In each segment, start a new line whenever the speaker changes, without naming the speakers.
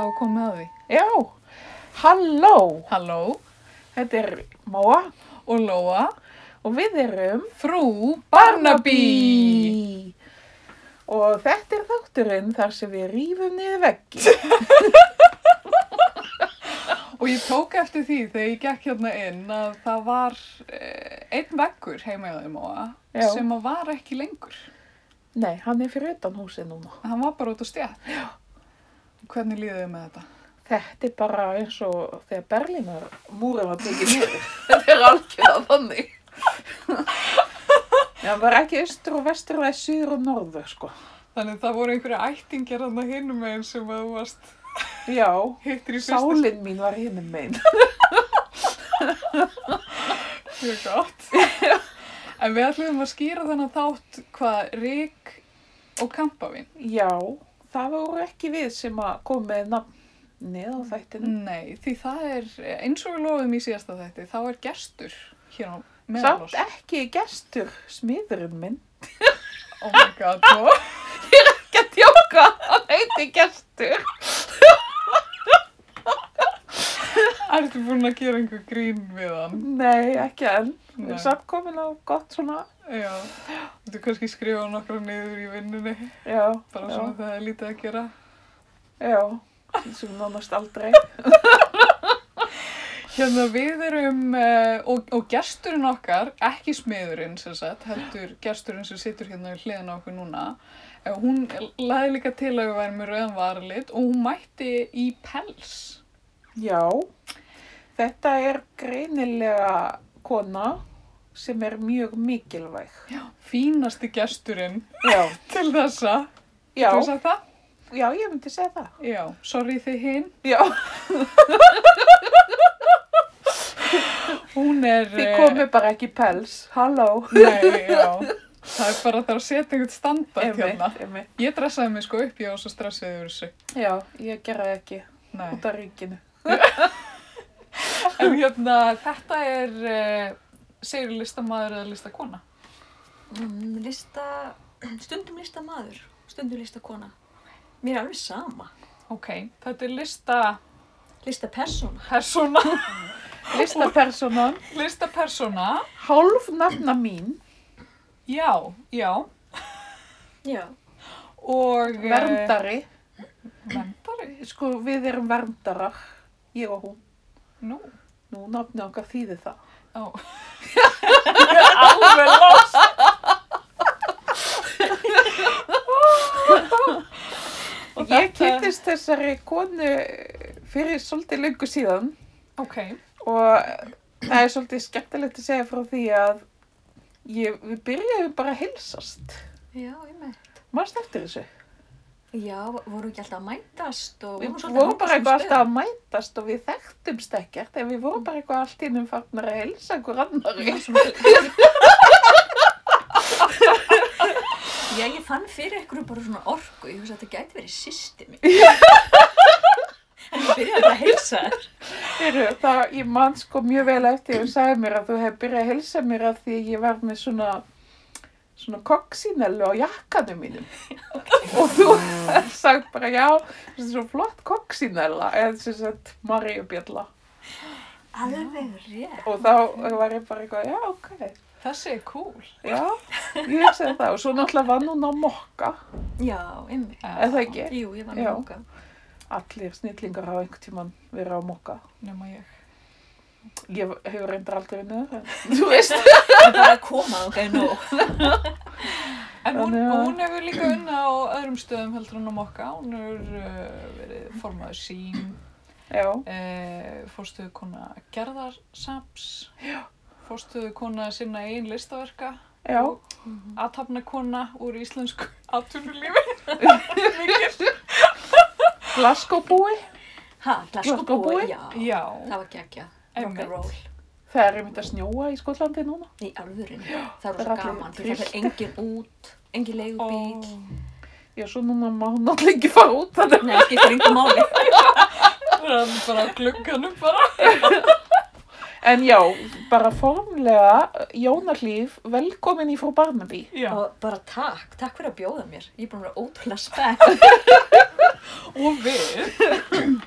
og komið að því.
Já, halló,
Halló
þetta er Móa
og Lóa,
og við erum
frú Barnaby.
Og þetta er þátturinn þar sem við rýfum niður veggi.
Og ég tók eftir því þegar ég gekk hérna inn að það var eh, einn veggur heima hjá þeim Móa
Já.
sem að var ekki lengur.
Nei, hann er fyrir utan húsið núna.
Hann var bara út á stjætt. Hvernig líðið þið með þetta?
Þetta er bara eins og þegar Berlínar múrið var byggið niður.
Þetta er algjörða þannig.
Já, hann var ekki austur og vestur, það er syður og norður, sko.
Þannig að það voru einhverja ættingjar hann að hinum einn sem að þú varst
Já,
hittir í fyrsta
sálinn mín var hinnum megin.
Mjög gott. en við ætlum að skýra þannig þátt hvað rík og kampavín.
Já, það voru ekki við sem að komið með nafnið á þættinu.
Nei, því það er, eins og við lofum í síðasta þætti, þá er gestur hér á meðal
Samt
oss.
ekki gestur smiðurinn minn.
Oh my god, Lóa.
ekki að djóka, hann heiti gestur.
Ertu búin að gera einhver grín við hann?
Nei, ekki enn. Við
Nei.
erum samt komin á gott svona,
Já. Þú kannski skrifa nokkra niður í vinnunni,
já,
bara
já,
svona þegar það er lítið að gera.
já, sem nánast aldrei.
Hérna við erum, uh, og, og gesturinn okkar, ekki smiðurinn sem sagt, heldur gesturinn sem situr hérna við hliðan á okkur núna, uh, hún laði líka til að við værum með rauðan varlit og hún mætti í pels.
Já, þetta er greinilega kona sem er mjög mikilvæg.
Já. Fínasti gesturinn
Já,
til þessa.
já,
Þú sagði það?
já, ég myndi segja það.
Já. Sorry þið hinn.
Já,
Hún er...
þið
eh,
komið bara ekki í pels, halló.
Nei, já. Það er bara það að setja einhvern standart hérna.
emi.
Ég dressaði mig sko upp, ég var svo stressið yfir þessu.
Já, ég gera það ekki
Nei.
út af ríkinu.
En hérna, þetta er, uh, segir listamaður eða listakona?
Mm, Lista, stundum lista maður, stundum lista kona. Mér er alveg sama.
Ok, þetta er listapersona,
Lista persóna.
Listapersonan,
listapersona,
hálf nafna mín,
já, já,
Já.
og... eh,
verndari.
Verndari,
Sko, við erum verndarar, ég og hún.
nú,
Nú, nafni okkar þýðir það.
ó. Alveg lost. Og
Ég
þetta-
kynntist þessari konu fyrir svolítið lengu síðan
Ok,
og það er svolítið skemmtilegt að segja frá því að ég, við byrjuðum bara að hilsast.
Já, ég með.
Mást eftir þessu.
Já, voru ekki alltaf að mætast og
Við
svolítið um
vorum
að
bara
hanga
eitthvað
svona
alltaf að mætast og við þekktumst ekkert en við vorum bara eitthvað allt innum farnar að hilsa einhver annari.
stöðum. Já, ég fann fyrir einhverju bara svona orku. Ég hugsa að þetta gæti verið sýsti mín. en ég byrjaði bara að heilsa þér.
Heru, það, ég man sko mjög vel eftir og sagði mér að þú hefði byrjað að hilsa mér að því ég var með svona svona koksínellu á jakkanum mínum og þú hefði sagt bara já, þetta er svo flott koksínella eða sem sagt Maríubjalla
Alveg rétt.
og þá var ég bara eitthvað, já ok
þessi er cool.
já, ég hugsaði það og svo náttúrulega var núna að mokka
Já, ég með.
eða það ekki,
Jú, ég var
Já.
með okkar.
allir snillingar hafa einhvern tíman verið á mokka
Nefna ég.
ég hefur reyndar aldrei neður en þú veist
Það var að koma okkar okay, nú.
En hún,
Þannig að-
hún hefur líka unna á öðrum stöðum heldur hún á mokka. Hún hefur uh, verið formaður sín,
já,
uh, fórstuðu kona gerðarsaps, fórstuðu kona sinna einn listaverka,
já
aðtapna kona úr íslensku atvinnulífi.
Glasgow búi
Ha, glaskobúi,
Glasgowbúi?
já.
Já,
Það var geggja.
Einmitt.
Rock'n'roll.
Það er einmitt að snjóa í Skotlandi núna.
Í alvörinni, það
það
er
er
rosa
allir
gaman, því það
tryllt.
er engin út, engin leigubíl,
og
Já, svo núna má hún náttúrulega ekki fara út þannig.
nei, það skiptir engin máli.
það er bara á glugganum bara.
En já, bara formlega Jónarlíf velkomin í frú Barnaby.
Já.
Og bara takk, takk fyrir að bjóða mér. Ég er búin að vera ótrúlega spennt.
Og við.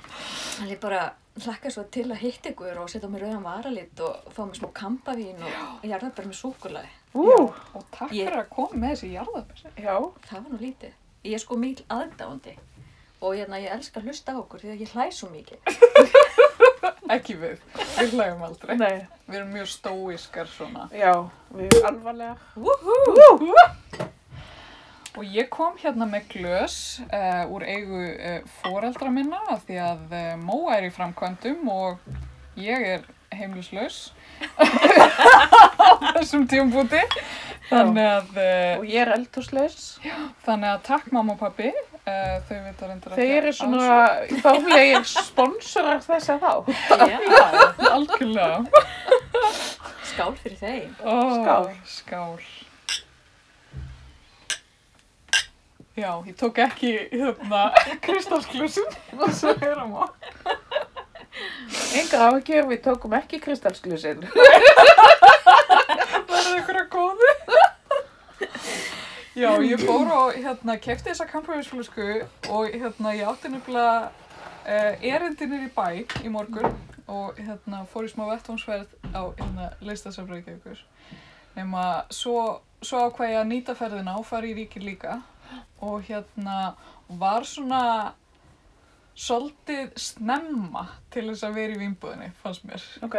Þannig ég bara hlakka svo til að hitta ykkur og setja á mig rauðan varalit og fá mér smá kampavín og jarðabær með súkulaði.
Ú,
Og takk
Ég-
fyrir að koma með þessi jarðabæs.
já.
Það var nú lítið. Ég er sko mikil aðdáandi og hérna ég elska að hlusta á okkur því að ég hlæ svo mikið.
Ekki við. Við hlægum aldrei.
Nei,
Við erum mjög stóiskar svona.
já, við erum alvarlega.
Woohoo!
Og ég kom hérna með glös uh, úr eigu uh, foreldra minna af því að uh, Móa er í framkvæmdum og ég er heimlislaus á þessum tíumbúti. Þannig að,
Og
uh,
ég er eldhúslaus.
þannig að takk mamma og pappi. Uh, þau vita reyndar
Þeir eru svona formlegir sponsorar þess að þá.
Já,
Já, algjörlega.
skál fyrir þeim.
Oh,
Skál.
Skál. Já, ég tók ekki hérna kristalsklössin og svo erum á.
Engar áhyggjur, við tókum ekki kristalsklusin.
Það er einhverja góði. Já, ég fór og hérna kefti þessa kampavínsflösku og hérna ég átti nefnilega uh, erindinir í bæ í morgun og hérna fór í smá vettvánsverð á hérna leistasafrækja ykkur. Nefna svo, svo ákvað ég að nýta ferðina og fara í ríkir líka og hérna var svona svolítið snemma til þess að vera í vínbúðinni, fannst mér
Ok.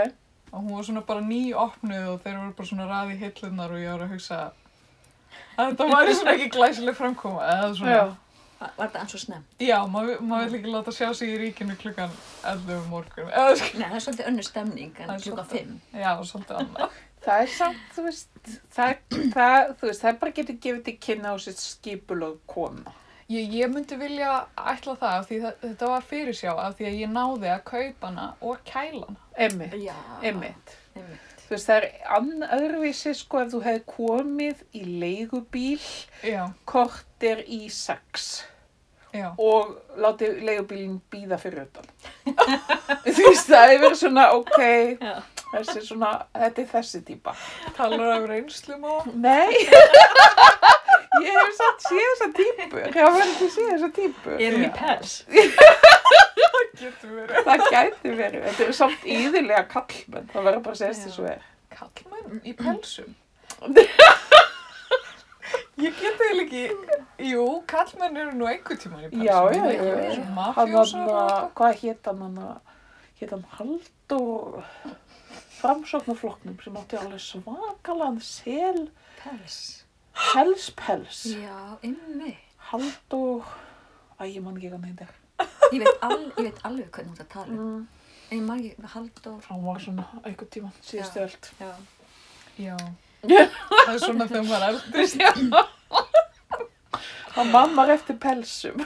og hún var svona bara nýopnuð og þeir voru bara svona raði hillunar og ég var að hugsa að þetta væri svona ekki glæsileg framkoma eða svona,
Já.
Var var þetta eins og snemm?
já, maður mað vill ekki láta sjá sig í ríkinu klukkan 11 um morgun eða sko,
Nei, það er svolítið önnur stemning en
Það er
klukkan
svolítið.
5.
já, svolítið annað
Það er samt, þú veist, það, það, þú veist, það bara getur gefið til kynna á sitt skipulag kona.
ég, ég myndi vilja ætla það af því það, þetta var fyrir sjá af því að ég náði að kaupa hana og kæla hana
Emmitt,
Já.
emmitt.
Einmitt.
Þú veist, það er ann- öðruvísi, sko, ef þú hefði komið í leigubíl,
já,
kortir í sex
já,
og látið leigubílinn býða fyrir utan. þú veist, það hefur verið svona, ok,
Já.
þessi svona, þetta er þessi típa.
talar af reynslum og
Nei, ég hef satt séð þessa típu, ég hef verið séð þessa típu.
Erum við pers?
getur verið
Það gæti verið, þetta eru samt íðilega kallmenn, það verður bara að segja
Já.
þessu er.
kallmenn í pelsum ég get þeir ekki jú, kallmenn eru nú einhver tíman í pelsum
Já, já,
Ég veit
já,
ekki,
já.
svona
Hann var
mafjósar og
svona,
eitthvað.
hvað hétt hann hann að, hétt hann Haldur framsóknarflokknum sem átti alveg svakalan sel,
Pers.
selspels,
Já, einmitt.
Haldur, æ, ég man ekki hvað hann heitir.
Ég veit, al, ég veit alveg hvernig þú ert að tala um.
Mm.
En ég margir með Halldór.
Hann var svona einhvern tíman síðustu öld.
Já.
já það er svona þegar maður er eldist
Hann mammar eftir pelsum.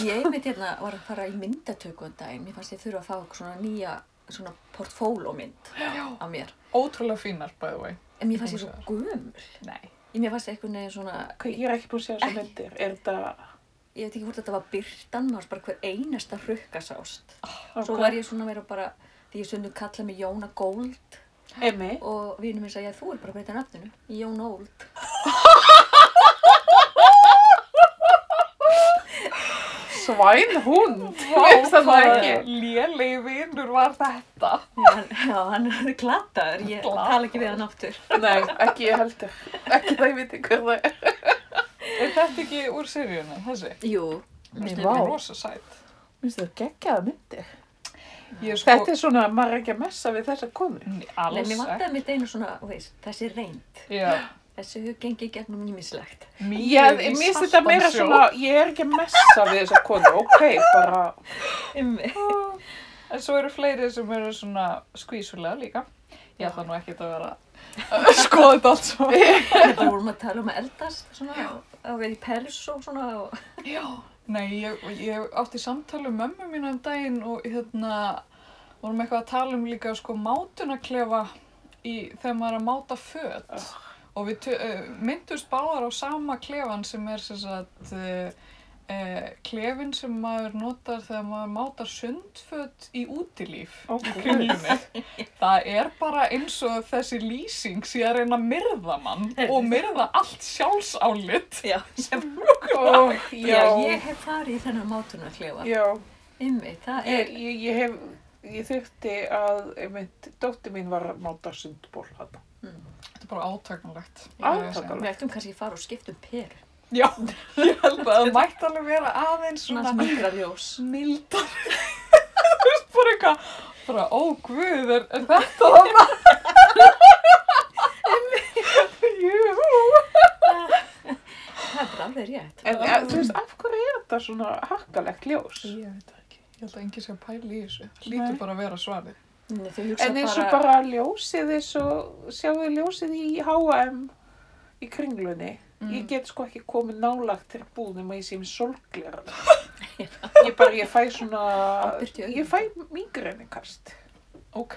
Ég einmitt hérna var að fara í myndatöku um daginn. Mér fannst ég þurfa að fá eitthvað svona nýja svona portfólómynd af mér.
ótrúlega fínar by the way
En mér fannst ég svo gömul.
nei,
Ég mér fannst eitthvað neginn svona,
Ok, Ég er ekki búin að segja þessu myndir, er þetta...
ég veit ekki hvort þetta var byrtan, maður bara hver einasta hrukka sást. Svo
ok.
var ég svona meira bara, því ég stundum kallaði mig Jóna Gold
Emmi.
og vinur minn sagði að þú er bara að breyta nafninu í Jón Old.
Svæn hund.
hvað
það ekki.
lélegi vinnur var þetta
Hann, já, hann er glataður, ég
Glataður.
tala ekki við hann aftur.
Nei, ekki ég heldur. Ekki það ég viti hver það er.
er þetta ekki úr seríunum, þessi?
Jú,
Nei,
Hún
vá.
er rosa sæt
Minnst það geggjaða myndir.
ég er sko
Þetta er svona að maður er ekki að messa við þessa konu.
Nei,
alls
mér
ekki
vantaði mitt einu svona, þú veist, þessi reynd.
já,
Þessi hefur gengið í gegnum nýmislegt.
Ég,
mýrið í
ég minnst þetta meira
saltan sjó.
svona, ég er ekki að messa við þessa konu. Ok, bara,
Ymmi.
En svo eru fleiri sem eru svona skvísulega líka. Ég ætla nú ekkert að vera að skoða þetta allt svo.
Þetta vorum að tala um að eldast, svona, að vera í pels og svona. Og...
Já. Nei, ég, ég átti samtali um mömmu mína um daginn og hérna vorum eitthvað að tala um líka sko mátunaklefa í, þegar maður er að máta föt. Og við tö- eh, myndust báðar á sama klefan sem er sem sagt eh, eh, klefin sem maður notar þegar maður mátar sundföt í útilíf
Ok.
í kringlunni. Það er bara eins og þessi lýsing sé að reyna að myrða mann og myrða allt sjálfsálit.
Já, sem,
Ó,
já,
já,
ég hef farið í þennan mátunarklefa.
já.
Einmitt, það
Ég,
er,
ég, ég hef, ég þurfti að, einmitt, dóttir mín var að máta sundból hann.
Þetta er bara átakanlegt.
Átakanlegt.
við ættum kannski að fara og skipta um peru.
Já, ég held að það mætti alveg vera aðeins
Svona
svona
mikla ljós.
mildar. Þú veist bara eitthvað, bara ó guð, er, er þetta það maður? Jú.
Það er bara alveg rétt.
En eh, þú veist, af hverju er þetta svona hakkalegt ljós?
Ég veit það ekki. Ég held að enginn sé að pæla í þessu. Það lítur
Nei.
bara að vera svarið.
En þau hugsa
En eins og
bara,
bara ljósið, eins og sjáðu ljósið í H&M í kringlunni.
Mm.
Ég get sko ekki komið nálagt til búðum að ég sé með solglera. Ég bara, ég fæ svona,
Ábyrgt í augun.
ég fæ mingrennikast.
Ok.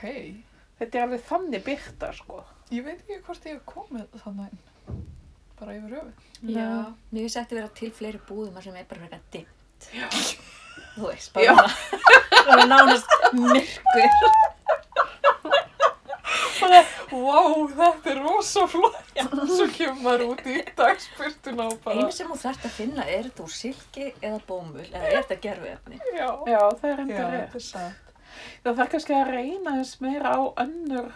Þetta er alveg þannig byrta, sko.
Ég veit ekki hvort ég hef komið þannig inn. Bara yfir höfuð.
já, mér finnst eftir að vera til fleiri búðum sem er bara verið að dimmt. Þú veist,
Já.
bara svona- bara nánast myrkur.
Vá, þetta er rosa flott. Svo kemur maður út í dagspyrtuna og bara.
Einu sem þú þarft að finna er þetta úr silki eða bómull eða er þetta gerfiðefni.
Já.
Já, það er
Já,
enda rétt.
þetta er satt.
Það þarf kannski að reyna þess meira á önnur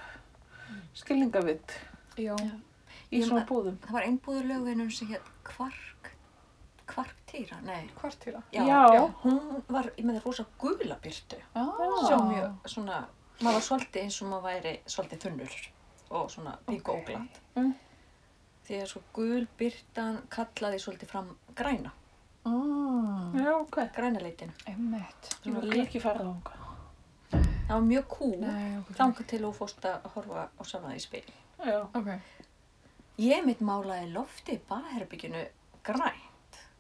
skilningavitt
Já.
í
Ég-
svona búðum.
Það var einbúður lögvinnur sem hétt Kvark, Kvarktýra, nei.
Kvartýra.
Já,
Já.
hún var með rosa gula byrtu
Ah.
sem mjög svona, maður var svolítið eins og maður væri svolítið þunnur og svona pingu
Ok.
okay. óglant.
Mm.
Því að svo gul byrtan kallaði svolítið fram græna,
Ah.
Já, ok.
græna leitinu.
Emmett.
Ég
Svona
vil ekki fara þangað.
Það var mjög kúl,
Nei, ok.
þangað til þú fórst að horfa á sjálfa því spil.
Já.
Ok.
Ég mitt málaði lofti í baðherbygginu græn.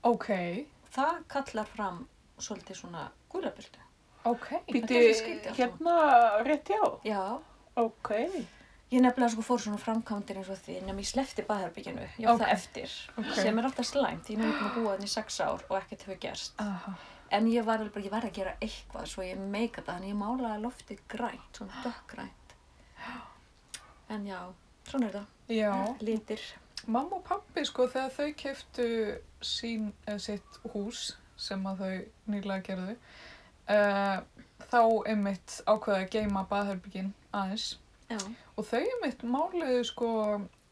Ok.
Það kallar fram svolítið svona gula byrtu.
Ok.
Þetta sko.
Býtu
er svo skrítið allt saman.
hérna rétt já.
Já,
Ok.
Ég nefnilega sko fór svona framkvæmdir eins og því nefnum ég slefti baðherbygginu, ég
Ok.
okay. það eftir,
Ok.
sem er alltaf slæmt, því ég er búin að búa þannig í sex ár og ekkert hefur gerst.
Aha.
En ég var alveg bara, ég verði að gera eitthvað, svo ég meika það, en ég málaði loftið grænt, svona dökkgrænt. En já, svona er það,
Já.
litir.
Mamma og pappi sko þegar þau keftu sín, eh, sitt hús sem að þau nýlega gerðu eh, þá einmitt ákveði að geima baðherbyggin aðeins
Já,
og þau einmitt máliðu sko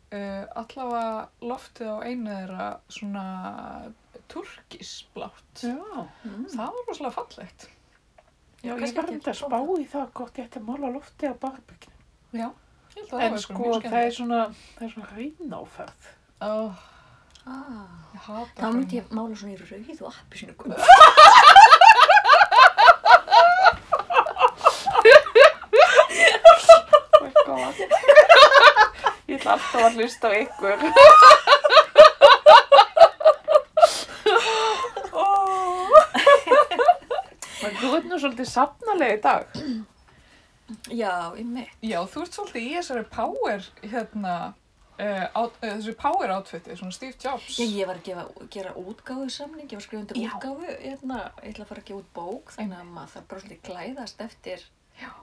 eh, allavega loftið á einu þeirra svona turkisblátt.
Já.
mm.
Það var rosalega fallegt.
Já,
Kannski
ég var
ekki
myndið að
prófa
spá í það hvort ég ætti að mála lofti á barbygginu.
Já. Ég held að það
En
var
sko, það er svona, það er svona reynáferð.
Oh,
Ah.
ég hata
Þá myndi
hreina.
ég mála svona í rauð og appi svona gul.
Oh my god. Ég ætla alltaf að hlusta á ykkur. Men þú ert nú svolítið safnaleg í dag.
Já, ég með.
Já, þú ert svolítið í þessari power, hérna, uh, át, uh, þessu power outfiti, svona Steve Jobs.
Ég, ég var að gefa, gera útgáfu samning, ég var skrifundir
Já.
útgáfu, hérna, ég ætla að fara að gefa út bók, þannig að maður þarf bara svolítið glæðast eftir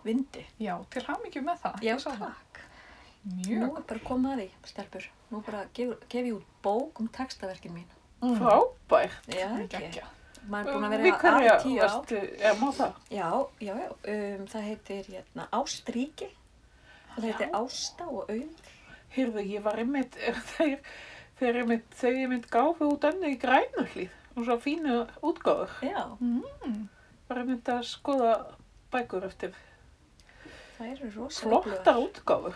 vindi.
Já, til hamingju með það.
Já,
ég sá það.
takk. Nú
Mjög.
er bara að koma að því, stelpur. Nú bara gef, gef ég út bók um textaverkin mín.
Mm. Frábært.
Mm,
Já, ekki.
Gekkja. Um
Maður er búin að
Við
vera að
hverja
í tíu ár.
varstu, eða má það?
Já, já, já. Um, það heitir, hérna, Ástríki. Það heitir Ásta og Auður.
Heyrðu, ég var einmitt, þeir, þeir einmitt, þau einmitt gáfu út önnu í grænuhlýð og svo fínu útgáður.
Já,
Mm,
Var einmitt að skoða bækur eftir
það eru rosa.
flottar útgáður.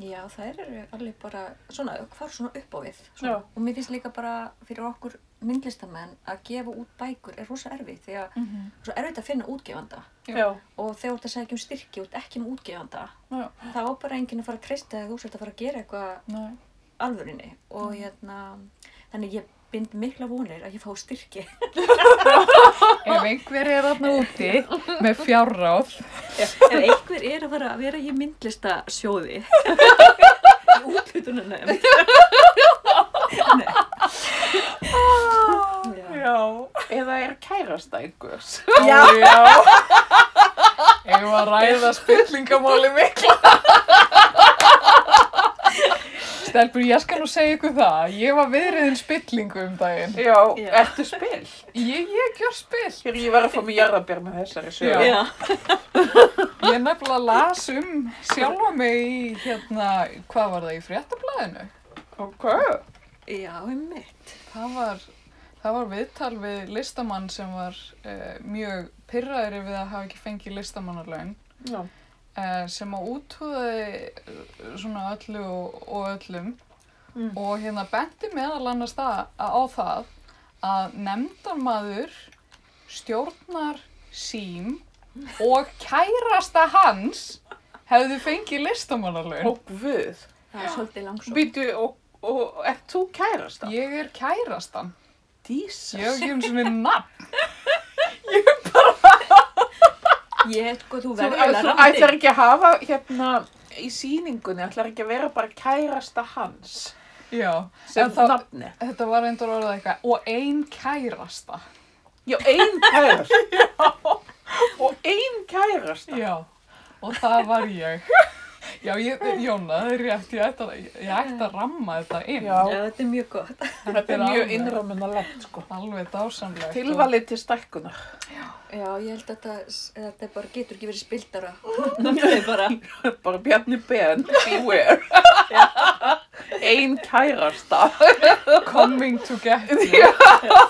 Já, þær eru alveg bara svona, hvar svona upp á við. Svona.
Já.
Og mér finnst líka bara fyrir okkur myndlistamenn að gefa út bækur er rosa erfið því að
Mm -hmm.
svo erfitt að finna útgefanda
Já.
Já.
og þegar þú ert að segja ekki um styrki út ekki um útgefanda
Já.
þá á bara enginn að fara að treysta þegar þú sért að fara að gera eitthvað
Nei.
alvörinni og hérna þannig ég bind mikla vonir að ég fá styrki
Ef einhver er þarna úti með fjárráð.
ef einhver er að fara að vera í myndlista sjóði í útlutunum Nei.
Ah,
Já.
já. Já.
eða er kærasta einhvers.
Já.
Eigum við að ræða spillingamáli mikla. Stelbur, ég skal nú segja ykkur það. Ég var viðriðin spillingu um daginn.
Já,
Já.
ertu spill?
Ég, ég gjör spill.
Hér ég var að fá mig jarðabér með þessari sögur.
Já.
Já.
Já.
Ég nefnilega las um sjálfa mig í, hérna, hvað var það í fréttablaðinu?
Ok.
Já, einmitt.
Það var, það var viðtal við listamann sem var eh, mjög pyrraður við að hafa ekki fengið listamannarlaun
Já.
eh, sem að útúðaði eh, svona öllu og, og öllum
Mm.
og hérna benti meðal annars það, á það að nefndarmadur stjórnar sím og kærasta hans hefðu fengið listamannarlaun.
Og guð.
Það er svolítið langsótt.
Býtu, og, og ert þú kærasta?
Ég er kærastan.
Jesus.
Ég hef ekki um svona nafn.
Ég, sko, þú
Þú,
verður
að,
eiginlega
þú
rándýr.
ætlar ekki að hafa hérna í sýningunni, ætlar ekki að vera bara kærasta hans
Já,
sem
En það-
nafni.
þetta var eindur orðað eitthvað. Og ein kærasta.
Já, ein kærasta. Og ein kærasta.
Já, og það var ég. Já, ég, Jóna, það er rétt, ég ætti að, ég ætti að ramma þetta inn.
Já.
Já, þetta er mjög gott.
Þetta er mjög
alveg-
innrömmunarlegt, sko.
Alveg dásamlegt.
Tilvalið til stækkunar.
Já, ég held að þetta, þetta bara getur ekki verið spildara. Þetta er bara,
Bara Bjarni Ben, beware. ein kærasta.
Og Coming to get you.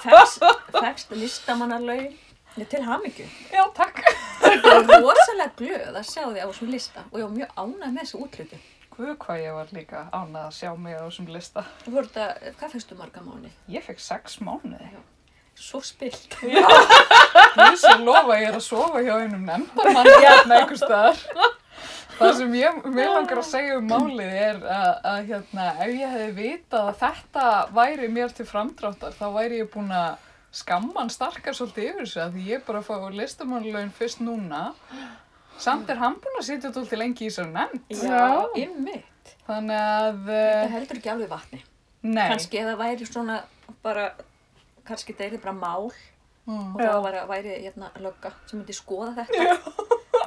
fegst, fegst listamannarlaun. Ég til hamingju.
Já, takk.
Ég er rosalega glöð að sjá því á þessum lista og ég var mjög ánægð með þessu útlötu.
Guð hvað ég var líka ánað að sjá mig á þessum lista.
Þú voru þetta, hvað fegstu marga mánu?
Ég fekk sex mánuði.
Svo spilt.
Ég sé lofa að ég er að sofa hjá einum nefndarmann hérna einhver staðar. Það sem ég, mér langar að segja um málið er að, að hérna, ef ég hefði vitað að þetta væri mér til framdráttar, þá væri ég búin að skamman starkar svolítið yfir þessu að því ég er bara að fá listamannlaun fyrst núna. Samt er hann búin að sitja tólti lengi í þessu nefnd.
Já, ymmit.
Þannig að,
Þetta
eh,
heldur ekki alveg vatni.
nei.
Kannski ef það væri svona bara, kannski þetta er bara mál
Mm.
og þá væri, væri hérna lögga sem myndi skoða þetta. Já.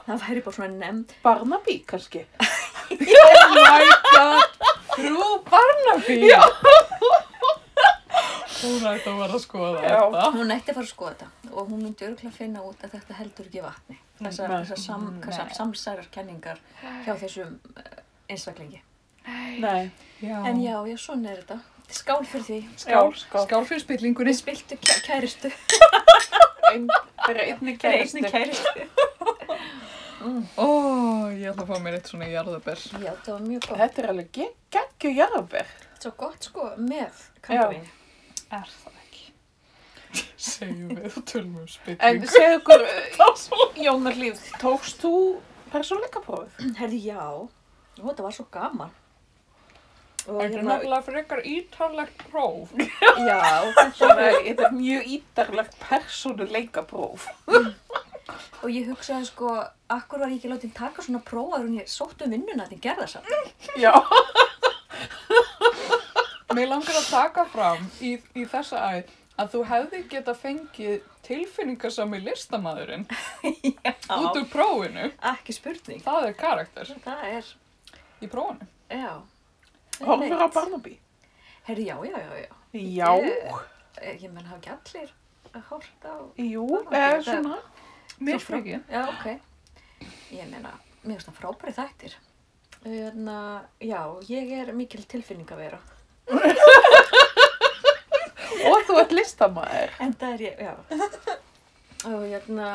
Það væri bara svona nefnd.
Barnaby, kannski.
Oh my god, frú Barnaby! Já! Hún ætti að vera að skoða
Já.
þetta.
Hún ætti að fara að skoða þetta og hún myndi örgulega finna út að þetta heldur ekki vatni. Þessar,
Nei.
þessar sam, þessar
Nei.
samsærar kenningar hjá þessum eh, einstaklingi.
Nei.
Já.
En já, já, svona er þetta. Skál fyrir því.
Skál,
Já,
skál.
skál.
skál fyrir spillingunni.
Við spiltu kæ kæristu.
Ein, fyrir einni
Fyrir einni
kærasta.
kæristu.
Ó, ég ætla að fá mér eitt svona jarðabær.
Já, það var mjög gott.
Þetta er alveg geggju jarðabér.
Svo gott sko með kampavín.
Er það ekki? Segjum við og tölum um
En
spilling.
segðu okkur, eh, Jónar Líf, tókst þú persónleikaprófið?
Herði, já. Ó, þetta var svo gaman. Og hérna,
Þetta er nefnilega frekar ítalegt próf.
já, þetta var,
Nei, Þetta er mjög ítarlegt persónuleikapróf.
og ég hugsaði sko, akkur var ég ekki látið taka svona prófaður en ég sóttu um vinnuna því gerða samt.
Já.
Mér langar að taka fram í, í þessa æð að þú hefði geta fengið tilfinningasami listamæðurinn út
Já,
úr prófinu.
ekki spurning.
Það er karakter
Það er,
í prófinu.
já.
Horfur á Barnaby?
Herði, já, já, já, já.
Já.
Eh, Ég menn hafa ekki allir að horta á...
Jú,
Barnaby,
eða
þetta-
svona.
Mér sko-
frá-
frekið.
Já, ok. Ég meina, mér finnst það frábæri þættir. Þannig já, ég er mikil tilfinning að vera.
Og þú ert listamæður.
En það er ég, já. og, jörna,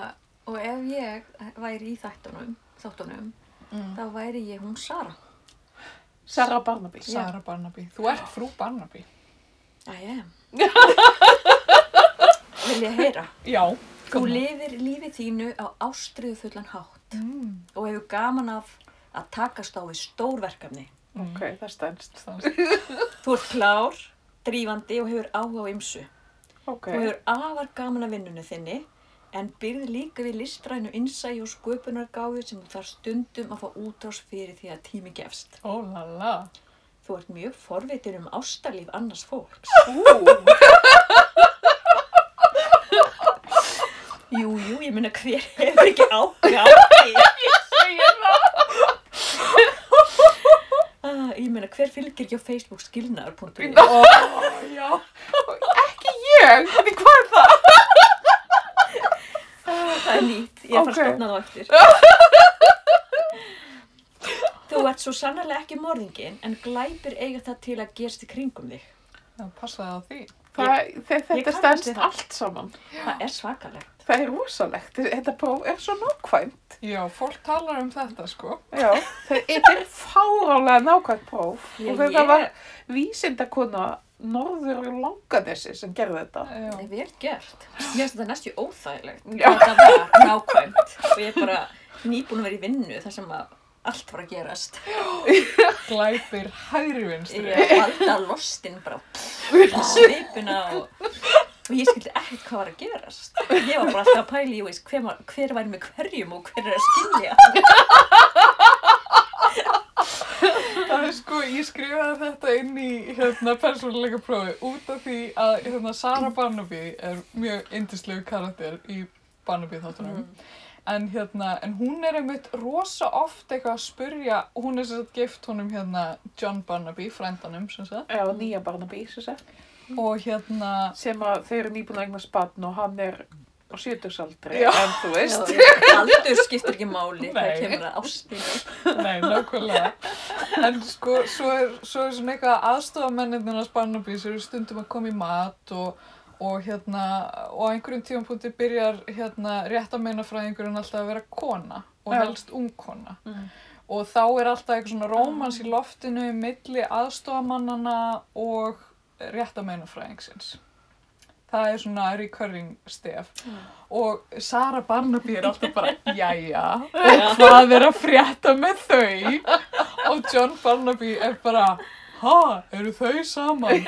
og ef ég væri í þættunum, þáttunum,
Mm.
þá væri ég hún Sara.
Sara Barnaby.
Sara Barnaby. Þú ert frú Barnaby.
I am. Vil ég heyra?
Já.
Þú
Koma.
lifir lífi þínu á ástriðu fullan hátt
Mm.
og hefur gaman af að takast á við stór verkefni.
Ok, það stendst.
Stans.
Þú ert klár, drífandi og hefur áhuga á ymsu.
Ok.
Þú hefur afar gaman af vinnunni þinni en byrð líka við listrænu innsægi og sköpunargáfi sem þú þarf stundum að fá útrás fyrir því að tími gefst.
Ó la la.
Þú ert mjög forvitin um ástarlíf annars fólks.
Ú.
Jú, jú, ég meina hver hefur ekki áhuga á því?
segir það.
Ah, ég meina hver fylgir ekki á Facebook skilnaðar.ru?
Ó, já.
Ég? Því hvað er það?
Það er nýtt, ég er að
Ok.
fara að stofna þá eftir. Þú ert svo sannarlega ekki morðingin, en glæpir eiga það til að gerst í kringum þig.
Það passaði á því.
það þe-
ég
þetta
kannast við
stendst
það.
allt saman.
Það er svakalegt.
Það er rosalegt. Þetta próf er svo nákvæmt.
Já, fólk talar um þetta sko.
Já, það- þetta er fárálega nákvæmt próf.
Ég-
og þetta
ég-
var vísindakona norður í langanessi sem gerði þetta.
Já.
Það er vel gert. Mér finnst þetta næstu óþægilegt.
Já.
Þetta var nákvæmt og ég er bara nýbúin að vera í vinnu þar sem að allt var að gerast.
Glæpir hægri vinstri.
Ég valda lostin bara pff, svipuna og, og ég skildi ekkert hvað var að gerast. Ég var bara alltaf að pæla í veist, hver, var- hver væri með hverjum og hver er að skilja.
Það er sko, ég skrifaði þetta inn í hérna persónuleika prófi út af því að hérna Sara Barnaby er mjög indislegu karakter í Barnaby
Mm.
þáttunum. En hérna, en hún er einmitt rosa oft eitthvað að spurja, hún er sem sagt gift honum hérna John Barnaby, frændanum sem sagt,
Já, nýja Barnaby, sem sagt.
og hérna,
Sem að þau eru nýbúin að eignast barn og hann er á 70-saldri.
Já.
En þú veist.
Aldur skiptir ekki máli, það
Nei.
kemur að ástinu.
Nei, nákvæmlega. En sko, svo er, svo er svona eitthvað aðstofamennirnir að Barnaby sem eru stundum að koma í mat og, og hérna, og á einhverjum tímanpúti byrjar hérna rétt að meina fræðingurinn alltaf að vera kona og
Já.
helst ung kona.
Mm. Ah.
Og þá er alltaf eitthvað svona rómans í loftinu milli aðstofamannana og rétt að meina fræðingsins. Það er svona recurring stef.
Mm.
Og Sara Barnaby er alltaf bara, jæja, og hvað er að frétta með þau? Og John Barnaby er bara, ha, eru þau saman?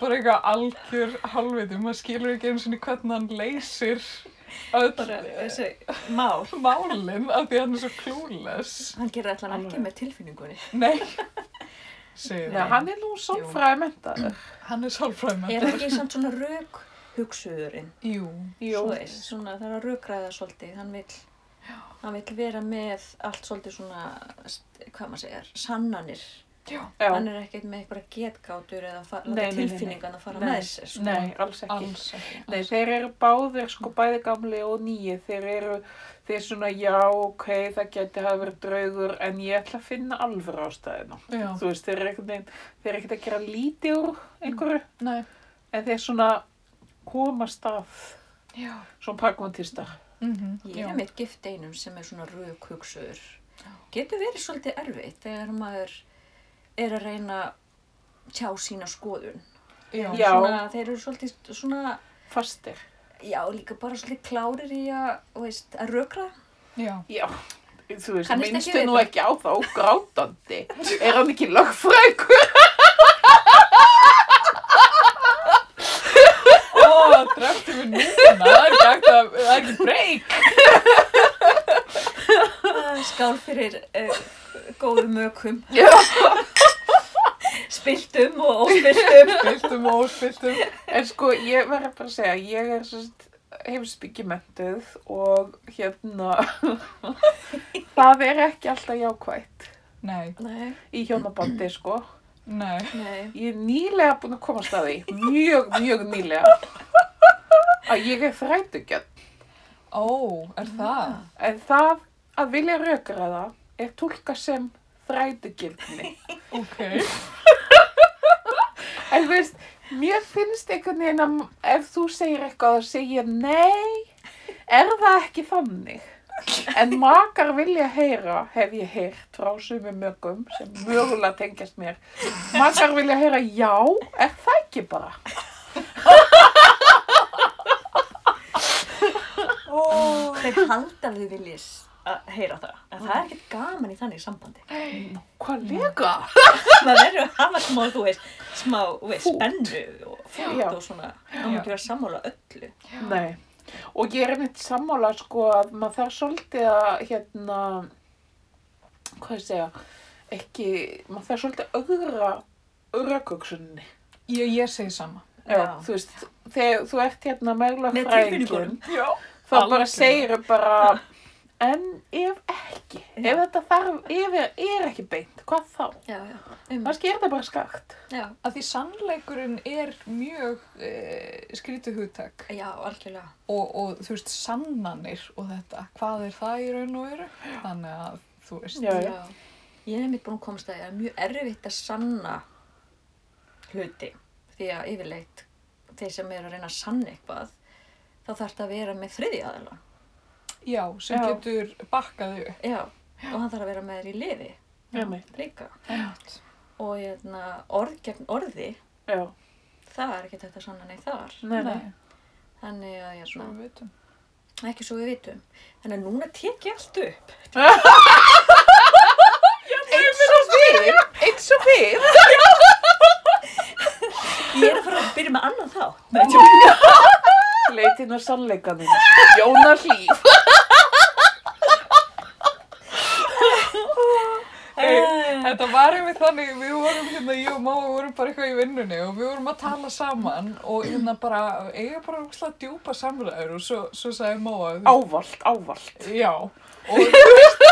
Bara eitthvað algjör halvviti, maður skilur ekki einu sinni hvernig hann leysir
Bara
öll
þessi mál.
málinn af því að hann er svo klúles.
Hann gerir allan ekki
Alveg.
með tilfinningunni.
Nei, segir
Nei,
hann.
hann er nú sálfræði mentaður.
Hann er sálfræðmenn.
Er það ekki samt svona rauk hugsuðurinn?
Jú,
Jú,
Svo, svona, það er að raukræða svolítið. Hann vill, hann vill vera með allt svolítið svona, st- hvað maður segir, sannanir.
já.
Hann er ekkert með eitthvað getgátur eða fa-
Nei,
láta
nei, nei, nei.
tilfinningan að fara
Nei.
með sér. Sko.
Nei, alls ekki.
alls ekki.
Nei, þeir eru báðir sko bæði gamli og nýi. Þeir eru, þeir eru svona, já, ok, það geti hafa verið draugur, en ég ætla að finna alvöru ástæðina.
Já,
Þú veist, þeir eru ekkert neginn, þeir eru ekkert að gera lítið úr einhverju,
nei.
en þeir svona komast af
Já.
svona pragmatistar.
Mm
Ég er mitt gift einum sem er svona rauk hugsuður. Getur verið svolítið erfitt þegar maður er að reyna að tjá sína skoðun.
Já,
Já.
Svona, þeir eru svolítið svona,
Fastir.
já, líka bara svolítið klárir í að, þú veist, að raukra.
já.
Já. Þú veist,
Kannist ekki
minnstu
við
nú
þetta.
ekki á þá grátandi. Er hann ekki lögfrækur?
Ó, það drefti mig núna, það er ekki hægt að, það er ekki breyk.
Ah, Skál fyrir uh, góðum mökum,
Já.
spiltum og óspiltum.
Spiltum og óspiltum.
En sko, ég verður bara að segja, ég er sérst heimsbyggjumentuð og hérna, það er ekki alltaf jákvætt
Nei,
Nei,
í hjónabandi, sko.
nei.
nei.
Ég er nýlega búin að komast að því, mjög, mjög nýlega, að ég er þrætugjörn.
Ó, er það?
En það að vilja rökraða er tólka sem þrætugjörni.
Ok.
En þú veist, mér finnst einhvern veginn að ef þú segir eitthvað að segja nei, er það ekki þannig. En makar vilja heyra, hef ég heyrt frá sumi mögum sem mögulega tengjast mér, makar vilja heyra já, er það ekki bara?
Oh. Þeir halda að þið viljis að heyra það. En það er ekkert gaman í þannig sambandi.
Hvað lega?
Maður verður að hafa smá, þú veist, smá, þú veist,
Fút.
spennu og fót
Já.
og svona. Það má ekki vera sammála öllu.
Nei. Og ég er einmitt sammála sko að maður þarf svolítið að hérna, hvað ég segja, ekki, maður þarf svolítið að öðra rökugsunni.
Ég, ég segi sama.
Já, þú veist, þegar þú ert hérna meðlög
Með tilfinningum.
fræðingin
Já.
þá bara
Algjörlega.
segir bara en ef ekki ef þetta þarf, ef er, er ekki beint hvað þá?
Já, já, um,
kannski er þetta bara skakt
já,
Að því sannleikurinn er mjög e, skrítið hugtak
já, algjörlega.
og, og þú veist, sannanir og þetta, hvað er það í raun og veru? Þannig að þú veist,
Já, já.
Ég er mitt búin að komast að það er mjög erfitt að sanna hluti því að yfirleitt þeir sem eru að reyna að sanna eitthvað þá þarf þetta að vera með þriðja aðeila.
já, sem
Já.
getur bakkaði upp.
Já, og hann þarf að vera með þér í liði
Einmitt.
líka.
Einmitt.
Og hérna, orð gegn orði,
já,
það er ekki þetta að sanna neitt þar.
nei, nei.
Þannig að ég er
Svo
svona,
við vitum.
ekki svo við vitum. Þannig að núna tek ég allt upp.
eins og við eins og við
Ég er að fara að byrja með annan þá.
leitin á sannleikanum Jónar Hlíf
Þetta var einmitt þannig, við vorum hérna, ég og Máa vorum bara eitthvað í vinnunni og við vorum að tala saman og hérna bara, eiga bara rúkslega djúpa samræður og svo, svo sagði Máa, þú
ávalt, ávalt
Já, og, þú veist,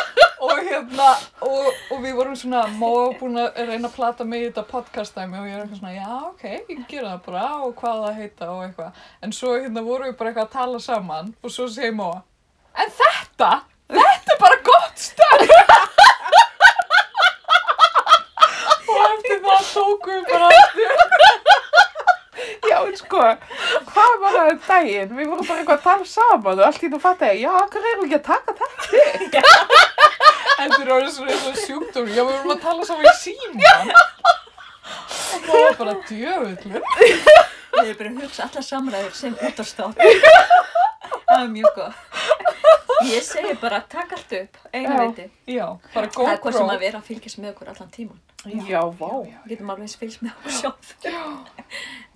og hérna, og, og við vorum svona, Móa búin að reyna að plata mig í þetta podcastdæmi og ég er eitthvað svona, já, ok, ég gera það bara og hvað það heita og eitthvað. En svo hérna vorum við bara eitthvað að tala saman og svo segi Móa, en þetta, þetta er bara gott stöð. og eftir það tókum við bara
Já, en sko, hvað var það um daginn? Við vorum bara eitthvað að tala saman og allt í nú fatta ég, já, hvað erum við ekki að taka þetta?
Þetta er orðið svona eins og sjúkdómi. Já, við vorum að tala saman í síman. Og það var bara djöfullur.
Ég er byrjað að hugsa alla samræður sem útastátt. Það er mjög gott. Ég segi bara, takk allt upp, einu
Já.
veiti.
Já, bara GoPro.
Það er hvað sem að vera að fylgjast með okkur allan tíman.
Já, vá.
já,
Við getum alveg eins fylgst með okkur sjálf.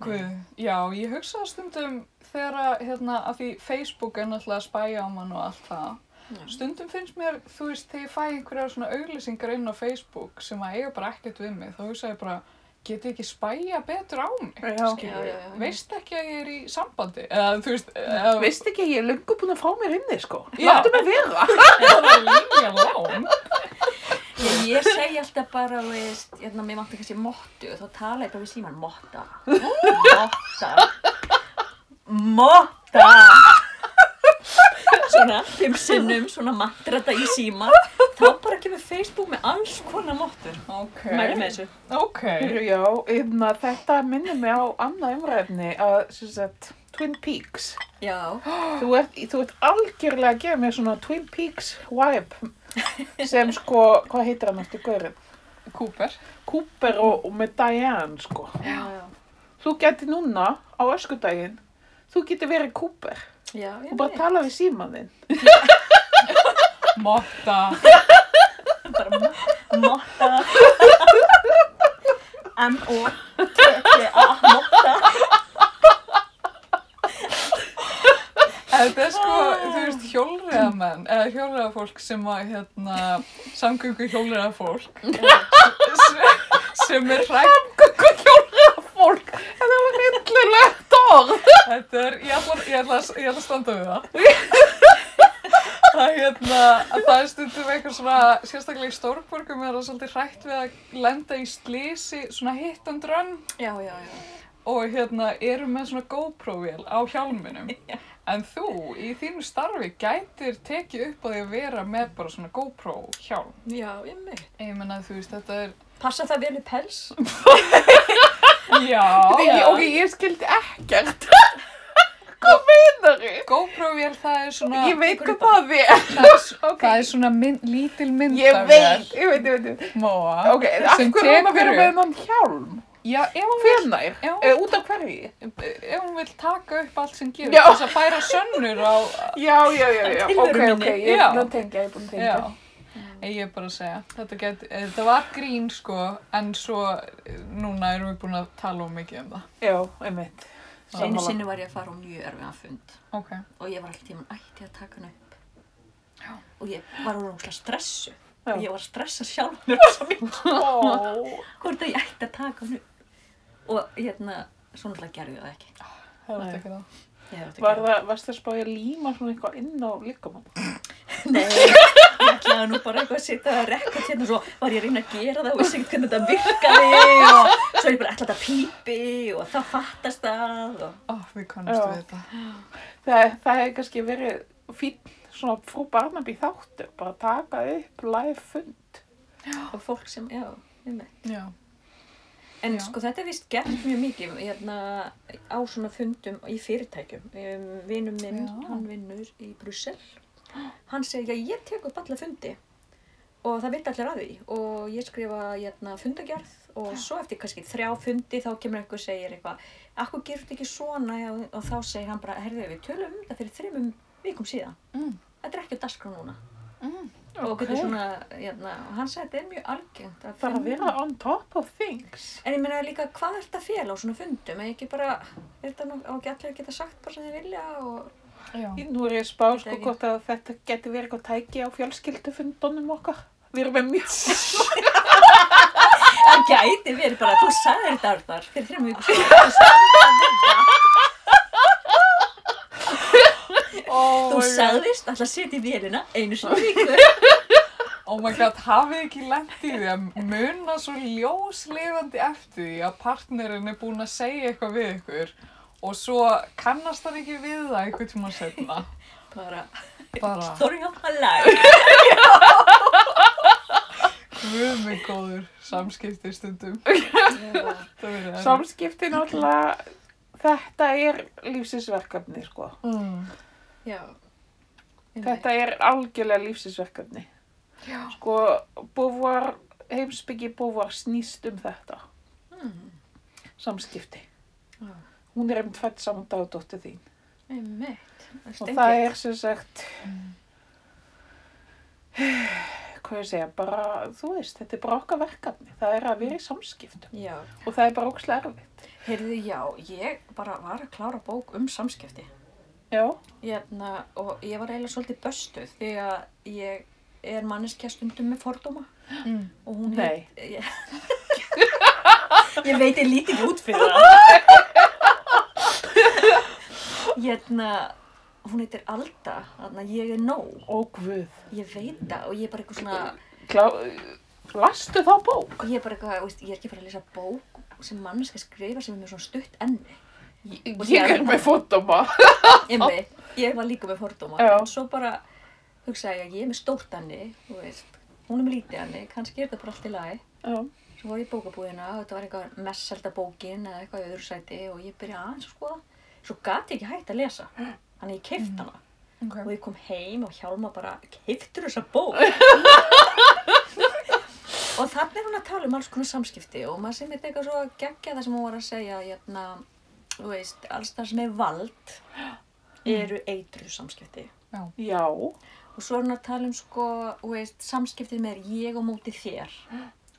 Guð, já, ég hugsa það stundum þegar að, hérna, að því Facebook er náttúrulega að spæja á mann og allt það.
Já.
Stundum finnst mér, þú veist, þegar ég fæ einhverja svona auglýsingar inn á Facebook sem að eiga bara ekkert við mig, þá hugsa ég bara, get ég ekki spæja betur á mig?
Já.
Skilur,
Já, já, já, já.
Veist ekki að ég er í sambandi? Eða, þú veist, eða,
Veist ekki, ég er löngu búin að fá mér inni, sko.
Já.
Láttu mig vera.
það er línja lán.
Ég, ég segi alltaf bara, þú veist, hérna, mér vantar kannski mottu og þá tala ég bara við síman, motta, motta, motta. Svona fimm sinnum, svona matrata í síman. Þá bara kemur Facebook með alls konar mottur.
Ok.
Mæli með þessu.
Ok.
Já, einna, þetta minnir mig á annað umræfni að, sem sagt, Twin Peaks.
Já.
Þú ert, þú ert algjörlega að gefa mér svona Twin Peaks vibe sem sko, hvað heitir hann eftir gaurinn?
Cooper.
Cooper og, og með Diane, sko.
Já, já.
Þú geti núna á öskudaginn, þú geti verið Cooper
Já, ég
og bara
veit.
tala við símaninn.
Motta.
bara mo- motta M-O-T-T-A motta
Þetta er sko, þú veist, hjólriðamenn, eða hjólriðafólk sem að, hérna, samgöngu hjólriðafólk sem, sem er hrætt,
Fólk, en það var reyndilegt orð.
þetta er, ég ætla, ég ætla, að- ég ætla að standa við það. Það, hérna, að það er stundum eitthvað svona, sérstaklega í stórborgum er það svolítið hrætt við að lenda í slísi, svona hit and run
Já, já, já
og hérna eru með svona GoPro-vél á hjálminum. En þú, í þínu starfi, gætir tekið upp á því að vera með bara svona GoPro-hjálm.
Já, ég veit
Ég menna, þú veist, þetta er...
Passa það vel í pels?
Já,
Því,
já.
ok, ég skildi ekkert. Hvað meinar ég?
GoPro-vél, það er svona...
Ég veit hvað það er.
Það er, s-
Ok.
það er svona mynd, lítil
Ég
myndavél.
veit, ég veit, ég veit.
Móa.
Ok, en af
Sem
hverju er hún að
tekur
vera
upp.
með hennan hjálm?
Já, ef hún, vill,
Hvenær?
Já.
Eh, Út af hverju?
ef hún vill taka upp allt sem gerir,
Já.
þess að færa sönnur á...
Já, já, já, já.
Tilveru
Ok,
minni.
ok, ég er
Já.
búin að tengja, ég er búin að
Já.
tengja.
En Ég er bara að segja, þetta, get, eh, þetta var grín sko, en svo eh, núna erum við búin að tala um mikið um það.
Já, einmitt.
Einu
Sammála.
sinni var ég að fara á mjög erfiðan fund
Ok.
og ég var alltaf tímann ætti ég að taka hann upp Já Og ég var úr náttúrulega stressu
Já.
Ég var að stressa sjálf mér svo mikið
Ó,
Hvort að ég ætti að taka hann upp Og hérna, svo náttúrulega gerði ég það ekki
Það var
Nei.
ekki það.
Ég hef átt að
Var
gera
það, varst það spáði að líma svona eitthvað inn á líkamann?
Nei, ég ætlaði nú bara eitthvað að sitja að rekka hérna og svo var ég að reyna að gera það og vissi ekkert hvernig þetta virkaði og svo ég bara ætlaði þetta pípi og það fattast það og
Ó, við kannast
Já.
við þetta.
Það, það hefði kannski verið fín svona frú Barnaby þáttu, bara taka upp live fund.
og fólk sem, já, við með.
Já.
En
Já.
sko þetta er vist gert mjög mikið hérna, á svona fundum í fyrirtækjum. Um, Vinum minn,
Já.
hann vinnur í Brussel, hann segir að ég tek upp alla fundi og það vita allir að því og ég skrifa hérna, fundagerð og svo eftir kannski þrjá fundi þá kemur einhver og segir eitthvað Akkur gerur þetta ekki svona og, og þá segir hann bara, herðu við tölum um þetta fyrir þreymum vikum síðan.
Mm.
Þetta er ekki á dagskrá núna.
Mm.
Og,
Ok.
þetta er svona, hérna, og hann sagði þetta er mjög algengt. að
Bara
finna-
vera on top of things.
En ég meina líka, hvað er þetta fél á svona fundum? Er ekki bara, er þetta nú- á ekki allir að geta sagt bara sem þið vilja og...
Já.
Nú er ég að spá sko
ekki.
hvort að þetta geti verið eitthvað tæki á fjölskyldufundunum okkar. Við erum með mjög...
Það gæti verið bara, þú sagðir þetta Arnar, fyrir þrjum vikum síðan, þú sagðir þetta,
Oh
þú sagðist alltaf að setja í vélina einu sinni í viku.
Oh my god, hafið ekki lengt í því að muna svo ljóslifandi eftir því að partnerinn er búinn að segja eitthvað við ykkur og svo kannast hann ekki við það einhvern tíma setna.
Bara,
Bara,
story of my life.
guð mig góður samskipti stundum. Það verður erfitt.
Samskipti náttúrulega, þetta er lífsinsverkefni sko.
Mm.
Já.
Þetta er algjörlega lífsinsverkefni. Já. Sko, búvar, heimsbyggi búvar snýst um þetta,
Mm,
samskipti.
Já.
Hún er einmitt fætt saman dag og dóttir þín.
einmitt.
Og það er sem sagt, hvað ég segja, bara, þú veist, þetta er bara okkar verkefni. Það er að vera í samskiptum
Já,
og það er bara ókslega erfitt.
heyrðu, já, ég bara var að klára bók um samskipti.
Já,
Hérna, og ég var eiginlega svolítið böstuð því að ég er manneskja stundum með fordóma
Mm.
og hún
Nei.
heit- Ég, ég veit ég lítið út fyrir það. hérna, hún heitir Alda, þarna ég er nóg.
og guð.
Ég veit það og ég er bara eitthvað svona,
Klá, lastu þá bók?
og ég er bara eitthvað, veist, ég er ekki bara að lesa bók sem manneskja skrifar sem er með svona stutt enni.
Ég,
Og
ég
ég-
er með fótoma.
Einmitt, ég var líka með fordóma,
Já.
en svo bara hugsaði ég að ég er með stórt hanni, þú veist, hún er með lítið hanni, kannski er þetta bara allt í lagi.
Já.
Svo fór ég í bókabúðina og þetta var eitthvað messelda bókin eða eitthvað í öðru sæti og ég byrjaði aðeins að skoða. Svo gat ég ekki hægt að lesa, þannig ég keipt hana og
Okay.
ég kom heim og Hjálma bara, keiftur þessa bók? og þannig er hún að tala um alls konar samskipti og maður sem þetta eitthvað svo geggja það sem hún var að segja, hérna, þú veist, alls það sem er vald eru eitru samskipti.
Já,
Og svo er hún að tala um sko, þú veist, samskiptið með ég og móti þér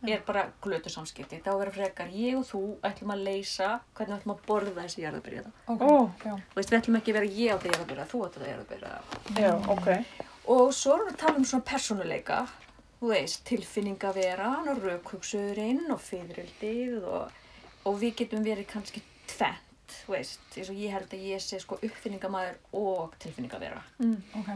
er bara glötu samskipti. Þá verður frekar ég og þú ætlum að leysa hvernig við ætlum að borða þessi jarðabyrja.
Ok.
Ó.
Já.
Þú veist, við ætlum ekki að vera ég á því jarðabyrja, þú átt á því jarðabyrja.
já, ok.
Og svo er hún að tala um svona persónuleika, þú veist, tilfinningaveran og raukhugsurinn og fyririldið og, og við getum verið kannski tvent, þú veist, eins og ég held að ég sé sko uppfinningamæður og tilfinningavera.
Ok.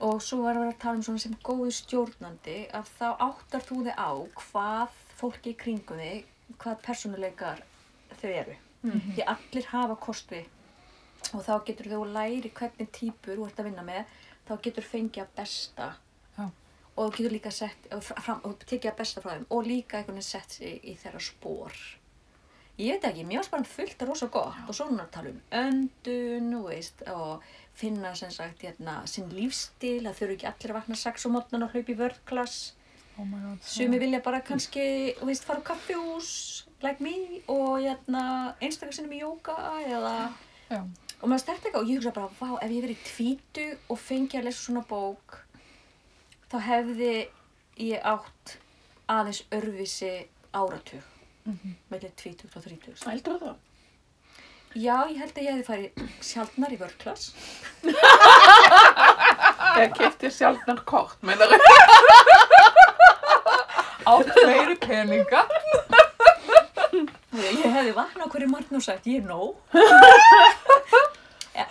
Og svo var að vera að tala um svona sem góðu stjórnandi að þá áttar þú þig á hvað fólki í kringum þig, hvað persónuleikar þau eru. Því allir hafa kosti og þá getur þú læri hvernig típur þú ert að vinna með, þá getur fengið að besta
Já.
og þú getur líka sett, og fra- fram, og tekið að besta frá þeim og líka einhvern veginn sett sig í þeirra spór. Ég veit ekki, mér varst bara fullt að rosa gott og svo er hún að tala um öndun þú veist, og finna sem sagt hérna, sinn lífstil, það þurfu ekki allir að vakna sex og mótnan og hlaupa í vörðklass.
Oh my god.
Sumi vilja bara kannski, þú veist, fara á kaffihús, like me, og hérna, einstakar sinnum í jóka eða,
Já.
og maður stert eitthvað og ég hugsa bara, vá, ef ég verið tvítu og fengi að lesa svona bók, þá hefði ég átt aðeins örfisi áratug, mellið tvítugt og þrítugt.
Heldur það?
Já, ég held að ég hefði farið sjaldnar í vörklass.
Ég kefti sjaldnar kort, meinar ég.
Átt fleiri peninga.
Ég hefði vaknað á hverju morgun og sagt, ég er nóg. Ja,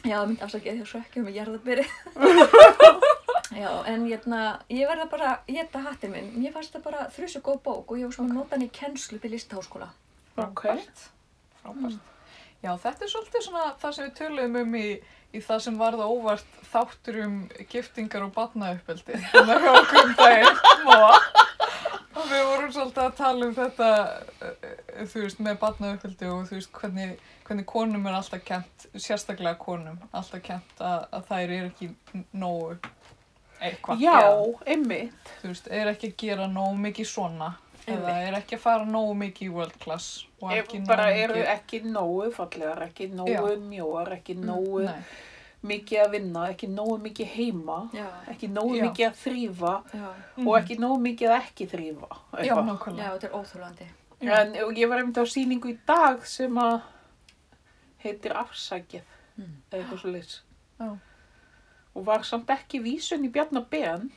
Já, mynd afsakið því að sökja um að jarðaberi. Já, en hérna, ég verða bara, ég þetta hattir minn, mér fannst það bara þrjusu góð bók og ég var svona að nota hann í kennslu fyrir listaháskóla.
Ok.
Frábært. Já, þetta er svolítið svona það sem við töluðum um í, í það sem varða óvart þáttur um giftingar og batnauppeldi. Þannig að við okkur um daginn móa. Og við vorum svolítið að tala um þetta, eh, þú veist, með batnauppeldi og þú veist, hvernig, hvernig konum er alltaf kent, sérstaklega konum, alltaf kent að, að þær eru ekki nógu eitthvað.
Já,
eða,
einmitt.
Þú veist, eru ekki að gera nógu mikið svona. Eða
Einmitt.
eru ekki að fara nógu mikið í world class. og
Ef
ekki
bara
nógu
eru
mikið- Mm,
ekki nógu fallegar, ekki nógu mjóar, ekki nógu
Nei.
mikið að vinna, ekki nógu mikið heima,
Já,
ekki nógu
Já. Mm.
mikið að þrýfa
já,
og ekki nógu mikið að ekki þrýfa.
Mhm. Já,
eitthvað.
já,
nákvæmlega.
þetta er óþúlandi.
Já.
En og ég var einmitt á sýningu í dag sem að heitir afsakið
Mm.
eða eitthvað svo leys.
Já.
Og var samt ekki vísun í Bjarnar Ben,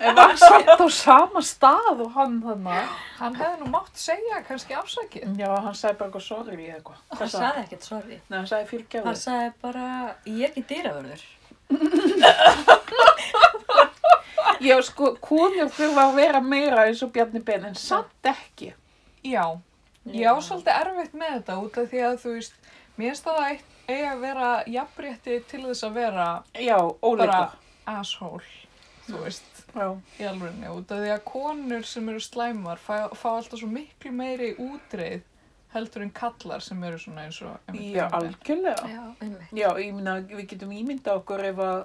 en var samt á sama stað og hann þarna.
Hann hefði nú mátt segja kannski afsakið.
Já, hann sagði bara eitthvað sorry eða eitthvað.
Hann sagði ekkert sorry.
Nei, hann sagði
Hann
fyrirgefðu.
sagði bara, ég er ekki dýravörður.
Já, sko, konur þurfa að vera meira eins og Bjarni Ben, en samt ekki.
Já, ég á svolítið erfitt með þetta út af því að þú veist, mér finnst það að eitt- eiga að vera jafnrétti til þess að vera
Já, óleika.
bara asshole, þú veist,
Já.
í alvegni. Út af því að konur sem eru slæmar fá, fá alltaf svo miklu meiri útreið heldur en kallar sem eru svona eins og... einmitt
Já,
Bjarni Ben.
algjörlega.
Já, einmitt.
Já, ég minna, við getum ímynda okkur ef að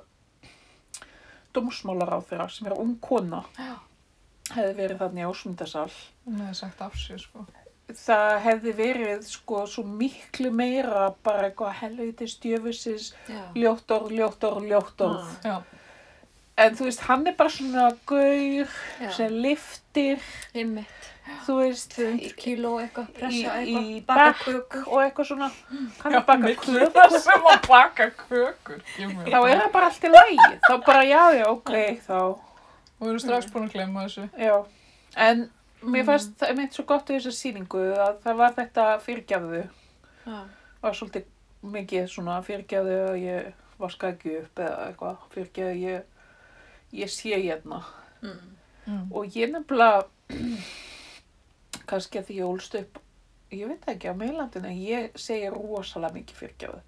dómsmálar á þeirra sem er ung kona
Já.
hefði verið þannig ásmundasal.
Hún hefði sagt af sér, sko.
Það hefði verið sko svo miklu meira bara eitthvað helviti stjöfusins,
Já,
ljótt orð, ljótt orð, ljótt orð.
Mm.
Já,
En þú veist, hann er bara svona gaur
já,
sem liftir,
einmitt.
þú veist,
200 kíló eitthvað,
í,
pressa eitthvað,
í
baka
bakk
kökur.
og eitthvað svona. Hann
Já,
er baka
miklu
klöð.
það sem að baka kökur. gefur mér
Þá er
það.
það bara allt í lagi. Þá bara, já, já, ok, þá.
Og við erum strax búin að glemma þessu.
Já, en
Mm.
mér fannst það meint svo gott í þessa sýningu að það var þetta fyrirgjafðu
Já,
var svolítið mikið svona fyrirgjafðu að ég vaska ekki upp eða eitthvað fyrirgjafðu ég, ég sé hérna
mm.
Mm.
og ég nefnilega kannski að því ég ólst upp ég veit það ekki á meilandinu en ég segi rosalega mikið fyrirgjafðu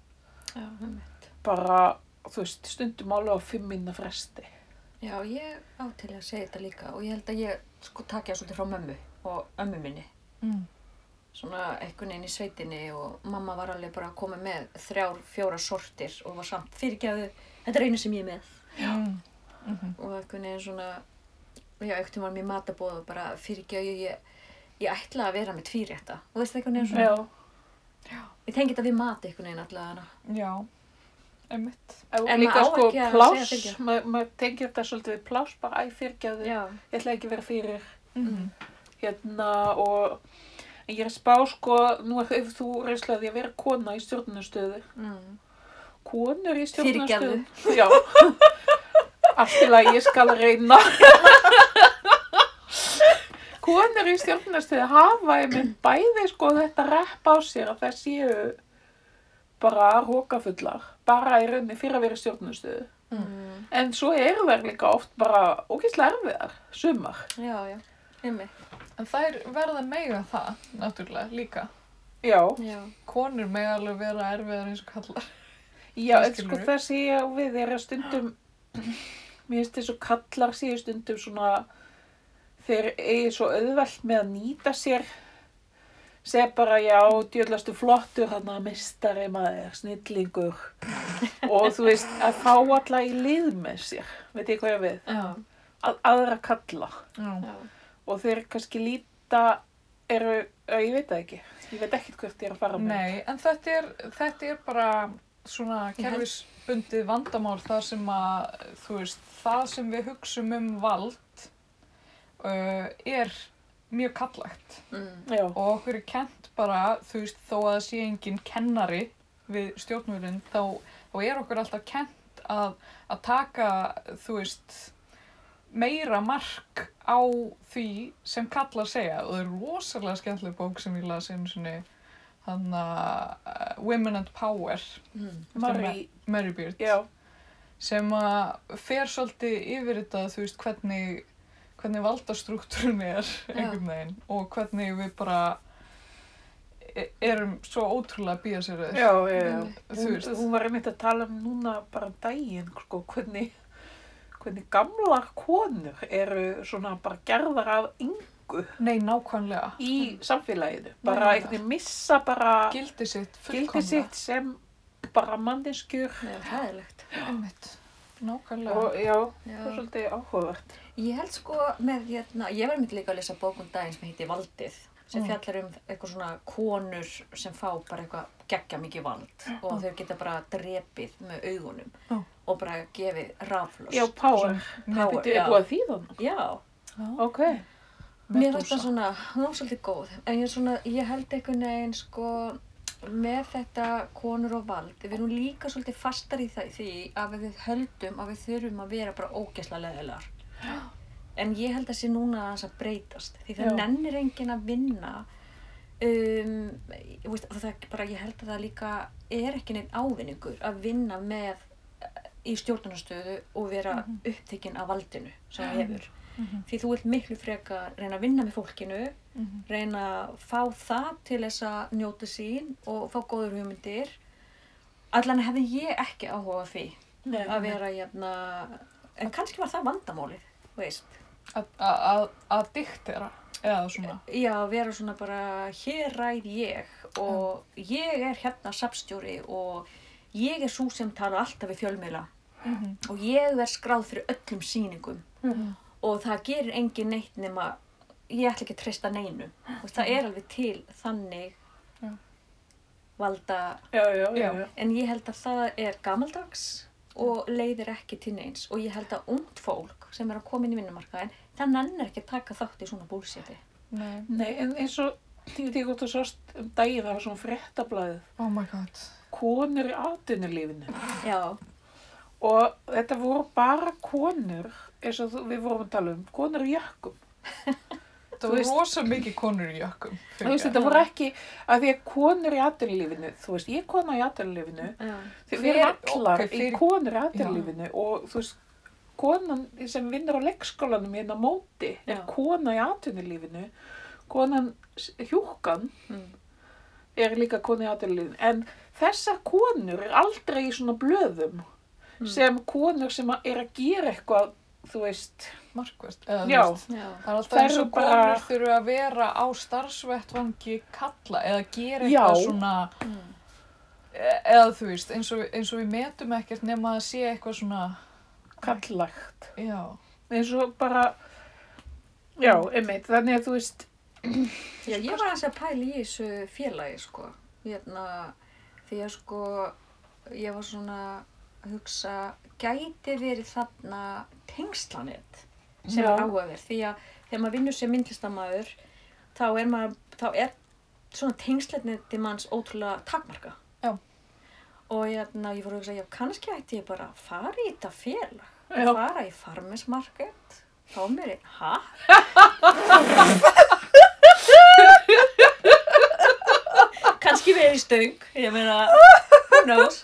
já, einmitt.
bara þú veist stundum alveg á fimm minna fresti
Já, ég á til að segja þetta líka og ég held að ég sko takja svolítið frá mömmu og ömmu minni.
Mm.
Svona einhvern veginn í sveitinni og mamma var alveg bara að koma með þrjár, fjóra sortir og var samt fyrirgjafu, þetta er einu sem ég er með.
Mm.
Og einhvern veginn svona, já, einhvern veginn var mér matabóð og bara fyrirgjafu, ég, ég ætla að vera með tvírétta. Og veist einhvern veginn svona,
Já, Mm.
ég tengi þetta við mat einhvern veginn allavega.
Já, einmitt.
en
En
líka
maður á
sko
ekki að
pláss,
segja fyrirgefðu.
ma- maður tengir þetta svolítið við pláss bara æ fyrirgjafðu
Já,
ég ætla ekki að vera fyrir
Mm.
hérna og en ég er að spá sko, nú hefur þú reynslaði að vera kona í stjórnastöðu
mm.
konur í stjórnastöðu
Fyrirgefðu.
já allt til að ég skal reyna konur í stjórnastöðu hafa einmitt bæði sko þetta rep á sér að það séu bara rókafullar bara í raunni fyrir að vera í stjórnastöðu
Mm.
en svo eru þær líka oft bara ógeðslega erfiðar sumar
já, já, einmitt.
En þær verða mega það, náttúrulega, líka.
já
Já,
Konur mega alveg vera erfiðar eins og kallar.
Já, en sko
Skilurðu?
það sé ég á við er að stundum, mér finnst þess að kallar séu stundum svona, þeir eigi svo auðvelt með að nýta sér, segja bara já, djöðlastu flottur, hann að mistari maður, snillingur og þú veist, að fá alla í lið með sér, veit ég hvað ég á við,
já,
að, aðra kalla
Já.
já.
og þeir kannski líta, eru, að, ég veit það ekki, ég veit ekkert hvert ég er að fara með.
Nei, en þetta er, þetta er bara svona
Ég held-
kerfisbundið vandamál þar sem að, þú veist, það sem við hugsum um vald uh, er mjög kallagt.
Mm.
Já,
Og okkur er kent bara, þú veist, þó að það sé engin kennari við stjórnvölinn, þá, þá er okkur alltaf kent að, að taka, þú veist, meira mark á því sem kallar segja. Og það er rosalega skemmtileg bók sem ég las einu sinni, þannig að Women and Power
Mm.
Marie,
Mary Beard
já,
sem að fer svolítið yfir þetta þú veist hvernig hvernig valdastruktúrun er einhvern veginn og hvernig við bara e- erum svo ótrúlega að býja sér að
já, já, já.
þú
Hún,
veist.
hún var einmitt að tala um núna bara um daginn, sko, hvernig, hvernig gamlar konur eru svona bara gerðar af yngu
Nei, nákvæmlega.
í samfélaginu. Bara
Já.
einnig missa bara
Gildi sitt fullkomna.
gildi sitt sem bara manneskjur
Það er hæðilegt.
Einmitt. Nákvæmlega.
og já,
Já.
það er svolítið áhugavert.
Ég held sko með, hérna, ég var mitt líka að lesa bókun daginn sem heitir Valdið sem
Mm.
fjallar um eitthvað svona konur sem fá bara eitthvað geggja mikið vald og þau geta bara drepið með augunum
Já.
og bara gefið raflöst.
Já, power.
power,
Þetta
já.
er búið að þýða hann.
Já,
Já.
Ok.
mér finnst
Medusa.
það svona, hún var svolítið góð, en ég, svona, ég held einhvern veginn sko með þetta konur og vald, við erum líka svolítið fastar í það, því að við höldum að við þurfum að vera bara ógæsla leðilegar. En ég held að sé núna aðeins að breytast, því það
Já.
nennir enginn að vinna, um, ég, veist, það er bara, ég held að það líka er ekki neinn ávinningur að vinna með eh, í stjórnunarstöðu og vera upptekinn af valdinu sem það hefur því þú vilt miklu frekar reyna að vinna með fólkinu,
Mhm.
reyna að fá það til þess að njóta sín og fá góður hugmyndir. Allan hefði ég ekki áhuga á því
Nei,
að vera jafna, en kannski var það vandamálið, þú veist.
Að- að- að- Að diktera. Eða svona.
Já, að vera svona bara, hér ræð ég og ég er hérna safnstjóri og ég er svo sem tala alltaf við fjölmiðla
Mhm.
og ég verð skráð fyrir öllum sýningum og það gerir engin neitt nema ég ætla ekki að treysta neinu og það er alveg til þannig
Já.
valda
Já, já, já.
Já.
já.
en ég held að það er gamaldags og leiðir ekki til neins og ég held að ungt fólk sem er að koma inn í vinnumarkaðin það nennir ekki að taka þátt í svona búlséti
Nei.
Nei, en eins og, ég veit ekki hvort þú sást um daginn, það var svona fréttablaðið.
Oh my god.
Konur í atvinnulífinu.
já,
Og þetta voru bara konur, eins og þú- við vorum að tala um, konur í jökkum.
Það
Þú
voru
veist-
rosa mikið konur í jökkum.
Þú veist, þetta voru ekki, að því að konur í atvinnulífinu, þú veist, ég er kona í atvinnulífinu,
já,
því við
Hver-
erum allar
ok, fyrir-
í konur í atvinnulífinu og þú veist, konan sem vinnur á leikskólanum hérna á móti er
Já.
kona í atvinnulífinu, konan s- hjúkan
Mm.
er líka kona í atvinnulífinu, en þessar konur er aldrei í svona blöðum
Mm.
sem konur sem að- er að gera eitthvað, þú veist,
Markvært. Eða þú
Já.
veist.
já,
Það er alltaf
Þær
eins
eru
og
bara-
konur þurfu að vera á starfsvettvangi kalla eða gera
Já.
eitthvað svona,
Mm.
e- eða þú veist, eins og, eins og við metum ekkert nema að sé eitthvað svona,
kallagt.
já,
eins og bara já, einmitt, þannig að þú veist
já ég var aðeins að pæla í þessu félagi sko hérna, því að sko ég var svona að hugsa gæti verið þarna tengslanet sem
Já.
er áhugaverð því að þegar maður vinnur sem myndlistamæður þá er maður þá er svona tengslaneti manns ótrúlega takmarka
Já.
og hérna, ég fór að hugsa já, kannski ætti ég bara að fara í þetta félag
Já.
fara í farmismarkett þá mér einn hatt kannski verið í stöng ég meina, who knows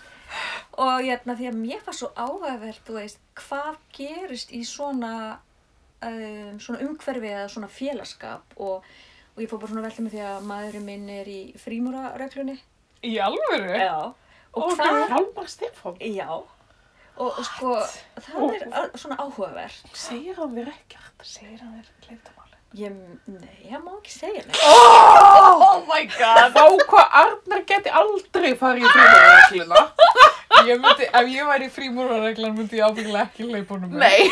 og hérna því að mér var svo áhæfvert þú veist, hvað gerist í svona um, svona umhverfi eða svona félagskap og, og ég fór bara svona velta með því að maðurinn minn er í frímúrareglunni
í alvöru.
já, og
ok,
hvað
Hjalmar Stefán
já, og, og sko það er al- svona áhugavert
segir hann þér ekkert, segir hann þér leitamáli
ég, nei, ég má ekki segja neitt
Oh my god.
þá hvað Arnar geti aldrei farið í frímóðarregluna
Ég myndi, ef ég væri í frímúrarreglan myndi ég ábyggilega ekki leipa honum. með.
nei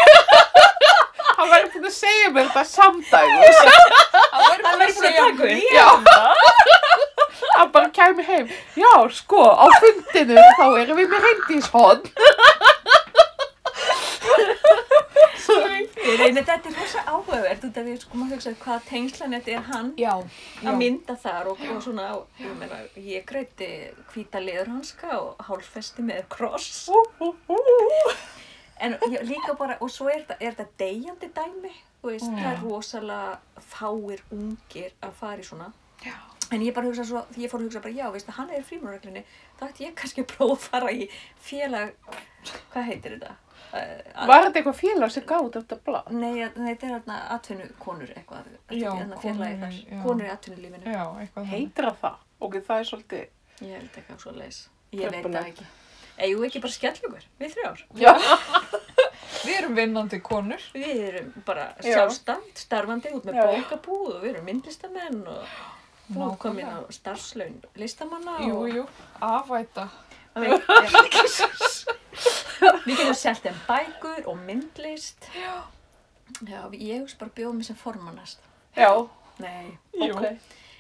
hann væri búin að segja mér þetta samdægis
hann væri búin að segja
taka upp.
mér.
hann bara kæmi heim já, sko, á fundinu þá erum við með reyndíshon
Ég reyni, þetta er rosa áhugavert út af því sko maður hugsaði hvað tengslanet er hann
Já, já.
að mynda þar og, og svona og, ég, meina, ég greiti hvíta leðurhanska og hálfesti með kross en ég, líka bara og svo er, þetta- er þetta deyjandi dæmi þú veist, það er rosalega fáir ungir að fara í svona
Já.
En ég bara hugsa svo, því ég fór að hugsa bara, já, veistu, hann er í frímurreglinni, þá ætti ég kannski að prófa að fara í félag, hvað heitir þetta? Uh,
Var þetta eitthvað félag sem gáði þetta blad?
Nei, að- nei, þetta er hérna atvinnukonur eitthvað,
Já,
hérna
konur,
félagi þar,
já.
konur í atvinnulífinu.
Já, eitthvað þannig.
Heitir það það? Ok, það er svolítið...
Ég held eitthvað svo leis. Ég veit það
Tröppulegt.
ekki. Eða jú, ekki bara skell ykkur, við þrjár.
Já.
Við erum vinnandi konur.
Við erum bara
Já.
sjálfstand, starfandi út með
Já.
bókabúð og við erum myndlistamenn og þú
Nákvæmlega.
komin á starfslaun listamanna
Jú,
og...
jú, afæta.
Jú, jú. Við getum selt þeim bækur og myndlist. Já. Já, ég hugsa bara að bjóða mig sem formannast.
Já,
Nei.
Jú.
ok.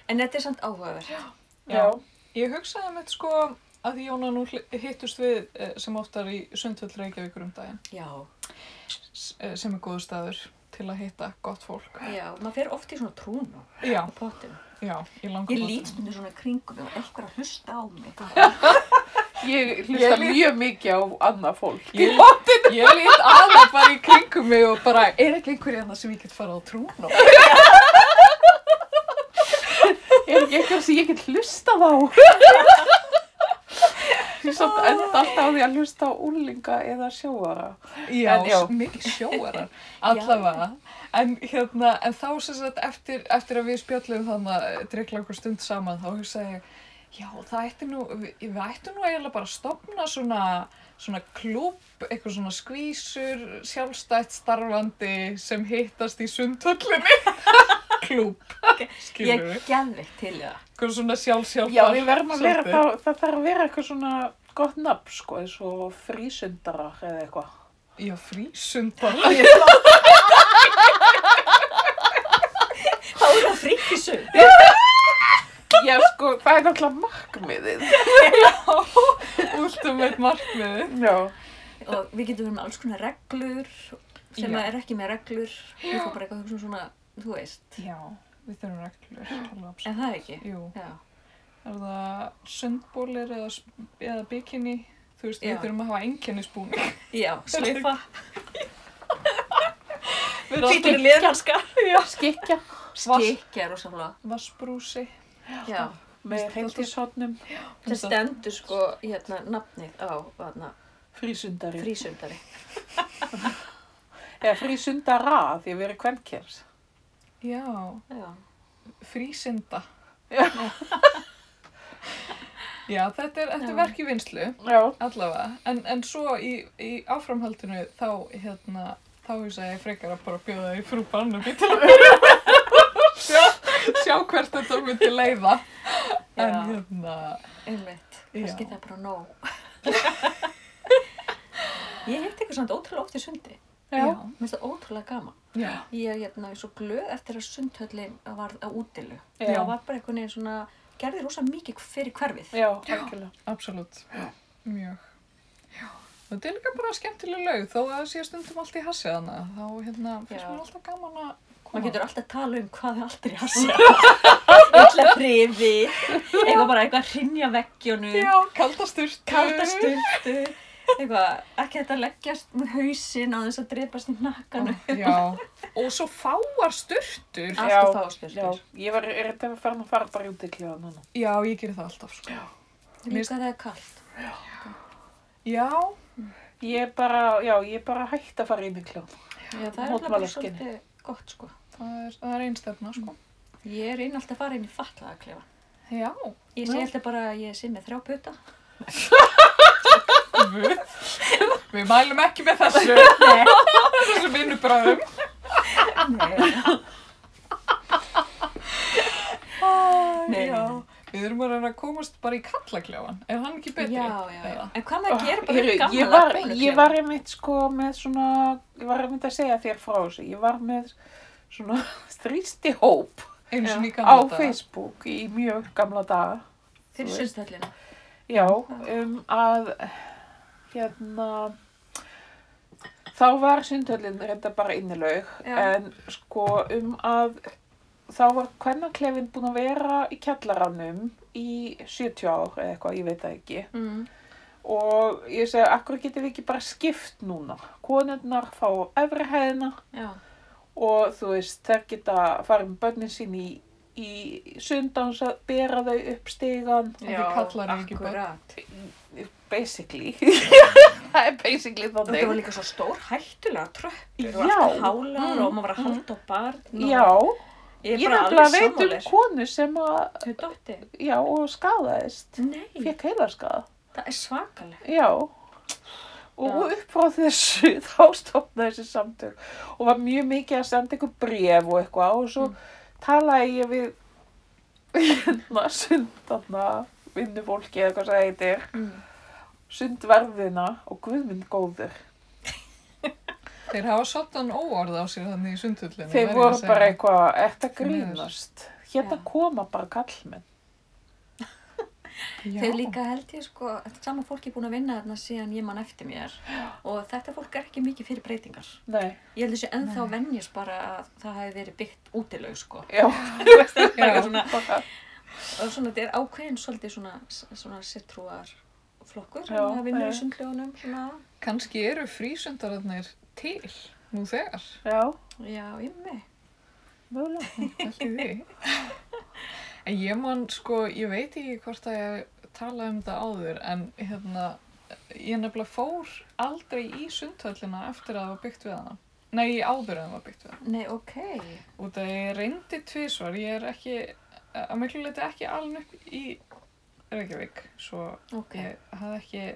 En þetta er samt áhugavert.
Já.
Ég hugsaði mitt sko að því Jóna nú hli- hittust við eh, sem oftar í Sundvöld Reykjavíkur um daginn
Já,
s- eh, sem er góðu staður til að hitta gott fólk.
já, maður fer oft í svona trúnu
Já,
á pottum.
já, ég langar
Ég lít stundum svona í kringum mig og eitthvað að hlusta á mig.
Ég
Ég
hlusta
lí-
mjög mikið á annað fólk.
Ég, ég lít aðeins bara í kringum mig og bara, er ekki einhverja það sem ég get fara á trún og
Er ekki eitthvað sem ég get hlustað á? Ég samt enda alltaf á því að hlusta á úlinga eða sjóara.
Já,
En já.
s- mikið sjóarar allavega. En, hérna, en þá sem sagt eftir, eftir að við spjallum þannig að drikla okkur stund saman þá hugsaði ég, já það ætti nú, við, við ættum nú eiginlega bara að stopna svona, svona klúb, eitthvað svona skvísur, sjálfstætt starfandi sem hittast í sundhöllinni. klúb,
Ég
skilur við.
geðvikt til í það.
Eitthvað svona sjálfsjálfar.
Já, við verðum að vera,
svolítið.
það, það þarf að vera eitthvað svona gott nafn, sko, eins og frísundarar eða eitthvað.
Já, frísundar.
Þá er það fríkisum.
Já, sko, það er náttúrulega markmiðið.
Últumveit markmiði.
Já,
Og við getum verið með alls konar reglur sem
Já.
er ekki með reglur. Við fórum bara eitthvað að hugsa um svona, þú veist.
Já, við þurfum reglur. alveg absolutt.
En það er ekki.
Jú.
Já.
Er það sundbólir eða, eða bikini? Þú veist,
Já.
við þurfum að hafa einkennisbúning.
Já, slifa.
Við erum
Hvítir
alltaf
liðhanska.
skikja
Vas-
Skikja er rosalega.
vassbrúsi.
Já.
með
Veist,
hreintilshotnum
Það stendur sko, hérna, nafnið á, hérna,
frísundari.
frísundari.
Eða frísundara, því að við erum kvennkjærs.
Já,
Já.
frísinda.
Já.
Já, þetta er, þetta
Já.
er verk í vinslu,
Já,
allavega. En, en svo í, í áframhaldinu þá, hérna, þá hugsa ég frekar að bara bjóða í frú Barnaby til að byrja með. sjá, sjá hvert þetta myndi leiða. En
Já.
hérna,
Einmitt,
Já.
kannski það er bara nóg. ég hitt ykkur samt ótrúlega oft í sundi.
já,
já,
Mér finnst það ótrúlega gaman.
já.
Ég er hérna svo glöð eftir að sundhöllin varð á útilu.
Já.
Það var bara einhvern veginn svona, gerði rosa mikið fyrir hverfið.
já, algjörlega.
Absolutt, mjög. Og þetta er líka bara skemmtileg laug, þó að það sé stundum allt í hassi hana, þá hérna, finnst
Já.
mér alltaf gaman að
Maður
koma.
getur alltaf að tala um hvað er alltaf í hassa. Ítla hrifi, eitthvað bara eitthvað að hrynja veggjónu,
Já, kaldasturtu.
kalda stundu, eitthvað ekki þetta að leggjast með hausinn á þess að drepast í nakkanu.
Já, og svo fáar sturtur.
Allt
Já,
að fá
Já,
spjörstur.
ég var, er þetta farin að fara bara út í kljóða núna.
Já, ég gerir það alltaf, sko. Já,
Líka þegar það er kallt.
Ég er bara, já, ég er bara hægt að fara inn í kljóða.
Já, það er alveg bara
Mótmælaskyni.
svolítið gott sko.
það er, það er einstefna, sko.
Ég er einn alltaf að fara inn í fatlaða klefa.
Já,
Ég
Já.
segi alltaf bara að ég sé með þrjá puta.
við, við mælum ekki með þessu,
Nei,
þessu vinnubræðum.
nei. Nei,
Já,
nei.
við erum að reyna að komast bara í kallakljáan, er hann ekki betri?
Já, já, já.
Eða?
En hvað maður gerir bara
Heyrðu,
í gamla
ég var,
bóluklefa?
ég var einmitt sko með svona, ég var einmitt að segja þér frá þessu, ég var með svona þrýsti hóp
Einu sinni í
á
gamla daga.
Facebook í mjög gamla daga.
Fyrir sundhöllina.
Já, um að hérna þá var sundhöllin reynda bara innilaug
Já.
en sko um að þá var kvennaklefin búin að vera í kjallaranum í 70 ár eða eitthvað, ég veit það ekki
Mm.
og ég segi, akkur getum við ekki bara skipt núna konurnar fá efri hæðina
Já,
og þú veist, þær geta farið með börnin sín í, í sundáns að bera þau upp stigan,
Og þið kallar þau ekki börn.
Akkurat.
basically. það er basically
Þetta var
þannig.
líka svo stór hættulega tröppur og
Já.
alltaf hálar
Mm,
og maður var að halda á barn og
Já,
ég
ég
er bara
nefnilega
alveg
veit um
sammálir.
konu sem að,
Þau dotti?
já, og skadaðist,
Nei,
fekk heilarskaða.
það er svakalegt.
Já. Og
Já.
upp frá þessu þá stopnaði þessi samtök og var mjög mikið að senda einhver bref og eitthvað og
Mm.
svo talaði ég við hérna sundanna vinnufólki eða hvað það heitir
Mm.
sundverðina og guðminn góður.
Þeir hafa svolítan óorð á sér þannig í sundhullinu.
Þeir voru bara eitthvað, ert að
Því miður.
grínast. Hérna
Já.
koma bara kallmenn.
Þeir líka held ég sko, þetta sama fólk er búin að vinna þarna síðan ég mann eftir mér og þetta fólk er ekki mikið fyrir breytingar.
Nei,
Ég held þessi ennþá venjus bara að það hefði verið byggt útilaug sko.
já,
Þú veist, það er bara eitthvað svona,
bara,
og svona, þetta er ákveðin svolítið svona, svona sittrúar flokkur
Já,
sem það vinnur
já.
í sundljónum svona.
Kanski eru frísundararnir til nú þegar.
já,
Já, ymmi.
mögulega.
Allt í því. En ég man, sko, ég veit ekki hvort að ég tala um þetta áður, en hérna, ég nefnilega fór aldrei í sundhöllina eftir að það var byggt við hana. Nei, áður en það var byggt við hana.
Nei, ok.
Út að ég reyndi tvísvar, ég er ekki, að miklu leiti ekki alveg upp í Reykjavík, svo
Ok.
ég hafði ekki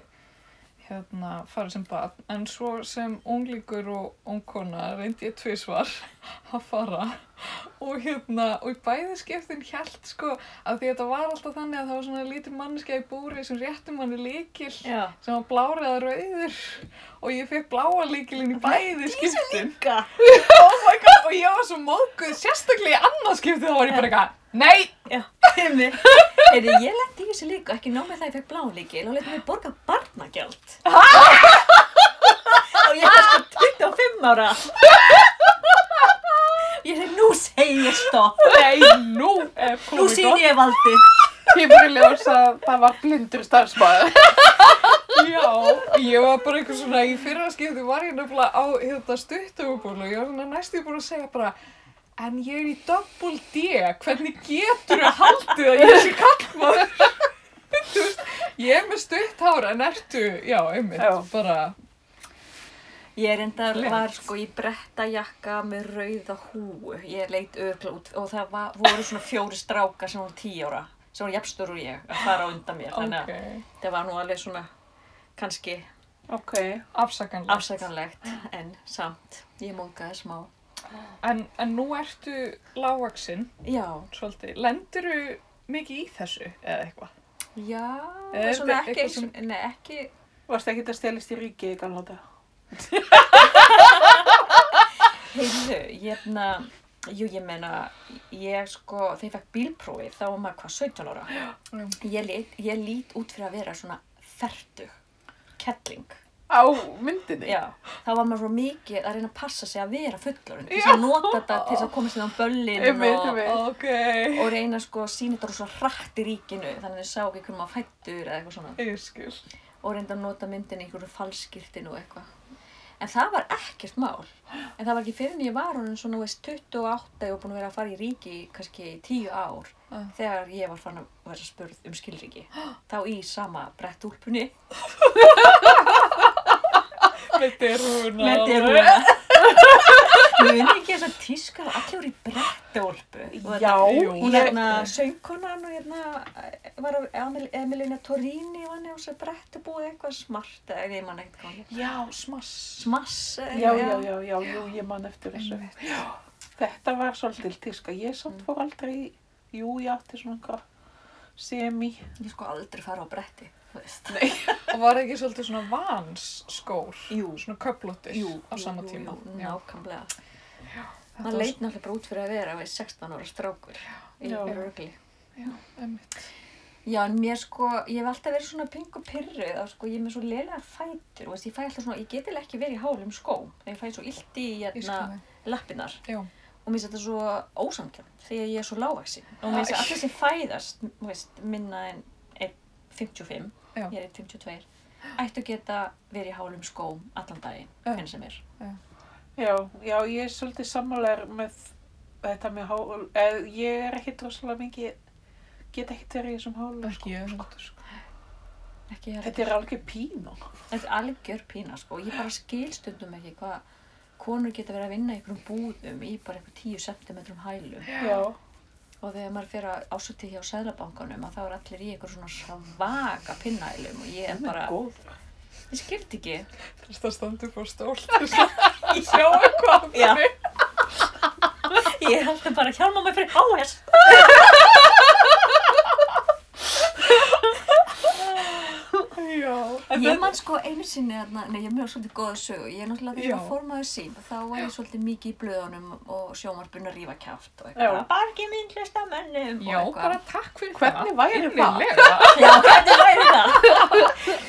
hérna farið sem barn, en svo sem unglíkur og ungkona reyndi ég tvisvar að fara og hérna, og í bæði skiptin hjælt sko, af því þetta var alltaf þannig að það var svona lítur manneskja í búri sem réttum manni líkil
Já.
sem var blár eða rauður og ég fekk bláa líkilinn í bæði skiptin
Ga.
oh my god, og ég var svo móðguð sérstaklega í annað skipti þá var ég bara eitthvað, nei
Já, heimi. Heyrðu, ég lendi í þessu líka, ekki nóg með það ég fekk blánlíkil, þá lendi mér borga barnagjald. og ég er sko 25 ára. Ég segi, nú segi ég stopp,
Nei, nú er
Oh
nú
komið
segi
gott.
ég valdi.
Kemur í ljós að það var blindur starfsmæður.
Já, ég var bara eitthvað svona, í fyrra skipti var ég nefnilega á þetta stuttöfuból og ég var svona næstu búin að segja bara En ég er í double D, hvernig getur að haldið að ég sé kallmaður? Þú veist, ég er með stutt hára en ertu, já, einmitt,
Já.
bara
Ég reyndar
Lent.
var sko í brettajakka með rauða húu, ég leit ögla út og það var, voru svona fjóri strákar sem voru 10 ára, sem voru jafnstur og ég að fara á undan mér, þannig
ok,
að það var nú alveg svona kannski
Ok,
afsakanlega.
afsakanlegt en samt, ég mókaði smá
En, en nú ertu lágvaksinn,
já,
svolítið, lendiru mikið í þessu eða eitthvað?
já
Er
svona
þetta
ekki,
eitthvað
eins og- nei, ekki
varst ekki að stelist í ríki í gamla dag?
heyrðu, hérna jú, ég meina, ég sko þegar ég fekk bílprófið, þá var maður hvað 17 ára
Já.
ég lít, ég lít út fyrir að vera svona fertug kelling,
Á myndinni?
já þá var maður svo mikið að reyna að passa sig að vera fullorinn, til þess að nota þetta til þess að komast inn á böllin
Einmitt,
og,
einmitt.
Ok,
og reyna sko að sína þetta svo hratt í ríkinu, þannig að þau sá ekki hvernig maður fættur eða eitthvað svona
ég skil.
og reynda að nota myndin í einhverju falskirtin og eitthvað. En það var ekkert mál. En það var ekki fyrir en ég var hún svona, þú veist, 28 og búin að vera að fara í ríki í kannski í 10 ár
Ah.
þegar ég var fann að vera spurð um skilríki. Þá í sama brettúlpunni.
Með derúna.
Með derúna. Muni ekki þess að tíska og allir voru í brettúlpu. Og
Já,
Jú,
Og
ég-
hérna söngkonan og hérna eh, var af Emil, Emilina Torrini og hann hefði þess að brettubúið eitthvað smart eða ég man ekkert hvað hann.
Já, smass.
Smass eða
Já,
eitthvað,
já, já, já, jú, ég man eftir þessu. Já, þetta var svolítil tíska. Ég samt fór aldrei, í- jú, ég átti svona einhver semi.
Ég sko aldrei fara á bretti, þú veist.
Mm. Og var ekki svolítið svona vans skór?
Jú.
Svona köplóttir á sama tíma.
Jú,
Já,
nákvæmlega.
þetta
Man
var
leit náttúrulega bara út fyrir að vera við 16 ára strákur í
Já.
örgli.
svo- Já, einmitt.
Já, en mér sko, ég hef alltaf verið svona pingu pyrru, þá sko, ég er með svo leila fætur, þú veist, ég fæ alltaf svona, ég get eiginlega ekki verið í hálum skóm, þegar ég fæ svo illt í
Ég
hérna
skilði.
lappinnar
Já,
og mér finnst þetta svo ósamkjönd þegar ég er svo lágvaksi og mér finnst að allir sem fæðast, þú veist, minna en 1,55,
Já.
ég er 1,52, ættu að geta verið í hálum skóm allan daginn,
Já.
hvernig sem er.
Já, já, ég er svolítið sammálar með þetta með hól, eð, ég er ekki droslega mikið, get ekkert verið í þessum hólum.
Ekki ég heldur, sko.
Ekki
Þetta er alveg pínu.
Þetta er algjör pína sko. Ég bara skil stundum ekki hvað konur geta verið að vinna í einhverjum búðum í bara einhver 10 cm hælum
Já.
og þegar maður fyrir að ásöti hjá Sæðlabankanum að þá er allir í einhver svona svaka pinnælum og ég er
Hún er
bara,
góð.
ég skildi ekki
Þess að standa upp á stól til þess að sjá eitthvað.
Já. Ég er alltaf bara, hjálma mig fyrir HS
Já.
Ég man sko einu sinni, þarna- nei ég er mjög svolítið góða sögu, ég er náttúrulega þegar ég var
Já.
formaður sín og þá var ég svolítið mikið í blöðunum og sjónvarpun að rífa kjáft og
Já.
eitthvað, bargi mín hlusta á mönnum
Já,
og
bara takk fyrir
Hvernig
það.
væri það?
Innilega.
Já, hvernig væri það?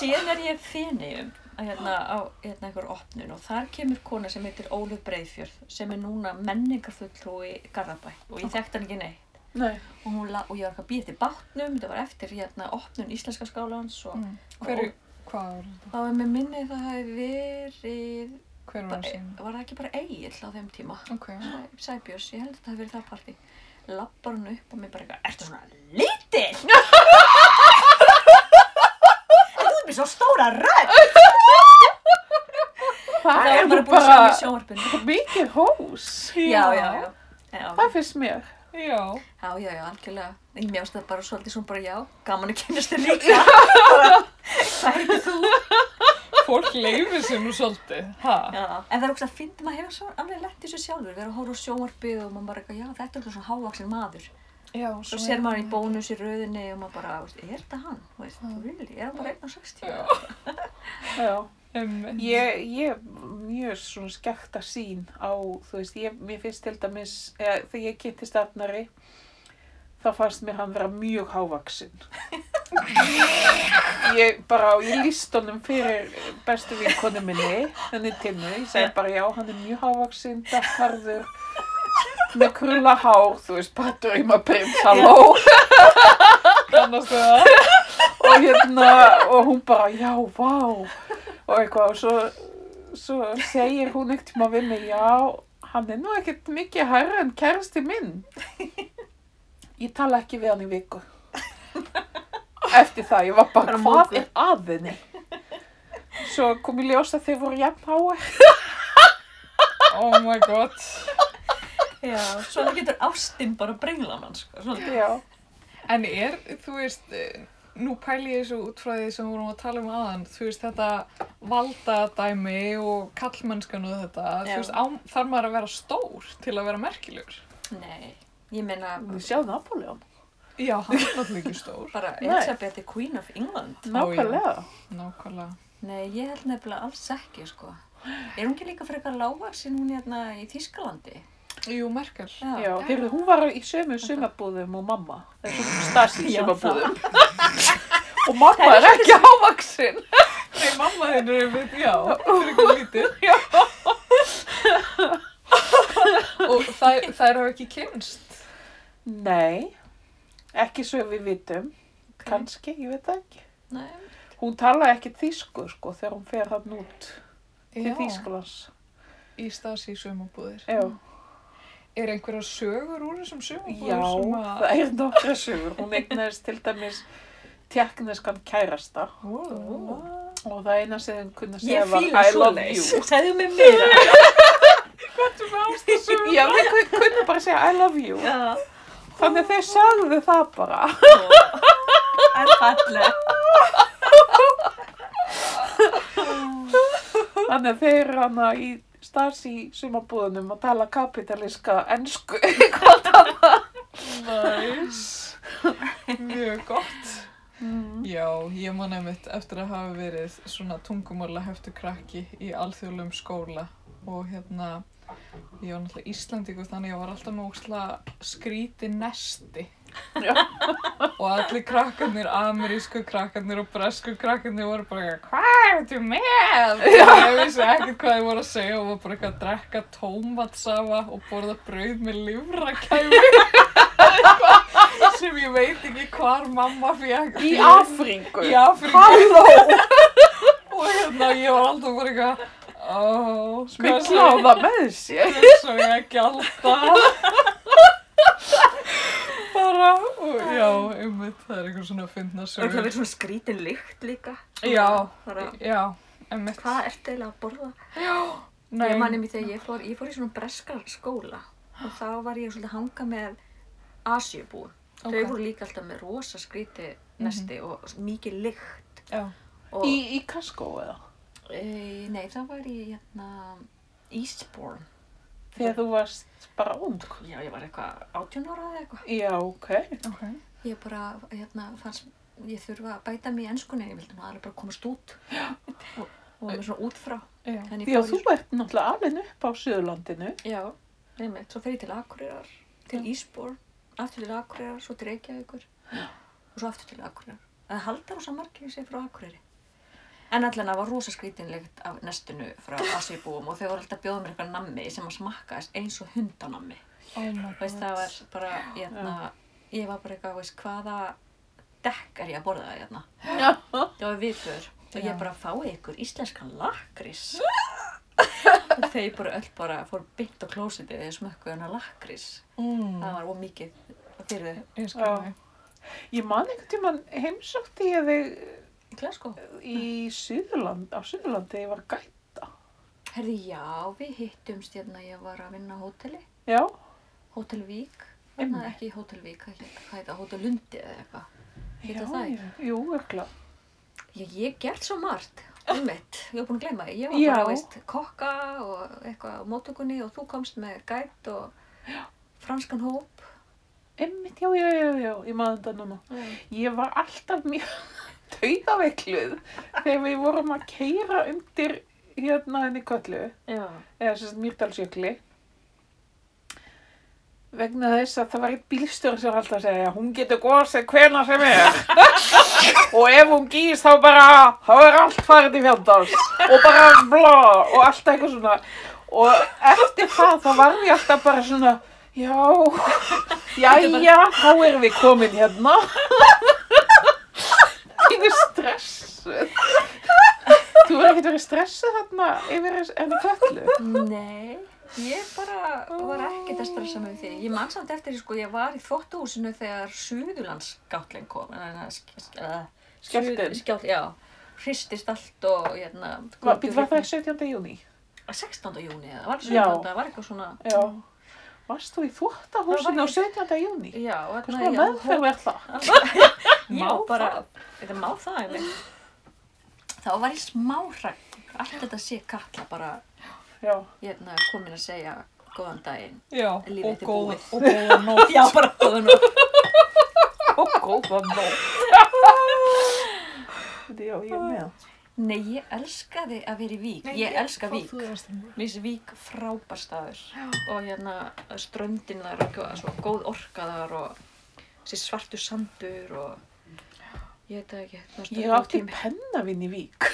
Síðan er ég finnum hérna, á hérna einhver opnun og þar kemur kona sem heitir Óluf Breiðfjörð sem er núna menningarfulltrúi Garðabæ og ég þekkti hann ekki neitt
Nei.
og, hún, la- og ég var eitthvað að býja til bátnum, þetta var eftir hérna opnun Íslenska skálans og
Mm. Hverju, hvað var það?
þá er mér minnið það hefði verið,
Hver var
var
það sem?
það ekki bara eigill á þeim tíma?
Ok.
Sæ- Sæbjörns, ég held að það hafi verið það partí lappar hann upp og mér bara eitthvað Ertu svona lítill? En þú ert með svo stóra rödd
Það
Það
er
var
nú
bara búin að sjá
bara
í sjónvarpinu
mikið hós.
Já, já, já Já,
Það finnst mér.
Já.
já, já, já, algjörlega. Ég mjást það bara svolítið svona bara já, gaman að kynast þér líka. Bara, Hvað heitir þú?
Fólk leifir sér nú svolítið. Ha?
Já. En það er okkur að fyndi maður hefur svo alveg lett í þessu sjálfur. Við erum að horfa á sjónvarpið og maður bara eitthvað, já, þetta er okkur svona hávaksin maður.
Já.
Svo sér maður í bónus í rauðinni og maður bara, veist, er þetta hann? Þú veist, really? Er hann bara 1.60?
Já.
Um,
Ég, ég er mjög svona skekta sín á, þú veist, ég, mér finnst til dæmis, eða, þegar ég kynntist Arnari, þá fannst mér hann vera mjög hávaksinn. Ég bara, ég líst honum fyrir bestu vinkonu minni, henni tinnu, ég segi bara já, hann er mjög hávaksinn, dagfarður, með krulla hár, þú veist, bara dröymaprins, halló.
kannast við það.
og hérna, og hún bara, já, vá, og eitthvað, og svo, svo segir hún eitt tíma við mig, já, hann er nú ekkert mikið hærri en kærasti minn. Ég tala ekki við hann í viku. Eftir það, ég var bara,
Bara
hvað
móguð."
er að henni? Svo kom ég ljós að þeir voru jafn háir.
Oh my god.
Já, svona getur ástinn bara brengla mann, sko, svolítið.
Já,
En er, þú veist, eh, nú pæli ég þessu út frá því sem við vorum að tala um aðan, þú veist, þetta valdadæmi og kallmennskan og þetta,
Já.
þú veist, á, þarf maður að vera stór til að vera merkilegur?
Nei, ég meina,
við sjáum Napoleon.
Já, hann er náttúrulega ekki stór.
bara
Nei.
Elizabeth er Queen of England.
Nákvæmlega.
Nákvæmlega.
Nei, ég held nefnilega alls ekki, sko. Er hún ekki líka frekar lágvaxin hún hérna í Þýskalandi?
Jú, merkel.
Já, heyrðu, hún var í sömu sumabúðum og mamma. Það er stasi
Já,
sumabúðum. og mamma er ekki ávaksin.
Nei, mamma þinn er við, já, fyrir ekki lítið. Já. og þær, þær hafa ekki kynst.
Nei, ekki svo við vitum, kannski, ég veit það ekki.
Nei.
Hún talaði ekki þýsku, sko, þegar hún fer hann út til
Já.
Þýskalands.
Í stasi sumabúðir.
Já,
Er einhverja sögur úr þessum sumabúðir
já
sem að...
það er nokkra sögur. Hún eignaðist til dæmis tjekkneskan kærasta
Ó.
og það eina sem hún kunna segja
Ég
var
fíla
I
svo
love
leis.
you.
Segðu mig meira.
Já, þau kun- kunnu bara segja I love you.
Já.
Þannig að þau sagðu það bara.
En falleg.
Þannig að þeir eru hana í stasi sumabúðunum að tala kapitalíska ensku.
Næs, mjög gott.
Mm.
Já, ég man einmitt eftir að hafa verið svona tungumála heftu krakki í alþjóðlegum skóla og hérna, ég var náttúrulega Íslandíku þannig ég var alltaf með ókslega skríti nesti
Já.
og allir krakkarnir, amerísku krakkarnir og bresku krakkarnir voru bara eitthvað, hvað er þetta með? Og ég vissi ekkert hvað þið voru að segja og var bara eitthvað að drekka tómatsafa og borða brauð með livrakæmi sem ég veit ekki hvar mamma fekk
Í Afríku.
í Afríku
Halló!
og hérna ég var alltaf bara eitthvað Ó,
Við kláða með sér.
Svo ég ekki alltaf. Bara, og, já, einmitt, það er eitthvað svona að finna
Það
sögur.
verður svona skrítin lykt líka.
Já.
Bara,
Já, einmitt.
hvað ertu eiginlega að borða?
Nei,
Ég manni mér þegar ég fór, ég fór í svona breskar skóla og þá var ég svolítið að hanga með Asjubúum.
ok.
Þau voru líka alltaf með rosa skríti nesti og mikið lykt.
Já.
Og,
Mhm. Í, í kaskó eða?
e, nei, það var í hérna, Eastbourne.
Þegar þú varst bara ung.
Já, ég var eitthvað 18 ára eða eitthvað.
Já, ok.
Ok.
Ég bara, hérna, fannst, ég þurfa að bæta mig í ennskunni, ég vildi nú aðra bara komast út og, og var með svona útfrá.
Já.
Þannig
Já,
fór
þú ert náttúrulega alveg upp á Suðurlandinu.
ég, já, nefnilegt, svo fer ég til Akureyrar, til Ísborn, aftur til Akureyrar, svo til Reykjavíkur og svo aftur til Akureyrar. Það halda rosa margir sig frá Akureyri. En allan það var rosa skrítinlegt af nestinu frá Asibúum og þau voru alltaf að bjóða mér eitthvað nammi sem að smakkaðist eins og hundanammi.
Oh my god.
veist, það var bara, hérna, ég var bara eitthvað, veist, hvaða dekk er ég að borða það, hérna?
Já.
Það var vikur og
Já.
ég bara fái ykkur íslenskan lakrís. og þeir bara öll bara fór byggt á klósitið þegar smökkuðu hennar lakrís.
Mm,
Það var ómikið fyrir þau.
ég skil
Já.
mig.
Ég man einhvern tíman heimsótti ég þig eh,
Í Glasgow.
í Suðurland, á Suðurlandi, ég var gætt.
Herði, já, við hittumst hérna, ég var að vinna á hóteli,
Já,
Hótel Vík. Hérna
Einmitt.
ekki Hótel Vík, hvað heit- hvað heit það, Hótel Lundi eða eitthvað. Heitir
já,
það ekki?
já, jú, ökla.
Ég, ég hef gert svo margt, ummitt, ég hef búin að gleyma því. Ég var
Já.
bara, veist, kokka og eitthvað á móttökunni og þú komst með gætt og franskan hóp.
Einmitt, já, já, já, já, ég maður þetta núna. Ég var alltaf mjög taugaveikluð þegar við vorum að keira undir hérna henni köllu,
Já.
eða sem sagt Mýrdalsjökli. Vegna þess að það var eitt bílstjóri sem var alltaf að segja, hún getur góðsett hvena sem er. og ef hún gýst þá bara, þá er allt farið í fjandans. Og bara blá, og alltaf eitthvað svona. Og eftir það þá var ég alltaf bara svona, já, jæja, þá erum við komin hérna. Þínu stressuð. Þú er ekkert verið stressuð þarna yfir enni köllu.
Nei, ég bara var ekkert að stressa með því. Ég man samt eftir, því, sko, ég var í þvottuhúsinu þegar Suðurlandsgállin kom.
Skjálftinn.
Skjált, já. Hristist allt og, hérna,
Var, býttu, var það ekki 17. júni?
16. júni eða, var það
Já.
17. það var eitthvað svona,
Já. Varst þú í þvóttahúsinu á 17. júni?
já, og
Hvers
þarna,
konar
já, hó-
meðferð er það?
Já,
Má
bara,
það?
þetta má það einmitt. Þá var ég smá hrætt. Allt þetta sé Katla bara,
Já.
hérna, komin að segja góðan daginn.
Já,
Lífið
og
þitt er
góða,
búið.
og góða nótt.
Já, bara góðan og...
Og góða nótt. Já, ég er með.
Nei, ég elskaði að vera í Vík. Ég elska Vík.
Þú varst það.
Mér finnst Vík frábær staður. Og hérna, ströndin þar og gó- svo góð orka þar og þessi svartu sandur og... Ég veit það ekki, það var
Ég
stundum
átti
tími.
pennavinn í Vík.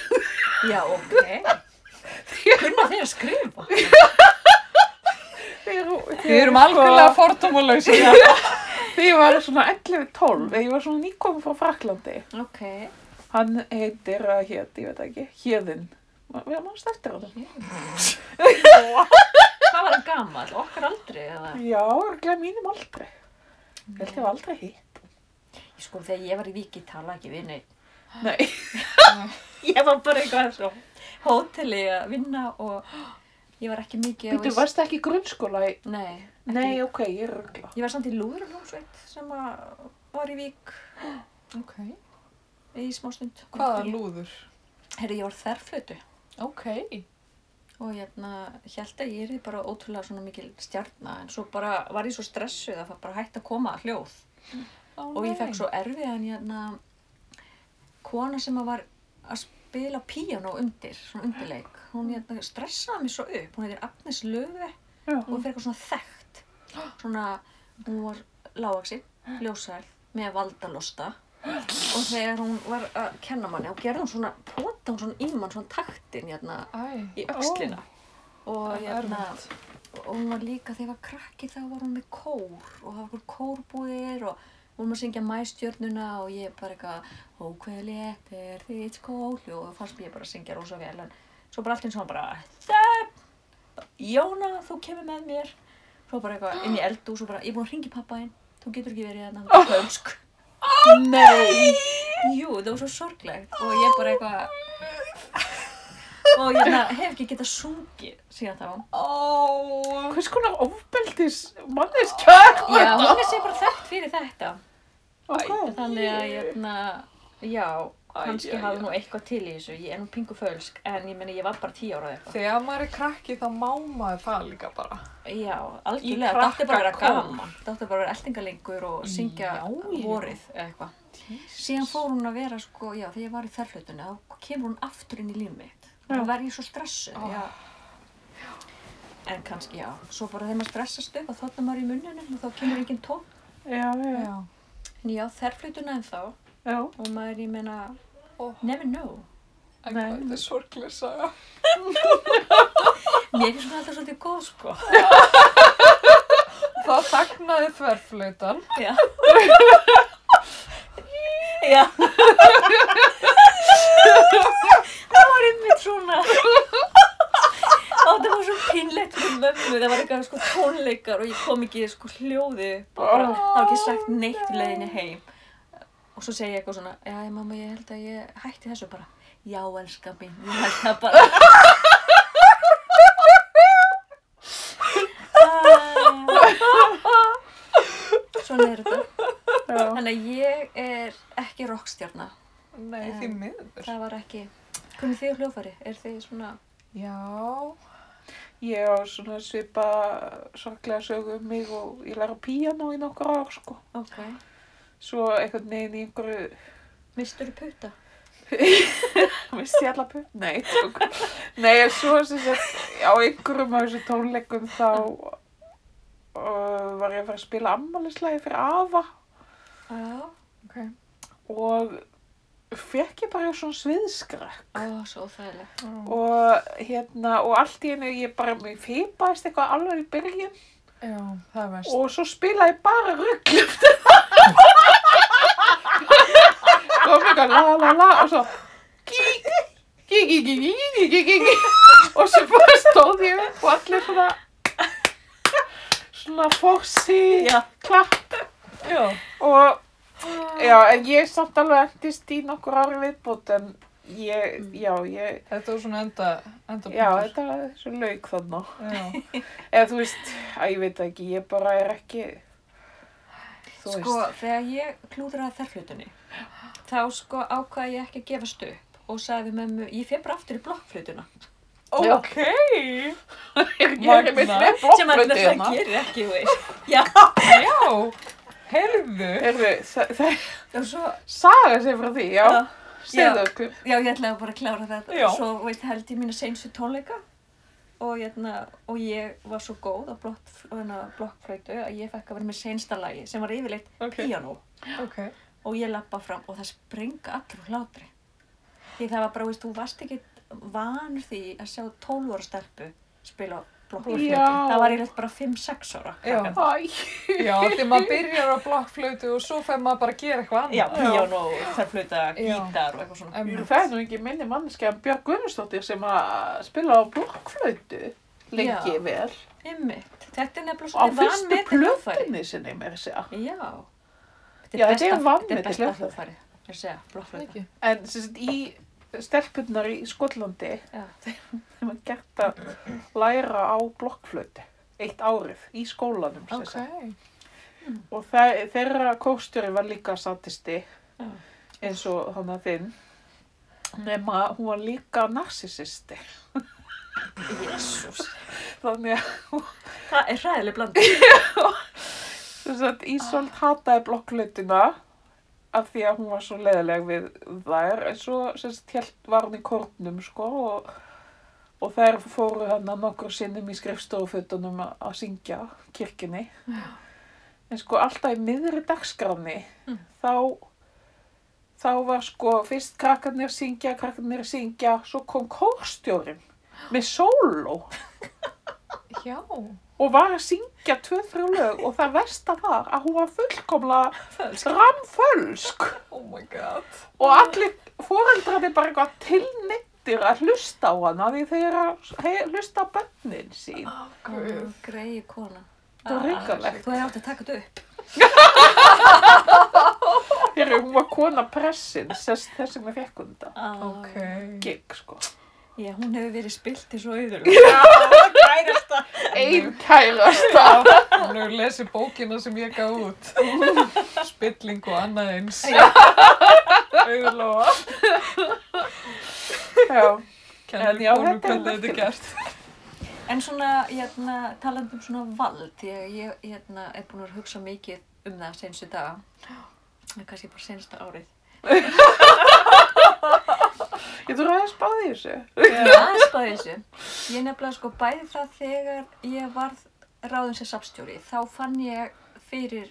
Já, ok. Kunna þeir að skrifa?
Við erum algjörlega fordómalauðsir.
sko- Þegar ég var svona 11-12, þegar ég var svona nýkomin frá Fraklandi.
Ok.
Hann heitir að hét, ég veit ekki, Hjöðin. Við erum ást eftir á það.
Hvað var hann gammal? Okkar aldrei eða?
Já, örglega mínum aldrei. Ég held ég var aldrei hitt.
Sko þegar ég var í Víki tala ekki við neitt.
Nei.
Ég var bara eitthvað svo hóteli að vinna og ég var ekki mikið
Býtu, varst það ekki í grunnskóla? í-
Nei. ekki-
Nei, ok, ég er örgla.
Ég var samt í Lúðrunhúsveit sem að var í Vík
Ok.
í smástund.
Hvaða lúður?
Herri, ég var þerflötu
Ok.
og hérna held að ég er bara ótrúlega svona mikil stjarna en svo bara var ég svo stressuð að það bara hægt að koma hljóð. Og ég fekk svo erfiðan hérna kona sem að var að spila píano undir, svona undirleik. Hún hérna stressaði mig svo upp, hún heitir Agnes Löfi
Já.
og fyrir eitthvað svona þekkt. Svona, hún var lágaksin, ljósæl, með valdalosta og þegar hún var að kenna manni, þá gerði hún svona, pota hún svona í mann svona taktin hérna
Æ.
í öxlina. Og
Það er
hérna,
erfitt.
og hún var líka, þegar ég var krakki þá var hún með kór og það var okkur kórbúðir og vorum að syngja mæstjörnuna og ég bara eitthvað Ó, hver létt er þitt skóli og það fannst mér bara að syngja rosa vel en svo bara allt eins og hann bara "Þögn." Jóna, þú kemur með mér svo bara eitthvað inn í eldu svo bara, ég er búin að ringi pappa þinn þú getur ekki verið hérna, þú fölsk
Nei!
Jú, það var svo sorglegt og ég bara eitthvað og ég na, hef ekki getað sungið síðan þá
Ó,
Hvers konar ofbeldis manneskja er
Já, hún er sér bara þekkt fyrir þetta
Ok.
þannig að hérna, já
Æ,
kannski
já,
hafði
já.
nú eitthvað til í þessu ég er nú pingu fölsk, en ég meni ég var bara tíu ára eða eitthvað
þegar maður er krakki þá má maður það líka bara.
Já, algjörlega, það átti bara að vera
krakkakór.
gaman það átti bara að vera eldingalengur og syngja
Já, já.
vorið eða eitthvað síðan fór hún að vera sko, já, þegar ég var í þerflutunni þá kemur hún aftur inn í líf mitt
Já.
þá var ég svo stressuð
Ó.
já. en kannski, já, svo bara þegar maður stressast upp og þóttum maður í munnunum og þá kemur engin tón
Já, já,
Já.
en já, þerflutuna en þá og
já.
maður, ég meina,
Ó,
never know
æ,
Nei.
hvað þetta er sorglega saga.
mér finnst hún alltaf svolítið góð sko
Þá þagnaði þverflautan.
já já það var einmitt svona og það var svo pinlegt fyrir mömmu það var eitthvað sko tónleikar og ég kom ekki sko hljóði upp og bara, það var ekki sagt neitt í leiðinni heim og svo segi ég eitthvað svona já mamma ég held að ég hætti þessu bara já elska mín ég held það bara Ah. Svona er þetta.
já.
Þannig að ég er ekki rockstjarna.
Nei,
En-
því miður.
Það var ekki... Hvernig þið er hljófari? Er þið svona...
Já.
Ég á svona svipa sorglega sögu um mig og ég læra píanó í nokkur ár, sko.
Ok.
Svo einhvern veginn í einhverju,
Mistur þú puta?
misti ég alla pönt? Nei, tók. Nei, en svo sem sett, á einhverjum af þessu tónleikum þá uh, var ég að fara að spila ammælislega fyrir afa
Já.
Ok.
og fekk ég bara svona sviðskrekk.
Ó, svo óþægilegt.
og hérna og allt í einu ég bara mér fýpaðist eitthvað alveg í byrjun
Já, það er verst.
og svo spilaði ég bara rugglu kom eitthvað la la la og svo kí kí kí kí kí kí kí kí kí og svo bara stóð ég upp og allir svona svona fórsi
Já.
klapp
Já.
og já en ég samt alveg endist í nokkur ári viðbútt en ég já ég
Þetta var svona enda, enda
Já, Mm. þetta er svo lauk þarna.
Já.
Eða þú veist, að ég veit það ekki, ég bara er ekki, þú
Sko, þegar ég klúðraði þerflutunni, þá sko ákvaði ég ekki að gefast upp og sagði við mömmu, ég fer bara aftur í blokkflutuna.
Ok.
veist.
Magna.
Sem maður
blokkflötu
náttúrulega
hérna.
gerir ekki, þú veist. Já.
Já. Herðu.
Heyrðu, það það er
Og svo,
saga sem frá því, já.
Já.
Segðu okkur.
já, ég ætlaði bara að klára þetta.
Já.
Svo, þú veist, held ég mína seinstu tónleika og, hérna, og ég var svo góð á blokk- hérna, blokkflötu að ég fekk að vera með seinsta lagi sem var yfirleitt
Ok.
píanó.
Ok.
og ég lappa fram og það springa allir úr hlátri því það var bara, veist, þú varst ekki vanur því að sjá 12 ára stelpu spila blokkflötu
Já.
það var ég bara 5-6 ára
Já.
krakkar.
Æ,
Já, því maður byrjar á blokkflötu og svo fer maður bara að gera eitthvað
já,
annað.
píjón og
Já.
þarflöta, gítar og eitthvað svona
Em,
það er nú ekki minni manneski en Björg Guðmundsdóttir sem að spila á blokkflötu lengi
Já.
vel.
Einmitt. þetta er nefnilega
Á
svona
fyrstu
vanmetið hljóðfæri.
plötunni sinni, mér að segja.
já
Já, þetta
besta-
er vanmetið
þetta er besta
hljóðfæri.
hljóðfæri ég segja, blokkflöta
Ekki.
En sem sagt, í stelpunnar í Skotlandi,
Já.
þeim var gert að læra á blokkflötu eitt árið í skólanum sem
Ok.
sagt. og þe þeirra kóstjóri var líka statisti
Já.
eins og hann að þinn nema hún var líka narsisisti
jésús
þannig að
það er hræðileg blandið
sem sagt, Ísvöld hataði blokkflötuna af því að hún var svo leðileg við þær en svo sem sagt, hélt var hún í kórnum sko og, og þær fóru hann að nokkur sinnum í skrifstofufutunum að að syngja kirkjunni en sko alltaf í miðri dagskráni þá þá var sko fyrst krakkarnir syngja, krakkarnir syngja svo kom kórstjórin með sóló
Já.
og var að syngja tvö-þrjú lög og það versta var að hún var fullkomlega ramfölsk
Oh my god.
og allir fóreldrarnir bara eitthvað tilnittir hrættir að hlusta á hana því þeir eru að he- hlusta á bönnin sín.
Guð.
Greiði kona.
Það var
Ah,
hrikalegt.
Þú hefði átt að taka þetta upp.
Þeir hún var kona pressins þess, þess vegna fekk hún þetta.
Ok.
Gig, sko.
Ah. Já, hún hefur verið spilt til svo auður. Já, gærasta.
Einn kærasta.
Hún hefur lesið bókina sem ég gaf út. Spilling og annað eins. Auðurlóa.
Já. En
Kennir
já, þetta
konum
er
hvernig þetta er gert.
En svona, hérna, talandi um svona vald, ég, ég hérna, er búin að vera að hugsa mikið um það senstu daga, en kannski bara sensta árið.
Ég þú ræðist báði þessu.
Ég aðeins spáði þessu. Ég nefnilega sko bæði það þegar ég varð ráðin sem safstjóri, þá fann ég fyrir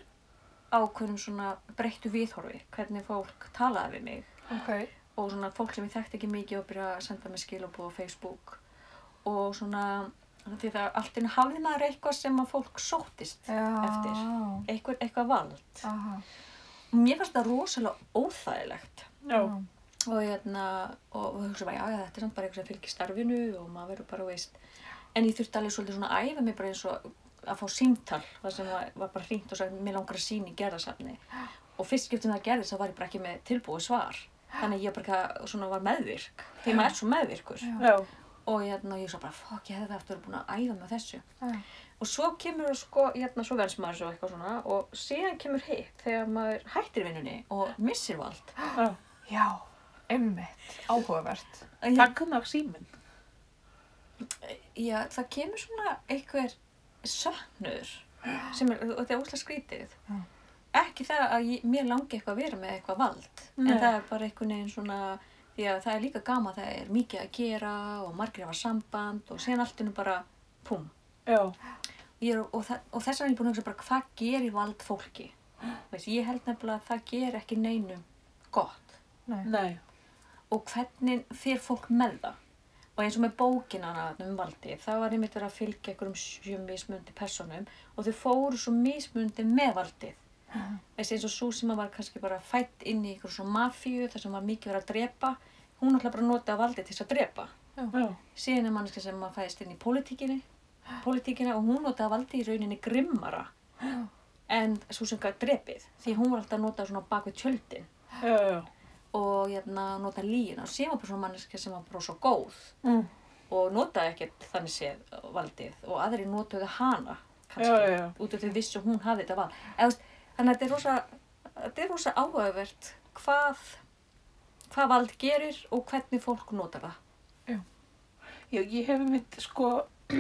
ákveðnum svona breyttu viðhorfi, hvernig fólk talaði við mig
Ok.
og svona fólk sem ég þekkti ekki mikið og byrjaði að senda mér skilabóð á Facebook og svona, því það allt innu hafði maður eitthvað sem að fólk sóttist
Já.
Eftir. eitthvað, eitthvað vald.
Aha.
Og Mér fannst það rosalega óþægilegt
Já.
og hérna, og við hugsaðum að já, já, þetta er samt bara eitthvað sem fylgir starfinu og maður verður bara, veist, en ég þurfti alveg svolítið svona að æfa mig bara eins og að fá símtal, það sem var, var bara hringt og sagt, mér langar að sína í gerðasafni og fyrst skiptum það gerðist, þá var ég bara ekki með tilbúið svar, þannig að ég bara eitthvað svona var meðvirk, því maður er svo meðvirkur
Já.
Já.
og hérna, ég svo bara, fokk, ég hefði aftur búin að æfa með þessu
Já.
og svo kemur það sko, hérna, svo venst maður svo eitthvað svona og síðan kemur hitt þegar maður hættir vinnunni og missir vald
Já. Einmitt. Áhugavert.
Ég,
Takkunar síminn.
já, það kemur svona einhver söknur sem er, og þetta er óslega skrítið
Já.
ekki það að ég, mér langi eitthvað að vera með eitthvað vald
Nei.
en það er bara einhvern veginn svona því að það er líka gama það er mikið að gera og margir hafa samband og síðan allt innu bara pum
Já.
Ég er, og, þa- og þess vegna er ég búin að hugsa bara hvað gerir vald fólki Veist, ég held nefnilega að það ger ekki neinum gott
Nei.
og hvernig fer fólk með það og eins og með bókina hana þarna um valdi þá var einmitt verið að fylgja einhverjum sjö mismundi personum og þau fóru svo mismundi með valdið Þessi eins og svo sem var kannski bara fætt inn í einhverjum svona mafíu þar sem var mikið verið að drepa hún ætla bara að nota valdið til þess að drepa
Já.
síðan er mannska sem að fæðist inn í pólitíkinni pólitíkina og hún notaði valdi í rauninni grimmara en svo sem gæði drepið því hún var alltaf að nota svona bak við tjöldin
Já. Já.
og hérna, nota líina og síðan var bara svona mannska sem var bara svo góð
Mm.
og notaði ekkert þannig séð valdið og aðri notuðu hana kannski,
Já, já, já.
út af því vissu að hún hafi þetta vald Eða, þú veist, þannig að þetta er rosa, þetta er rosa áhugavert hvað, hvað vald gerir og hvernig fólk notar það
Já, ég hef mynd sko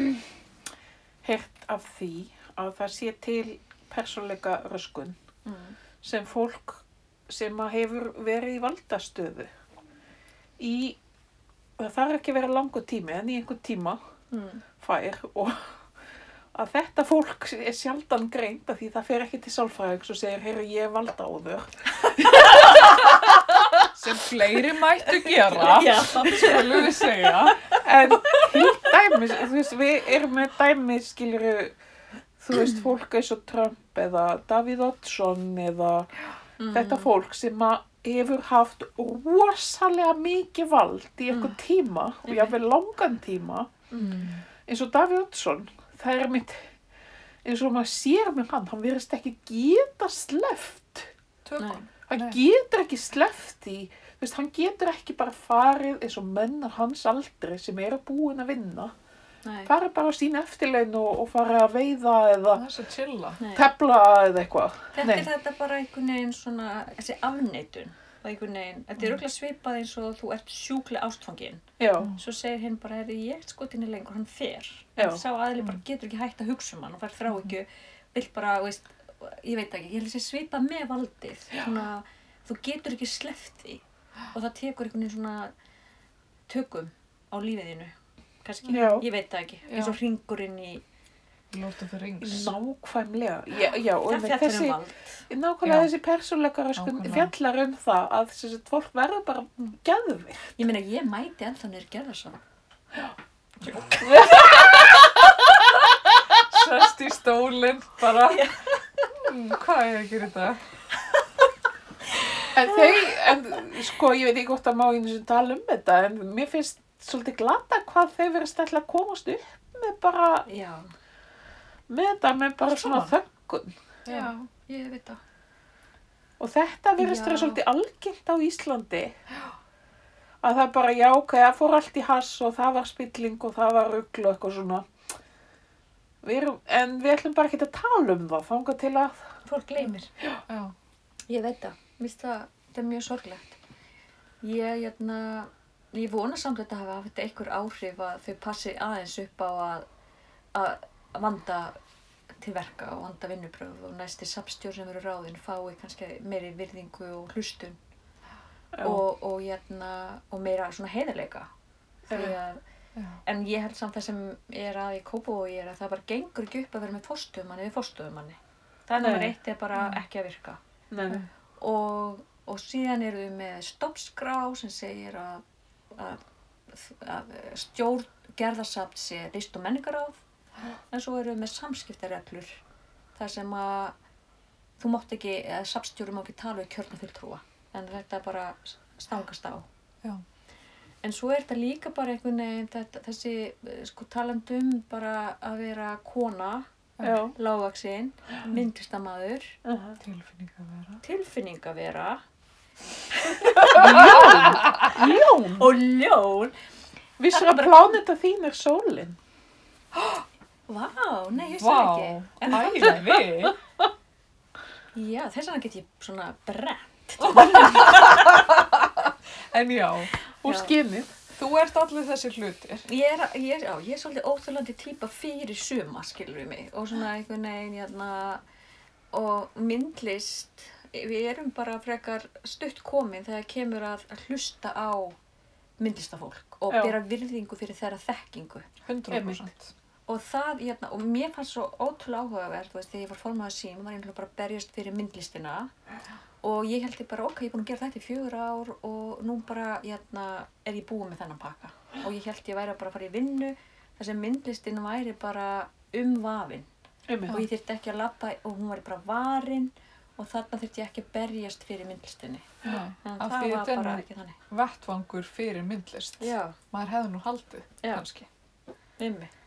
heyrt af því að það sé til persónleika röskun
mm.
sem fólk sem að hefur verið í valdastöðu í, það þarf ekki að vera langur tími en í einhver tíma
Mm.
fær og að þetta fólk er sjaldan greint af því það fer ekki til sálfræðing og segir, heyrðu, ég er valda áður.
Sem fleiri mættu gera, skulum við segja.
En til dæmis, þú veist, við erum með dæmi, skilur, þú veist, fólk eins og Trump eða Davíð Oddsson eða þetta fólk sem að hefur haft rosalega mikið vald í einhver tíma og jáfnveg langan tíma eins og Davíð Oddsson, það er mitt, eins og maður sér með hann, hann verðist ekki geta sleft.
Tökum.
Hann
Nei.
getur ekki sleft í, þú veist, hann getur ekki bara farið eins og menn af hans aldri sem eru búin að vinna.
Nei.
fara bara á sín eftirlein og, og fara að veiða eða
Það er svo chilla.
Nei.
tefla eða eitthvað.
Þetta
Nei.
er þetta bara einhvern veginn svona, þessi afneitun og einhvern veginn, þetta
Mm.
er auðvitað svipað eins og þú ert sjúklega ástfangin.
Já,
Svo segir hinn bara, er ég skotinni lengur, hann fer.
Já. Mm. Mm-hmm.
Sá aðli bara getur ekki hægt að hugsa um hann og fær þrá ekki, vill bara, veist, ég veit ekki, ég held að þessi svipað með valdið. Svona, þú getur ekki sleppt því og það tekur einhvern veginn svona tökum á lífiðinu, kannski,
Já.
ég veit það ekki, eins og hringurinn í,
Lord of the
Mm.
Rings.
nákvæmlega. Já, já og
það
einmitt
fjallar
þessi,
um vald.
nákvæmlega
Já.
þessi persónleikar sko,
Nákvæmlega.
fjallar um það að þessi fólk verður bara geðvikt.
Ég meina, ég mæti ennþá nýr gerðarsan.
Sest í Hmm, stólinn bara. Mm, Hvað er ég að gera þetta?
En þau, en, sko, ég veit ekki hvort að má einu sem tala um þetta, en mér finnst svolítið glata hvað þau verðist ætla að komast upp með bara,
Já,
með þetta, með bara
Allt
svona
saman.
þöggun.
já, ég veit það.
Og þetta verðist
Já.
vera svolítið algengt á Íslandi. Að það bara, já, ok, það fór allt í hass og það var spilling og það var rugl og eitthvað svona. Við erum, en við ætlum bara ekki að tala um það, þanga til að,
Fólk gleymir.
Já.
Ég veit það. Mér finnst það, þetta er mjög sorglegt. Ég, jæna, ég vona samt að þetta hafi haft einhver áhrif að þau passi aðeins upp á að, að að vanda til verka og vanda vinnubröð og næsti samstjór sem eru ráðin fái kannski meiri virðingu og hlustun
Já.
og, og, jæna, og meira svona heiðarleika. Því að
Já.
En ég held samt það sem er að í Kópavogi er að það bara gengur ekki upp að vera með fórstöðumanni við fórstöðumanni. Það er
Nei.
nummer eitt er bara ekki að virka.
nei,
Og, og síðan eru við með stoppskrá sem segir að, að, að stjórn gerðarsamt sé list og menningaráð. En svo eru við með samskiptareglur. þar sem að þú mátt ekki, eða safnstjóri má ekki tala við kjörnum fulltrúa. En þetta bara stangast á.
Já.
En svo er þetta líka bara einhvern veginn þetta, þessi eh, sko talandum bara að vera kona,
já,
lágvaksinn, myndlistamæður,
uh
Tilfinninga vera.
tilfinningavera
Ljón,
og ljón.
vissur að pláneta þín er sólinn.
Vá, nei, ég
Vá,
sagði ekki.
æði.
Já, þess vegna get ég svona brent.
En já,
Úr
Já.
skinnið.
þú ert allir þessi hlutir.
Ég er, ég, er- já, ég er svolítið óþjólandi típa fyrir suma, skilur við mig. Og svona einhvern veginn, hérna, og myndlist, við erum bara frekar stutt komin þegar kemur að, að hlusta á myndlistafólk og
Já.
bera virðingu fyrir þeirra þekkingu.
100%.
Og það, hérna, og mér fannst svo ótrúlega áhugavert, þú veist, þegar ég var formaður sím, var einhvern veginn bara að berjast fyrir myndlistina og ég held ég bara, ok, ég er búin að gera þetta í fjögur ár og nú bara, hérna, er ég búin með þennan pakka. Og ég held ég væri að bara fara í vinnu, þar sem myndlistin væri bara um vafin
Einmitt.
og ég þyrfti ekki að labba og hún væri bara varin og þarna þyrfti ég ekki að berjast fyrir myndlistinni.
Já.
En
Af
það
því
var
þetta er
bara
nú-
ekki þannig.
Vettvangur fyrir myndlist. Maður hefði nú haldið,
Já.
kannski.
Einmitt.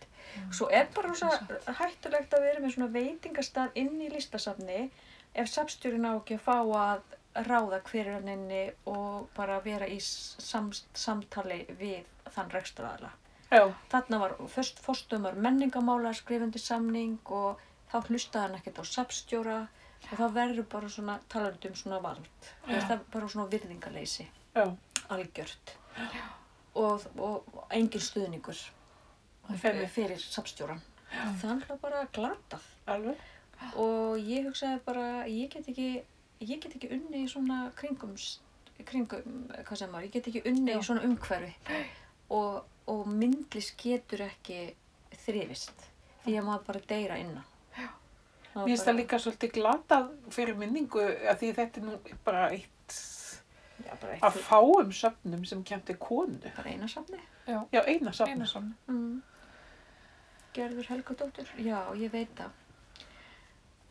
Svo er bara rosa hættulegt að vera með svona veitingastað inn í listasafni ef safstjórin á ekki að fá að ráða hverjur hann inni og bara vera í sam, samtali við þann rekstraðala.
Já,
Þarna var fyrst fórstumar menningamála skrifundi samning og þá hlustaði hann ekkert á safstjóra og þá verður bara svona talandi um svona vald. Þú veist, Það er bara svona virðingarleysi
já.
algjört og, og engin stuðningur
Fyrir.
fyrir samstjóran það er náttúrulega bara glatað
Alveg.
og ég hugsaði bara ég get ekki, ég get ekki unni í svona kringum kringum, hvað sem maður, ég get ekki unni í svona umhverfi og, og myndlist getur ekki þrifist því að maður bara deyra innan
Mér finnst það líka svolítið glatað fyrir minningu að því þetta er nú bara eitt
já, bara,
af
eitt,
fáum söfnum sem kemdi konu.
bara eina safni
Já.
Já, eina söfnum.
Einu sann.
Mm. Gerður Helgadóttur? Já, ég veit það.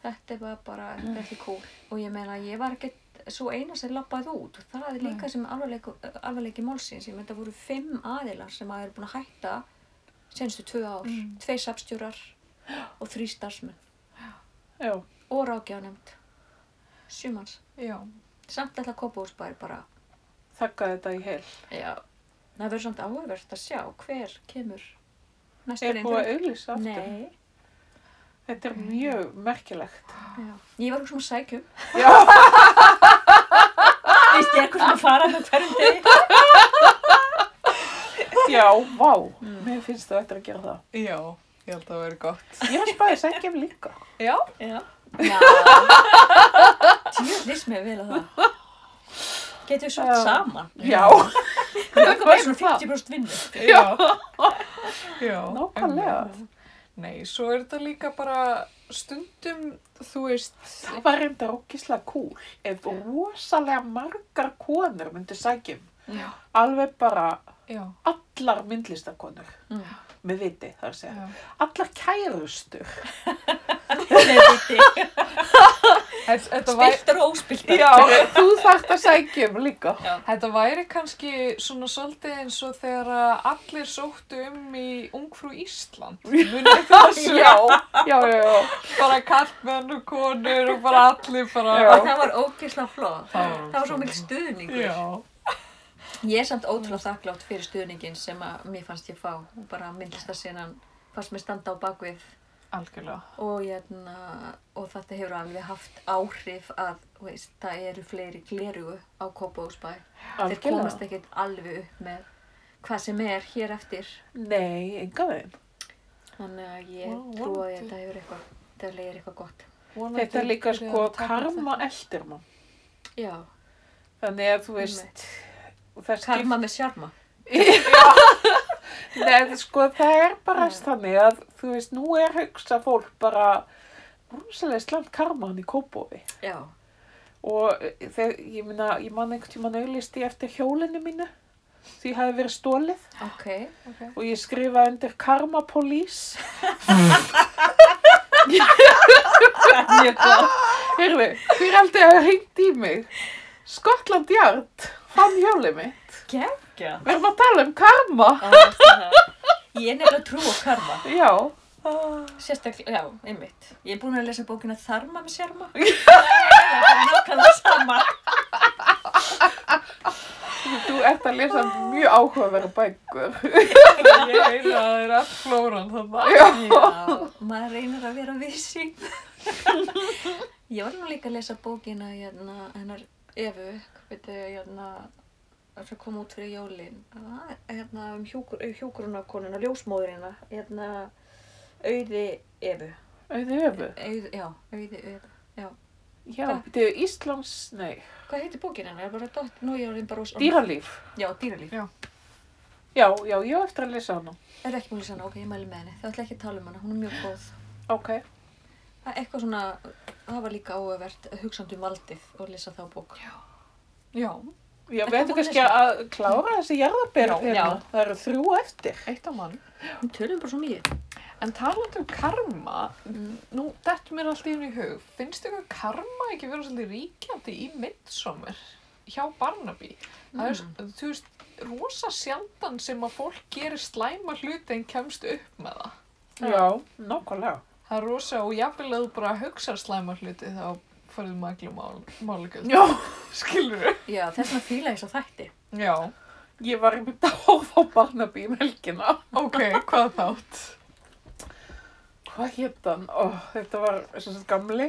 Þetta var bara, þetta er ekki cool. Og ég meina, ég var ekkert svo eina sem labbaði út. Það er líka sem alvarleiku- alvarleiki málsins. Ég meina, það voru fimm aðilar sem að eru búin að hætta senstu tvö ár. Mm. Tvei sapstjórar og þrý starfsmenn.
Já,
Og rákjánemnd. Sjumanns.
Já.
Samt ætla Kópavúrsbær bara.
þakka þetta í hel.
Já. Það verður samt áhugavert að sjá hver kemur næstur
Er búið að auðlýsa aftur.
Nei. Mm.
Þetta er mjög merkilegt.
Já. Ég var eitthvað svona sækjum.
Já.
Vist Ah! ég eitthvað svona að fara með hverjum degi?
Já, vá.
Mm.
Mér finnst það eftir að gera það.
Já, ég held að það verið gott.
Ég var spæðið sækjum líka.
Já.
Já. Já. Tjóð lýst mér vel að það. Getum við svolítið
Já.
saman.
Já,
Við erum bara svona 50% vinnu.
Já. Já.
nákvæmlega.
einmitt. Nei, svo er þetta líka bara stundum, þú veist,
Það var reynda rókislega kúl. Ef rosalega margar konur myndu sækjum.
Já.
Alveg bara
já,
allar myndlistakonur.
Mm.
Með viti, þar að segja.
já,
allar kærustur
Spilt
Þetta- Þetta væri,
og óspilt
Já, þú þarft að sækja um líka.
þetta væri kannski svona svolítið eins og þegar að allir sóttu um í Ungfrú Ísland. Munið þið þessu?
Já, já, já, já.
Bara kallmenn og konur og bara allir bara.
Já.
Það var ógeðslega flott
Það var
Það var svo
ógeðslega
mikil stuðningur
Já.
Ég er samt ótrúlega þakklátt fyrir stuðningin sem að mér fannst ég fá og bara myndlist að senan fannst mér standa á bakvið
Algjörlega.
og, hérna, og þetta hefur alveg haft áhrif að þú veist, það eru fleiri glerugu á Kópavóðsbæ þeir komast
Algjörlega.
ekkert alveg upp með hvað sem er hér eftir
Nei, enga þeim.
þannig að ég
Vá,
trúi að
vonandi.
þetta hefur eitthvað þetta er eitthvað gott
Vonandi
Þetta er líka
byrjaði
sko
að taka
karma eldir mann.
Já,
Þannig að þú veist, það skiptir
karma með sjarma
Nei, þú- sko, það er bara
Já.
þannig að, þú veist, nú er hugsa fólk bara rosalega slant karman í kópófi.
Já,
Og eh, þegar, ég meina, ég man einhvern tímann auðlisti eftir hjólinu mínu, því hafi verið stólið
ok
og ég skrifaði undir karma police.
Mjög gott
Hérðu, hver aldrei hafi hringt í mig? Skotland Jard, fann hjólið mitt.
Gekja
Við erum að tala um karma.
Ég er nefnilega trú á karma
Já,
Ah,
Sérstaklega, já, einmitt Ég er búin að lesa bókina Þarma með sjarma Það er bara nákvæmlega sama
þú ert að lesa mjög áhugaverða bækur.
Ég heila að það er all flóran þarna.
Já, maður reynir að vera vissi. ég var nú líka að lesa bókina hérna, hennar Evu, hvað veit ég, hérna, sem kom út fyrir jólin, Ah, hérna, um hjúkur, hjúkurunarkonuna, ljósmóðurina, hérna, Auði Evu.
Auðvitað öfu.
Auð, já, Auði Evu.
Já,
Hvað?
þetta er Íslands, nei,
Hvað heitir bókin hennar? Er bara dott, nú ég er orðin bara ós...
dýralíf.
Já, dýralíf.
Já, já, ég á eftir að lesa hana.
Er ekki múlið sann, ok, ég mæli með henni. Það ætla ekki að tala um hana, hún er mjög góð.
Ok.
Það er eitthvað svona, það var líka áhugavert hugsandi um valdið og lesa þá bók. Já.
Já.
Já,
Þetta
við ættum
voru
kannski
lesa.
að klára þessi jarðabera.
Já,
hérna.
já.
Það eru þrjú eftir.
Eitt á mann.
Við tölum bara svo mikið.
En talandi um karma, nú þetta mér alltaf inn í hug. Finnst ykkur karma ekki vera svolítið ríkjandi í midsommar hjá Barnaby? Það er, s- þú veist, rosa sjaldan sem að fólk gerir slæma hluti en kemst upp með það.
Já.
Já, nokkulega.
Það er rosa og jafnvel að þú bara hugsa slæma hluti þá fyrir magli málugur.
Já,
Skilur þau?
Já, þess vegna fíla ég svo þætti.
Já.
ég var einmitt að horfa á Barnaby um helgina.
Ok, hvað þátt?
Hvað hétt hann? Ó, þetta var sem sagt gamli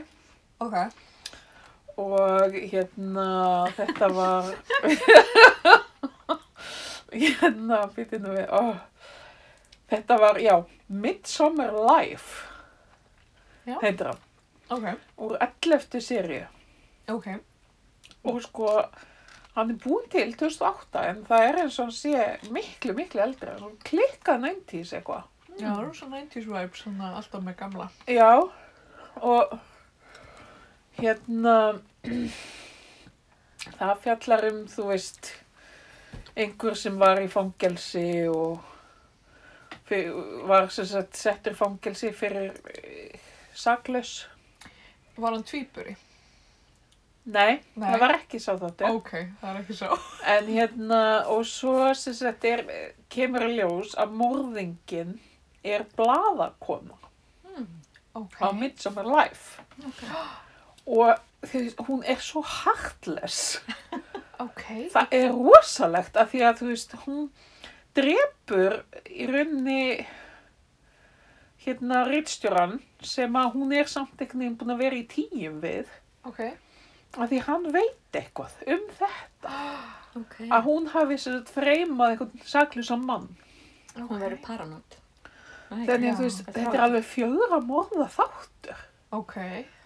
Ok.
og hérna, þetta var, hérna, býtti nú við, ó, þetta var, já, Midsummer Life,
Já.
heitir hann,
Ok.
úr 11. seríu.
Ok.
og sko hann er búinn til 2008 en það er eins og hann sé miklu, miklu eldri hann klikkað 90s eitthvað
Já, það eru svona 90s vibes, svona alltaf með gamla.
já og hérna það fjallar um þú veist einhver sem var í fangelsi og fyr, var sem sagt settur í fangelsi fyrir eh, saklaus
Var hann tvíburi?
nei,
Nei.
það var ekki sá þáttur
Ok, það er ekki svo.
En hérna, og svo sem sagt er, kemur í ljós að morðingin er blaðakona
Hmm,
Ok.
á Midsommar Life. Og þú veist, hún er svo heartless.
Ok.
Það er rosalegt af því að þú veist, hún drepur í raunni hérna rittstjóran sem að hún er samt einhvern veginn búin að vera í tíum við
Ok.
af því hann veit eitthvað um þetta
Ok.
að hún hafi sem sagt freymað einhvern saklusan mann
Hún verður paranótt.
Þannig
Já.
að þú veist,
Þetta er
þetta er alveg fjögur að morða þáttur
Ok.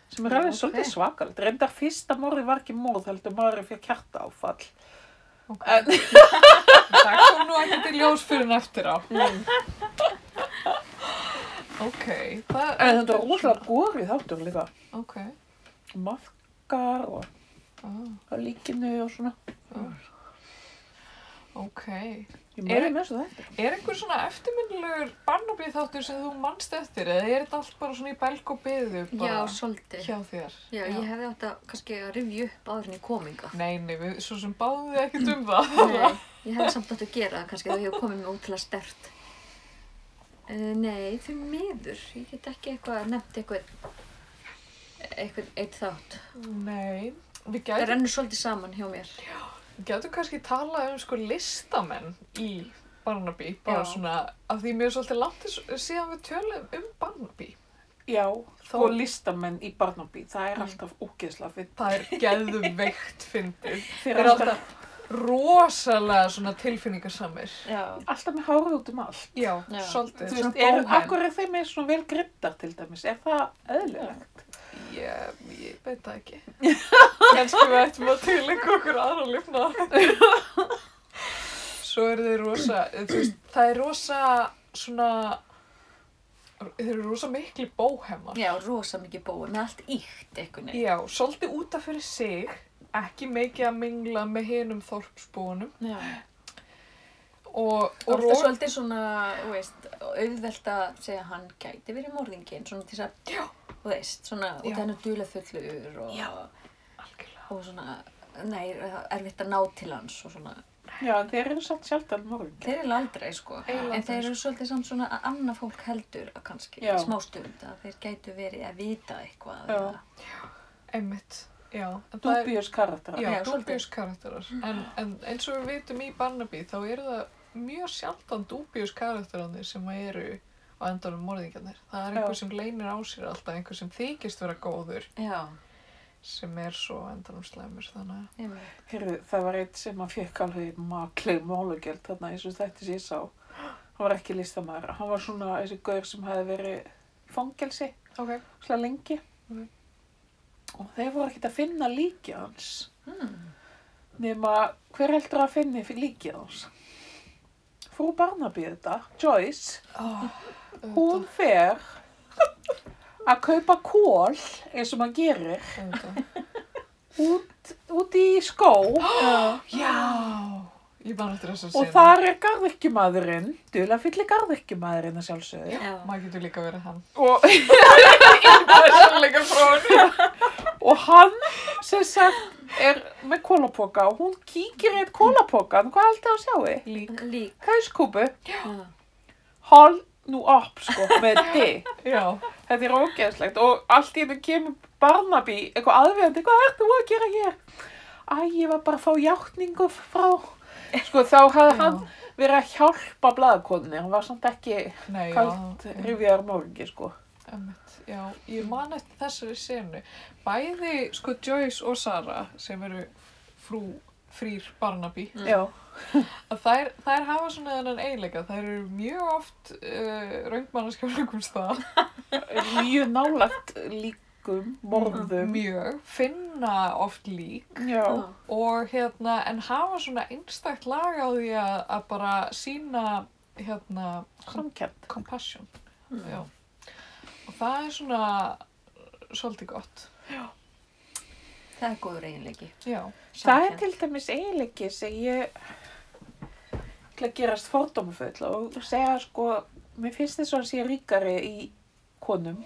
sem er alveg
Já,
svolítið
ok.
svakald. Reyndar fyrsta morði var ekki morð, heldur maður fyrir kjarta áfall.
Ok.
En,
Það kom nú ekki til ljós fyrir en eftir á. Ok. Það
en þetta er rosalega góri þáttur líka.
Ok.
Mafkar og
Ah,
að líkinu og svona.
ok.
Ég maður með svo þetta.
Er einhver svona eftirminnilegur barnabíð þáttur sem þú mannst eftir eða er þetta allt bara svona í belg og byðu
Já,
bara
svolítið. Já,
hjá þér?
ég hefði átt að kannski að rifja upp áður en ég kom inga.
Nei, nei, við svo sem báðum við ekkert um það.
Nei, ég hefði samt átt að gera það kannski þegar ég komið mér ótrúlega stert. Uh, nei, því miður. Ég get ekki eitthvað, nefnt eitthvað, eitthvað eitt þátt.
Nei, við
Það
gætum,
rennur svolítið saman hjá mér.
gætum kannski talað um sko listamenn í Barnaby, bara
Já.
svona, af því mér er svolítið langt þess- síðan við tölum um Barnaby.
Já,
Þó-
og listamenn í Barnaby, það er alltaf ógeðslega fyrir.
Það er geðveikt fyndið.
Þeir
Þeir
eru
eru
alltaf,
Rosalega svona tilfinningarsamir.
Já.
alltaf með hárið út um allt.
Já,
Já.
svolítið.
Þú
Svona
veist, er,
bóhem.
akkur er þeim með svona vel grimmdar til dæmis, er það eðlilegt?
Ég, ég veit það ekki. Kanski við ættum að tilengja okkur aðra lifna. Svo eru þeir rosa, eh, þú veist, það er rosa svona, þeir eru rosa mikli bóhemar.
Já, rosa mikið bói, með allt íkt eitthvað.
Já, svolítið útaf fyrir sig, ekki mikið að mingla með hinum þorpsbúunum
Já.
og,
Og
og
það er
rosa,
svolítið svona, þú veist, auðvelt að segja að hann gæti verið morðingin, svona til þess að, þú veist, svona,
Já.
og það er duðlega fullur og,
Já. algjörlega,
og svona, nei, erfitt að ná til hans og svona.
Já, en þeir eru satt sjaldan morgun.
Þeir eru aldrei sko,
Eiginlega
en þeir
aldrei,
eru svolítið samt svona að annað fólk heldur að kannski,
Já.
smástund, að þeir gætu verið að vita eitthvað.
Já.
eða-
einmitt, já. En það er-
Dúbíus karakterar.
Já,
Já, svolítið.
dúbjus karakterar. En, en eins og við vitum í Barnaby þá eru það mjög sjaldan dúbjus karakterarnir sem eru á endanum morðingjarnir. Það er
Já.
einhver sem leynir á sér alltaf, einhver sem þykist vera góður
Já,
sem er svo á endanum slæmur. Þannig að
ég
Heyrðu, það var eitt sem að fekk alveg makleg málugjöld þarna eins og þetta sem ég sá. Hann var ekki listamæður. Hann var svona þessi gaur sem hefði verið í fangelsi
okay.
svona lengi.
Mhm.
Og þeir voru ekkert að finna líkið hans.
Hmm.
Nefna, hver heldur að finni fyrir líkið hans? Frú Barnaby þetta, Joyce,
Ah,
hún fer að kaupa kól eins og maður gerir
Auðvitað.
út, út í skó
Já, ég man eftir þess að
og þar er garðirkjumadurinn, duðlega fyllir garðirkjumadurinn að sjálfsögðu
Já.
Maður getur líka verið hann.
og,
Það er sannleika fróðin.
og hann sem sagt er með kólapoka og hún kíkir í eitt kólapokan, hvað heldur að sjáu?
Lík.
Lík,
Hauskúpu,
já.
hold nú upp sko, með þig.
Já,
Þetta er ógeðslegt og allt í hennu kemur Barnaby, eitthvað aðvegandi, hvað ert þú að gera hér? Æ, ég var bara að fá játningu frá. Sko, þá hafði
Já.
hann verið að hjálpa blaðakoninni, hann var samt ekki
nei,
kalt
já.
rifjaður morgi, sko.
Emmett, já, ég man eftir þessari senu. Bæði, sko, Joyce og Sara, sem eru frú, frýr Barnaby,
Mm.
Já,
að þær, þær hafa svona þennan eiginleika. Þær eru mjög oft uh, raungmanneskja fröngum stað,
mjög nálagt líkum, morðum.
mjög, finna oft lík
Já,
Já.
og hérna, en hafa svona einstakt lag á því að, að bara sína, hérna, kom
samkjönd.
compassion.
Mm.
Já. Og það er svona svolítið gott.
Það er góður eiginleiki.
Já,
Það er
samkennd.
til dæmis eiginleiki sem ég ætla að gerast fordómafull og segja, sko, mér finnst þess að hann sé ríkari í konum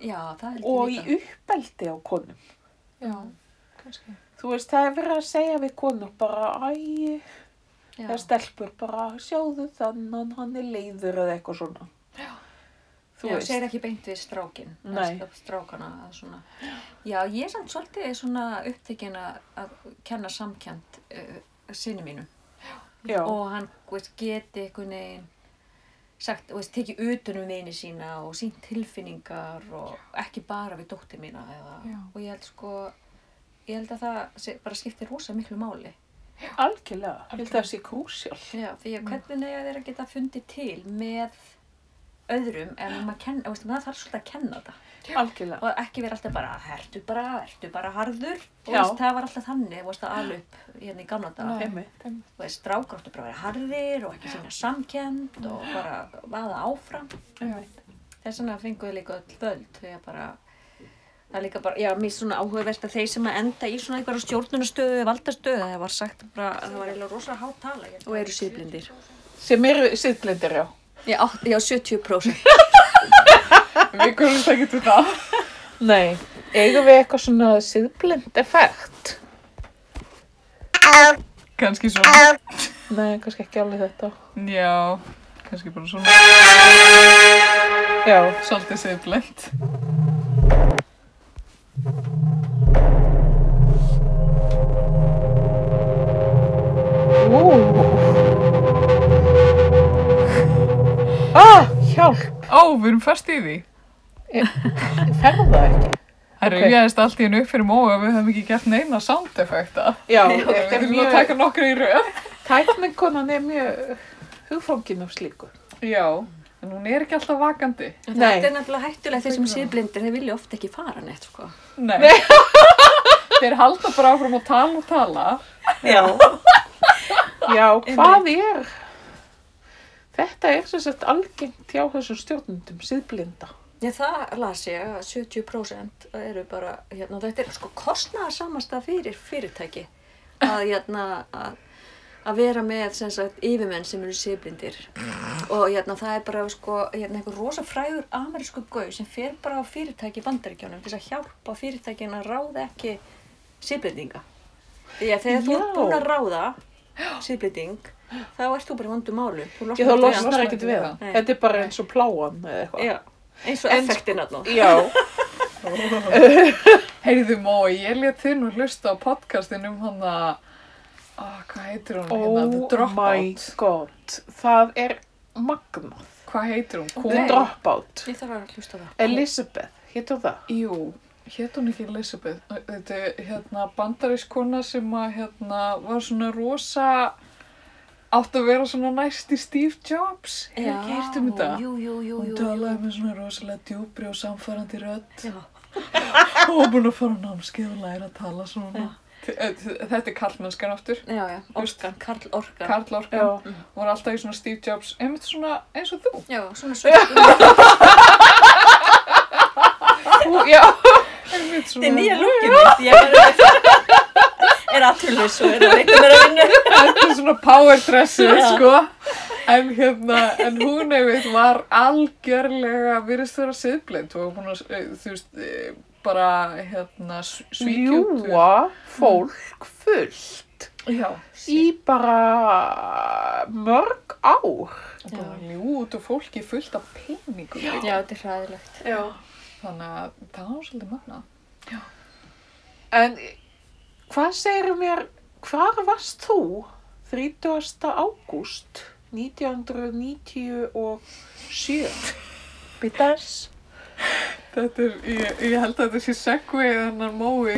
Já, það er
og í uppeldi á konum.
já, kannski.
Þú veist, það er verið að segja við konur bara, æ, eða stelpur bara, sjáðu þannan, hann er leiður eða eitthvað svona. Þú
Já,
veist,
segir ekki beint við strákin,
Nei.
að strákana að svona. Já, ég er samt svolítið svona upptekin að að kenna samkjönd uh, sinni mínum
já,
og hann þú veist, geti einhvern veginn sagt, þú veist, tekið utan um vini sína og sínt tilfinningar og ekki bara við dóttir mína eða,
Já.
og ég held sko, ég held að það sé- bara skiptir rosa miklu máli.
algjörlega, ég held að það sé krúsjál.
Já, því
Mm.
að hvernig eiga þeir að geta fundið til með öðrum en maður kenna, þú veist, maður þarf svolítið að kenna þetta.
Algjörlega.
og ekki vera alltaf bara, hertu bara, hertu bara harður og
Já.
veist, það var alltaf þannig, þú veist, að ala upp hérna í gamla dag,
Nei.
Einmitt.
þú veist, strákar áttu bara að vera harðir og ekki sína samkend og bara vaða áfram
Einmitt.
þess vegna fenguðu líka öll völd því að bara Það er líka bara, já, mér er svona áhugavert að þeir sem að enda í svona einhverja stjórnunastöðu eða valdastöðu, það var sagt bara, það var eiginlega rosa hátt tala. hérna. Og eru síðblindir.
sem eru sittlindir, já.
Já, átt- já 70%.
Við komumst ekki til það.
Nei, eigum við eitthvað svona siðblind effekt?
Kanski svona.
Nei, kannski ekki alveg þetta.
Já, kannski bara svona.
Já,
Svolítið siðblend.
ú. Ah, hjálp,
Ó, við erum fast í því.
ég ferða það ekki.
Það okay.
Ok.
rauðjaðist allt í hennu upp fyrir móa að við höfum ekki gert neina sound effekta.
Já,
Við
þetta er
þurfum að
mjög,
taka nokkru í rauð.
tækningkonan er mjög hugfangin af slíku.
Já, en hún er ekki alltaf vakandi.
En
Nei.
Þetta er náttúrulega hættulegt þeir sem er síðblindir, þeir vilja ofta ekki fara neitt, sko.
Nei. Þeir halda bara áfram að tala og tala.
Já.
Já, hvað er? Þetta er sem sagt algengt hjá þessum stjórnundum, siðblinda.
Já, það las ég að 70% eru bara, hérna, þetta er sko kostnaðarsamasta fyrir fyrirtæki að, hérna, að, að vera með, sem sagt, yfirmenn sem eru síðblindir og, hérna, það er bara, sko, hérna, einhver rosa frægur amerísku gau sem fer bara á fyrirtæki í bandaríkjónum til þess að hjálpa fyrirtækin að ráða ekki síðblindinga. Því að þegar þú
Já.
ert búin að ráða síðblinding, þá ert þú bara í vondum málum.
Ég þá
Þú ekki við hann.
losnar ekkert við það.
Nei.
Þetta er bara eins og pláan eða eitthvað.
Já, eins og
En-
effektin alltaf.
Já.
Heyrðu Móa, ég let þið nú hlusta á podcastin um hann að, ah, hvað heitir hún?
Oh
The
my
Dropout.
god, það er magnað.
Hvað heitir hún?
The
Kona?
Nei.
Dropout.
Ég þarf að hlusta á það.
Elizabeth, héttu það?
Jú, hétt hún ekki Elizabeth. Þetta er hérna bandarískona sem að hérna var svona rosa, átt að vera svona næst í Steve Jobs. Hefur ekki heyrt um þetta?
Jú, jú, jú,
Hún
jú.
talaði um með svona rosalega djúbri og samfærandi rödd
Já,
og var búin að fara á námskeið og læra að tala svona. Þetta er karlmennskan aftur.
já, já.
Veist-
Orkan, Karl Orkan.
Karl Orkan voru alltaf í svona Steve Jobs, einmitt svona eins og þú.
Já, svona svona.
Ú, já.
Einmitt svona.
Þetta er nýja lúkið mitt. Ég var að... Er aðtúrlis og er að leita mér að vinna.
Þetta er svona power dressu,
Já.
sko. En hérna, en hún einmitt var algjörlega virðist vera siðblind og hún var, eh, þú veist, eh, bara, hérna, svíkjöndur.
Ljúa fólk fullt
Já.
í bara mörg ár.
Og bara ljú út og fólki fullt af peningum.
Já, þetta er hræðilegt.
Já.
Þannig að það var svolítið magna.
En hvað segir mér, hvar varst þú 30. ágúst 1997? Bittas.
Þetta er, ég, ég held að þetta sé segvið hennar mói.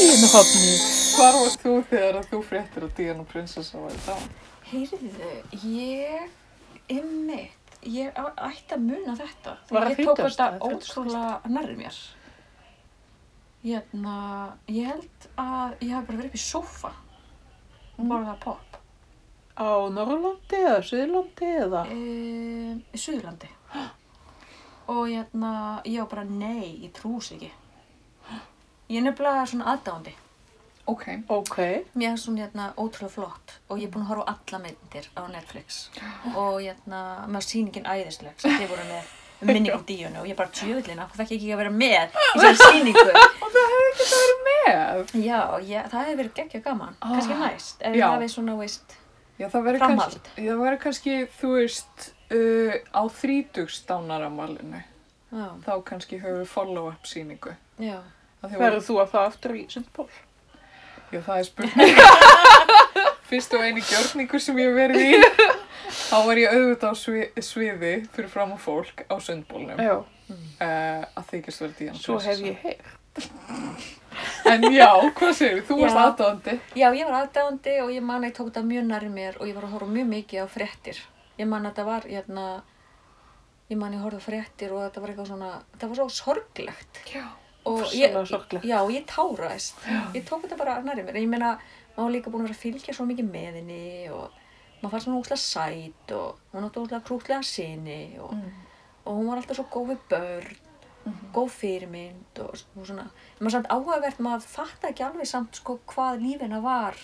Þínu hopni.
Hvar varst þú þegar að þú fréttir að Díana prinsessa var í dag?
Heyrðu, ég... Ymmit. Ég á- ætti að muna þetta.
Var það
ég tók
30.,
þetta
eða 31.?
ótrúlega nærri mér. Hérna, ég held að ég hafi bara verið upp í sófa. og Borðað popp.
Á Norrlandi eða Suðurlandi eða?
um, í Suðurlandi og hérna, ég var bara nei, ég trús ekki ég er nefnilega svona aðdáandi
Ok.
Ok.
mér er svona hérna, ótrúlega flott og ég er búin að horfa á alla myndir á Netflix og hérna, með sýningin æðisleg sem þið voru með um minningu díunu og ég bara tjöðlina, hvað fekk ég ekki að vera með í þessari sýningu
Með?
já, ég, það hefði verið geggja gaman kannski næst, ef
Já.
ég hafi svona, veist
Já, það verður
Framhald.
kannski, það verður kannski, þú veist, uh, á þrítugstánaramalinu,
já,
þá kannski höfum við follow-up síningu.
já,
Verður þú að það aftur í Sundból?
Já, það er spurning. Fyrst og eini gjörningu sem ég hef verið í, þá var ég auðvitað á svi, sviði fyrir fram á fólk á sundbólnum uh,
Já.
Mm.
að þykist verið díjan.
Svo hef ég heyrt.
En já, hvað segir þú?
Já.
varst aðdóðandi.
Já, ég var aðdáðandi og ég man að ég tók þetta mjög nærri mér og ég var að horfa mjög mikið á fréttir. Ég man að þetta var, hérna, ég man að ég horfa á fréttir og þetta var eitthvað svona, þetta var svo sorglegt.
Já.
Og ég,
Ofsalega sorglegt.
já, ég táraðist. Ég tók þetta bara nærri mér. Ég meina, maður var líka búin að vera að fylgja svo mikið með henni og maður fannst hún óslega
Mm.
sæt og hún átti óslega krútlega sinni og, og hún var alltaf svo góð við börn góð fyrirmynd og, og svona en maður samt áhugavert, maður fattar ekki alveg samt sko, hvað lífina var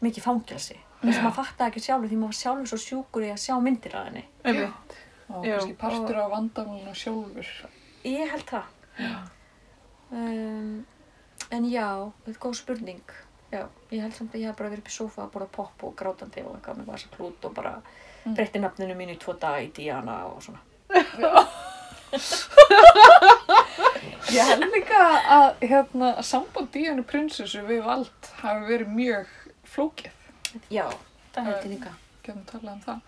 mikið fangelsi þess að maður fattar ekki sjálfur því maður var sjálfur svo sjúkur í að sjá myndir af henni
einmitt.
og
Já.
kannski partur af vandamálinu sjálfur.
ég held það um, en já, þetta er góð spurning já, ég held samt að ég hef bara verið upp í sófa að borða popp og grátandi og eitthvað með vasa klút og bara
Mm.
breytti nafninu mínu í tvo daga í Diana og svona
Ég held líka að hérna, samband Díanu prinsessu við vald hafi verið mjög flókið.
já, það held ég líka
Getum talað um það.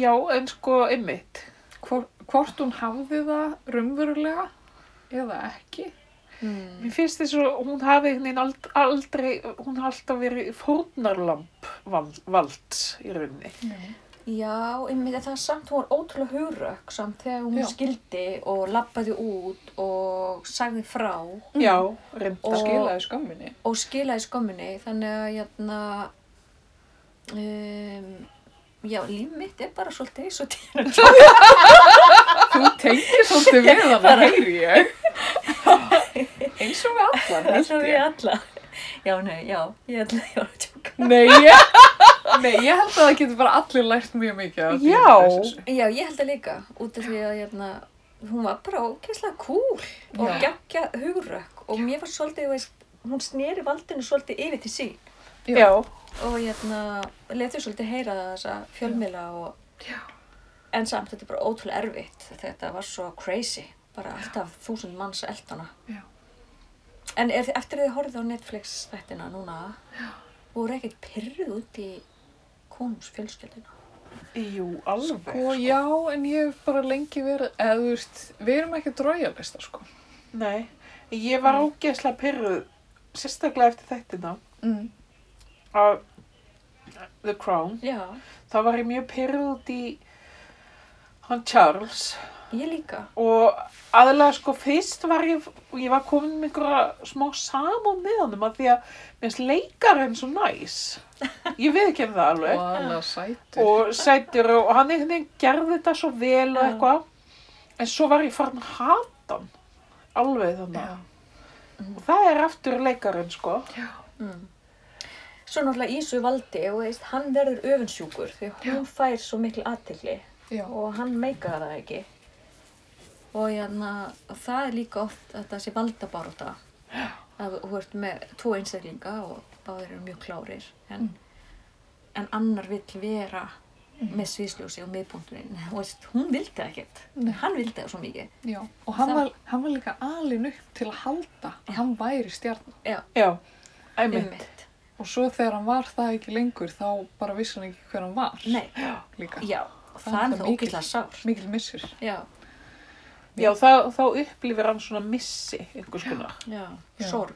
Já, en sko einmitt.
Hvor, hvort hún hafði það raunverulega eða ekki.
mm.
Mér finnst þess að hún hafi einhvern veginn ald- aldrei, hún hafi alltaf verið fórnarlamp val- valds í rauninni.
Já, einmitt, en það er samt, hún var ótrúlega hugrökk samt þegar hún
Já.
skildi og labbaði út og sagði frá og
Já, reyndar.
Það
Og-
skilaði skömminni.
skilaði skömminni, þannig að, hérna, jæna, um, já, líf mitt er bara svolítið eins og dýra.
Þú tengir svolítið við hana, heyri ég. Eins og við allan,
Það er
held
við
ég.
alla. Já, nei, já, ég ætla, ég var að tjóka.
Nei, ég, nei, ég held að það getur bara allir lært mjög mikið af
Já.
Díanu prinsessu.
Já, ég held það líka, út af því að, jæna, hún var bara ógeðslega cool og
Já.
geggja hugrökk og mér var svolítið, þú veist, hún sneri valdinu svolítið yfir til sín.
Já.
Já,
og hérna, letur svolítið heyra þessa fjölmiðla og en samt, þetta er bara ótrúlega erfitt þetta var svo crazy bara alltaf þúsund manns eldana
Já.
en er, eftir að þið horfið á Netflix þættina núna Já. voru ekkert pyrruð út í konungsfjölskeldina
jú, alveg.
Sko, já, en ég hef bara lengi verið, eða þú veist, við erum ekki drójalista, sko.
Nei, ég var ógeðslega pyrruð, sérstaklega eftir þættina,
Mm.
að The Crown.
Já,
Þá var ég mjög pyrruð út í hann Charles
ég líka
og aðalega sko fyrst var ég, ég var komin með einhverja smá samúð með honum að því að minnst leikarinn svo næs. Ég veit ekki um það alveg.
Og alveg sætur.
og sætur og og hann einhvern veginn gerði þetta svo vel og
Já.
eitthvað en svo var ég farin að hata hann alveg þannig
Já.
og það er aftur leikarinn sko
mm. Svo náttúrulega Ísu valdi og veist, hann verður öfunnsjúkur því hún fær svo mikil aðtilli
Já.
og hann meikaði það ekki og jæna, það er líka oft að það sé valdabaróta að þú- þú ert með tvo einstaklinga og báðir eru mjög klárir en, en annar vill vera með sviðsljósi og miðpunkturinn og veist, hún vildi það ekkert
Nei.
hann vildi það svo mikið
Já, og hann
Það-
var, hann var líka alin upp til að halda að hann væri stjarn
já, einmitt
Einmitt.
og svo þegar hann var það ekki lengur þá bara vissi hann ekki hver hann var
Nei,
líka.
já, og það
Það er
er það
mikil-
ógæslega sár
Mikil missur.
já,
já, þá, þá upplifir hann svona missi einhvers konar
já,
Já.
sorg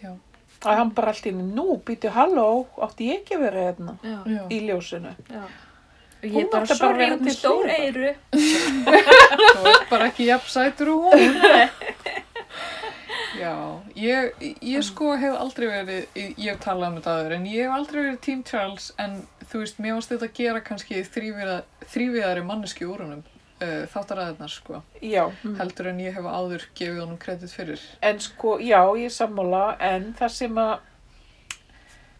Já.
að hann bara allt í einu, nú býtu halló átti ég ekki að vera hérna
já,
Já.
í ljósinu
já og
Hún
ég bara,
átti bara að
sorry,
vera
út með
til
stór
hliðar.
eyru
Það var bara ekki jafn sætur og hún. Já, ég, ég sko hef aldrei verið, ég hef talað um þetta aður, en ég hef aldrei verið Team Charles, en þú veist, mér varst þetta að gera kannski þrýviða- þrýviðari manneski úr honum, uh, þáttaræðarnar, sko,
já,
heldur en ég hef áður gefið honum kredit fyrir.
en sko, já, ég er sammála en það sem að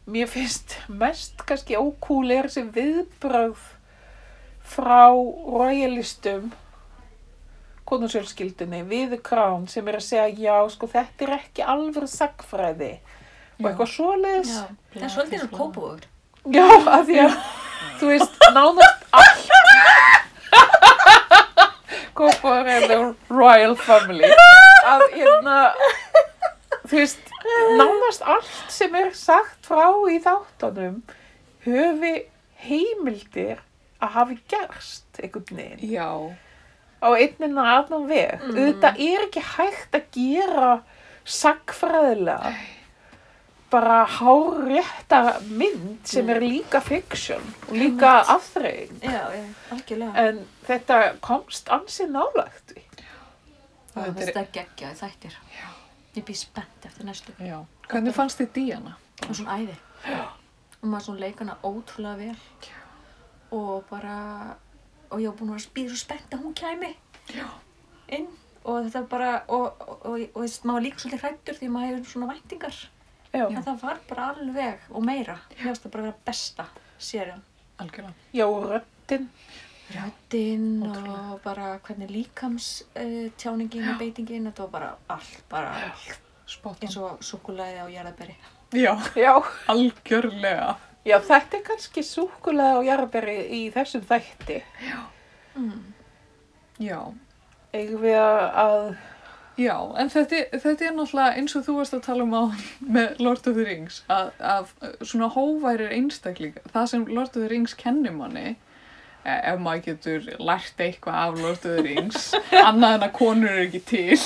mér finnst mest kannski ókúl er þessi viðbröð frá royalistum konungsjölskyldunni við krán sem er að segja já, sko, þetta er ekki alveg sagfræði og
Já.
eitthvað svoleiðis
Já, það er svolítið svona kópavogur.
já, af því að þú veist, nánast allt Kópaður er the royal family að hérna þú veist, nánast allt sem er sagt frá í þáttunum höfi heimildir að hafi gerst einhvern veginn
Já,
á einnina annan veg mm. auðvitað er ekki hægt að gera sagfræðilega bara hárétta mynd sem
Mm.
er líka fiction og líka afþreying
Já, já, algjörlega.
en þetta komst ansið nálægt við.
Það
þetta er-
finnst það geggja í þættir. Já. Ég býð spennt eftir næstu.
já. Hvernig fannst þið Díana?
Það er svona æði. Já. Og maður svona leik hana ótrúlega vel. Já. Og bara, og ég var búin að vera spýð svo spennt að hún kæmi. Já. Inn og þetta bara, og, og, og, og þess, maður var líka svolítið hrættur því maður hefur svona væntingar
Já.
en það var bara alveg og meira mér finnst það bara að vera besta sérjum
algjörlega.
Já, og röddinn.
röddinn
Ótrúlega.
og bara hvernig líkams uh, tjáningin og beitingin þetta var bara allt, bara allt
Spottan.
eins og súkulæði á jarðaberi
Já,
Já.
algjörlega.
Já, þetta er kannski súkulega og jarðberi í þessum þætti.
mm.
Já.
Eigum við að- að,
Já, en þetta, þetta er náttúrulega eins og þú varst að tala um á með Lord of the Rings að, að svona hóværir einstaklingar, það sem Lord of the Rings kennir manni eh, ef maður getur lært eitthvað af Lord of the Rings annað en að konur eru ekki til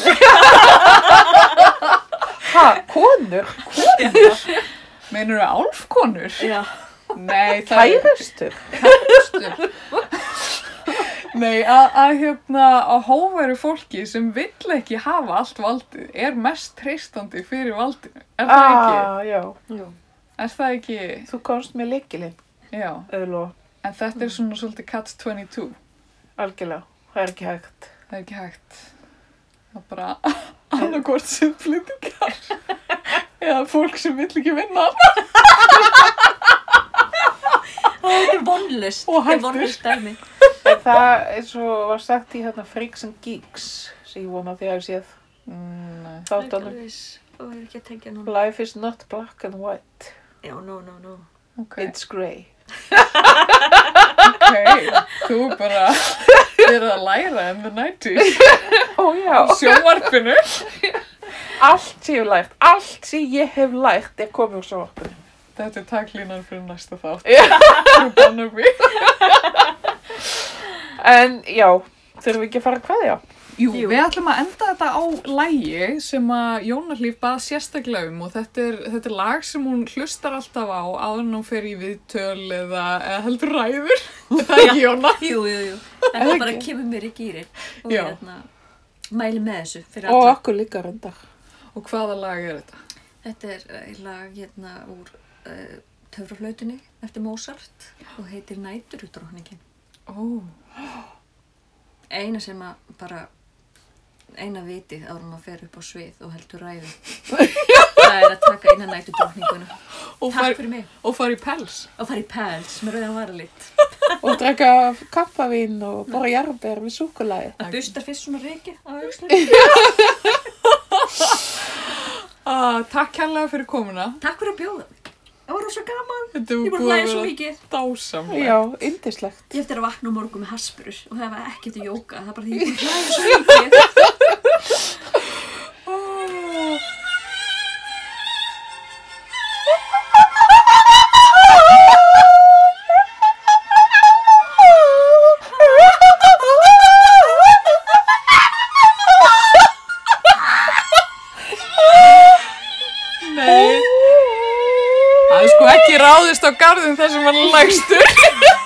ha, konur,
meinur það álfkonur?
já,
Nei, það er
kærustur.
stum Nei, að, að hérna að hóværu fólki sem vill ekki hafa allt valdið er mest treystandi fyrir valdinu er það ekki?
Ah, já,
jú
Er það ekki?
þú komst með leikilinn,
Já
öðló,
En þetta er svona svolítið catch 22.
algjörlega. Það er ekki hægt.
Það er ekki hægt. Það er bara annarkort sem flyttingar. Eða fólk sem vill ekki vinna.
þetta er vonlust
Og
þetta er
hættur.
vonlust dæmi
En það, eins og var sagt í hérna Freaks and Geeks, sem ég vona því að ég séð
Mm,
þáttanum.
og er ekki að tengja núna
Life is not black and white,
já, no, no, no
ok,
it's grey.
ok. Þú er bara verið að læra in the 90s.
Ó já.
í Sjónvarpinu.
Allt sem ég hef lært, allt sem ég hef lært er komið úr sjónvarpinu.
Þetta er taglínan fyrir næsta þátt.
Já.
Frú Barnaby.
En já, þurfum við ekki að fara að kveðja?
Jú,
Jú.
við ætlum að enda þetta á lægi sem að Jónarlíf bað sérstaklega um og þetta er, þetta er lag sem hún hlustar alltaf á áður en hún fer í viðtöl eða, eða heldur ræður. það er ekki Jónar.
jú, jú, jú
Er
þetta bara
ekki?
kemur mér í gýrin og
Já.
hérna mæli með þessu fyrir
Og
alla
okkur líka reyndar.
Og hvaða lag er þetta?
Þetta er eh, lag hérna úr uh, töfraflautunni eftir Mozart og heitir Næturudrókningin.
Ó,
Eina sem að bara, eina vitið árum að fer upp á svið og heldur ræðu. Það er að taka eina næturdrókninguna.
og
Takk
fari,
fyrir mig.
og fari í pels.
Og fara í pæls með rauðan varalitt.
Og drekka kappavín og borra jarðber við súkulæði.
Það bustar fyrst svona reiki á augsnum.
Uh, takk kærlega fyrir komuna.
Takk fyrir að bjóða mig. Það var rosa gaman.
Þetta
Ég
er
er búin að hlæja svo mikið.
dásamlega.
Já, yndislegt.
Ég eftir að vakna á morgun með haspurur og það var ekkert að jóka. Það er bara því ég er búin að hlæja svo mikið.
Nei. Það er sko ekki ráðist á garðum þar sem var lagstur.